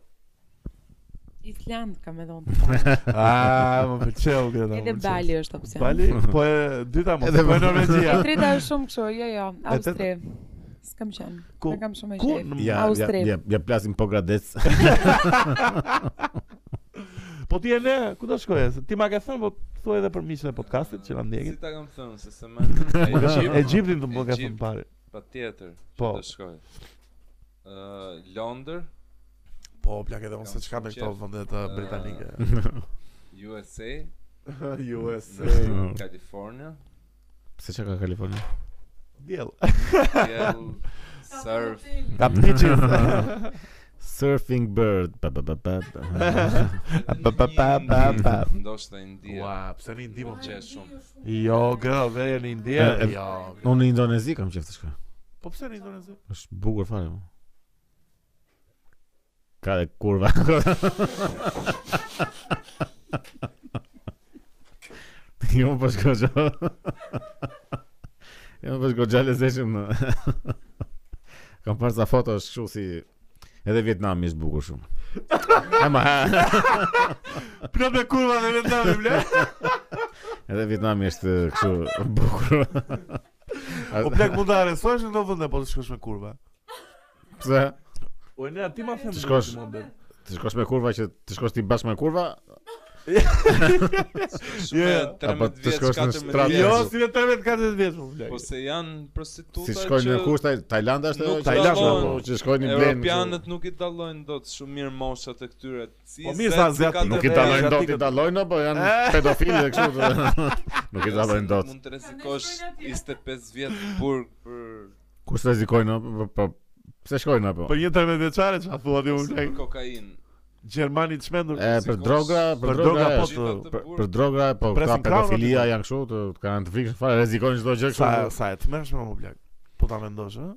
S4: Island kam e dhënë të parë.
S1: A, më pëlqeu greta. më
S4: Edhe
S1: pëlqeu.
S4: Bali është opsion.
S1: Bali, po e dyta mos,
S3: Edhe
S1: po e
S3: po-
S1: Norvegjia.
S4: E treta është shumë kështu, jo jo,
S1: treta-
S4: Austri. S'kam qenë.
S1: Ku-
S4: Ku? kam shumë e
S1: Ku?
S4: qejf.
S1: në-
S3: Ja, ja,
S4: Austri.
S3: ja, ja plasim po gradec.
S1: Po ti e ne, ku do shkoje? Se Ti ma ke thënë, po thuaj edhe për miqtë e podcastit që na
S2: Si
S1: ndjekin.
S2: ta kam thënë, se se më
S1: Egjiptin të më ka thënë
S2: Egjipt.
S1: pari.
S2: Pa tjetër,
S1: Po.
S2: po. të shkoj. Uh, Londër,
S1: Po, plak edhe unë se çka me këto
S2: Qef.
S1: vende të
S2: Eh,
S1: britanike.
S2: USA,
S1: USA.
S2: në California,
S3: Pse çka ka Kalifornia?
S1: Diell.
S2: Seattle, Surf,
S1: Ka pitches.
S3: Surfing Bird. Pa, pa, pa, pa, pa.
S1: Pa, pa, pa, pa, pa.
S2: ndoshta India,
S1: Ua, pse në Indi
S2: më
S1: mo?
S2: qesh shumë.
S1: Jo, girl, verja në Indi.
S3: Eh, eh,
S1: Jo.
S3: Unë në Indonezi kam qeftë shkoj.
S1: Po pse në Indonezi?
S3: Është bukur fare. mo. Ka dhe kurva. Jo më pashko gjo Jo më pashko gjo lezeshëm Kam parë sa foto është këshu si Edhe Vietnami është bukur shumë Ama ha
S1: Plot me kurva dhe vendave ble.
S3: Edhe Vietnami është këshu bukur
S1: Po plak mund të arrestohesh në këto vende po të shkosh me kurva.
S3: Pse?
S1: O ne Po, ti ma them.
S3: Të shkosh- Të shkosh me kurva që të shkosh ti bashkë me kurva
S2: Shumë
S1: Jo,
S2: yeah. 13
S3: apo të
S2: vjeç,
S3: shkosh në
S2: 14
S3: strat-
S2: vjeç.
S1: Jo, si me 13-14 vjeç po plak.
S2: Po se janë prostituta
S3: Si shkojnë në kush Taj- Tajlanda është ajo
S2: Nuk
S3: që-
S1: Tajlanda,
S3: apo
S1: po.
S3: që shkojnë në blenë.
S2: Europianët nuk i dallojnë dot shumë mirë moshat e këtyre. Si
S1: Po mirë,
S2: zet,
S1: sa
S2: si
S1: asiatikët-
S2: katër
S3: Nuk i
S1: Edhe
S3: dallojnë dot, i
S1: asiatikët.
S3: dallojnë apo janë
S1: Eh.
S3: pedofilë dhe kështu. të- Nuk i
S2: vjeç,
S3: dallojnë dot.
S2: Mund të rrezikosh 25 vjet në burg për
S3: Kush rrezikojnë apo po- po pse shkojnë
S1: Po.
S3: apo?
S2: Po,
S1: Për një 13 vjeçare çfarë thua ti më
S2: për
S1: plak?
S2: kokainë.
S1: Gjermani të shmendur.
S3: E për
S2: Rrezikosh-
S3: droga, për
S1: Për
S3: droga,
S1: droga,
S3: e,
S1: po,
S3: sh-
S1: të-
S2: Gjithë ato
S3: për
S2: burg-
S3: për droga, po ka
S1: presin krahun
S3: pedofilia
S1: aty.
S3: janë kështu, të kanë antifrikshën fare, rrezikojnë çdo gjë
S1: Sa
S3: kështu.
S1: sa e tmerrshme më plak. Po ta mendosh, ë?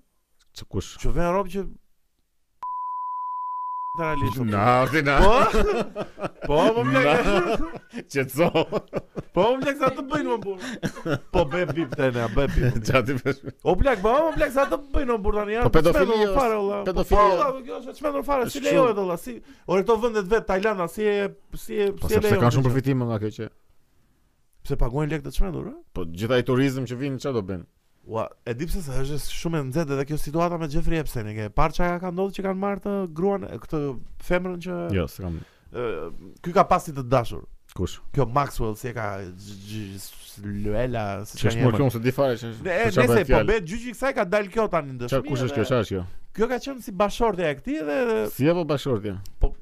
S3: Që Kush?
S1: Që vjen rob që realisht. o,
S3: Na, ti na.
S1: Po? Po, po plak.
S3: Qetso.
S1: Po, po plak sa të bëjnë më burr. Po bëj bip tani, bëj bip.
S3: Çati për.
S1: O plak, po, po plak sa të bëjnë më burr tani.
S3: Po, pedofilia
S1: pedofilia
S3: është-
S1: fare olla.
S3: pedofilia-
S1: Po, olla, kjo është çmendur fare, si
S3: Është
S1: lejohet olla, si ore këto vendet vet Tajlanda, si e si e
S3: Po
S1: si e
S3: sepse
S1: lejohet.
S3: kanë
S1: kjo?
S3: shumë përfitime nga kjo që.
S1: Pse paguajnë lekë të çmendur, ë?
S3: Po gjithaj turizëm që vinë çfarë do bën?
S1: Ua, e di pse se është shumë e nxehtë edhe kjo situata me Jeffrey Epstein, e ke parë çka ka ndodhur që kanë marrë të gruan, këtë femrën që
S3: Jo, s'kam.
S1: Ë, ky ka pasi të dashur.
S3: Kush?
S1: Kjo Maxwell si e ka Gj- Gj- s- Luella si
S3: Ç'është më këtu se di fare që.
S1: Ne
S3: për çfarë
S1: nëse
S3: bëhet
S1: po
S3: fjalë.
S1: bëhet gjyqi i kësaj ka dalë kjo tani në
S3: Çfarë
S1: dëshmi.
S3: kush është kjo,
S1: edhe-
S3: çfarë është kjo?
S1: Kjo ka qenë si bashortja e këtij dhe
S3: Si apo bashortja?
S1: Po,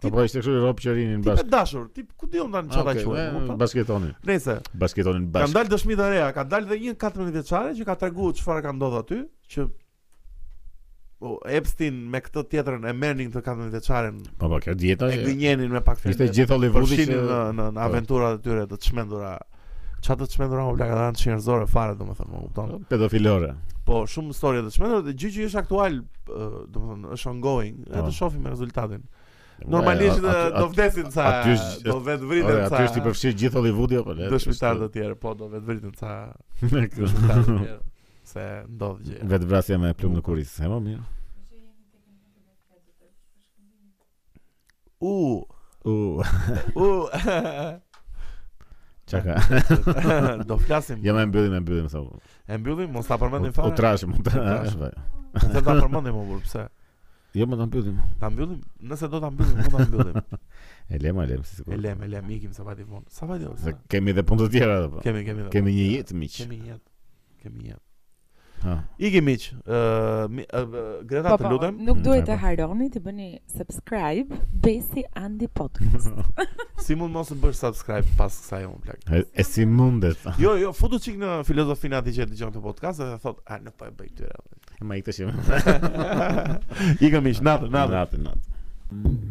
S1: ti-
S3: apo ishte kështu rob që rinin
S1: tip e
S3: bashkë.
S1: dashur, tip ku diun tani çfarë
S3: Ah, Okej,
S1: quhet.
S3: e,
S1: kupton?
S3: Basketonin.
S1: Nëse
S3: Basketonin
S1: kanë
S3: bashkë.
S1: po. dalë dëshmi të reja, ka dalë dhe një 14 vjeçare që ka treguar çfarë ka ndodhur aty, që o, Epstein me këtë tjetrën e merrnin këtë 14 vjeçaren,
S3: Po po, kjo dieta.
S1: e
S3: e-
S1: gënjenin me pak fjalë.
S3: Ishte gjithë po. Hollywoodi
S1: Udhëtimi në
S3: që
S1: në, në aventurat e tyre të çmendura. Çfarë të çmendura më plaka kanë çirëzore fare domethënë, më kupton.
S3: pedofilore.
S1: Po, shumë histori të çmendura dhe gjë që është aktual, ë, domethënë është ongoing, e
S3: Po.
S1: të shohim me rezultatin. Normalisht
S3: Ua,
S1: ë,
S3: aty-
S1: do vdesin ca,
S3: aty është-
S1: do vetë
S3: aty-
S1: vriten
S3: ore,
S1: ca.
S3: Aty është i përfshirë gjithë Hollywoodi apo le?
S1: Dëshmitar të tjerë, po do vetë vriten ca
S3: tjerë.
S1: dëshmitar të tjerë se ndodh gjë.
S3: Vetë vrasja me plumë në kuris. E më mirë.
S1: U,
S3: U,
S1: u.
S3: çaka.
S1: do flasim.
S3: Ja më mbyllim, më mbyllim thonë.
S1: E mbyllim, mos ta përmendim
S3: U
S1: fare.
S3: trashëm, u
S1: Trash.
S3: trashëm.
S1: Se ta përmendim më burr, pse?
S3: Jo më ta mbyllim.
S1: Ta mbyllim, nëse do ta mbyllim, mund ta mbyllim.
S3: E lem, e lem, si sigur.
S1: E lem, e lem, ikim sa vajti vonë. Sa vajti vonë?
S3: Se
S1: sa?
S3: kemi edhe punë të tjera apo.
S1: Kemi, kemi. dhe-
S3: Kemi një jetë miq.
S1: Kemi jetë. Kemi jetë.
S3: Ha.
S1: Iki miq, ë mi- ë, Greta
S4: Po,
S1: të
S4: po,
S1: lutem,
S4: nuk duhet
S3: Po,
S4: të
S3: po.
S4: harroni të bëni subscribe Besi Andi Podcast.
S1: si mund mos të bësh subscribe pas kësaj unë plak.
S3: E, e si mundet?
S1: Jo, jo, futu çik në filozofinë atij që e dëgjon këtë podcast dhe thot, a nuk po e bëj këtyre.
S3: Ma i këtë që...
S1: Iki miq, natë, natë.
S3: Natë, natë.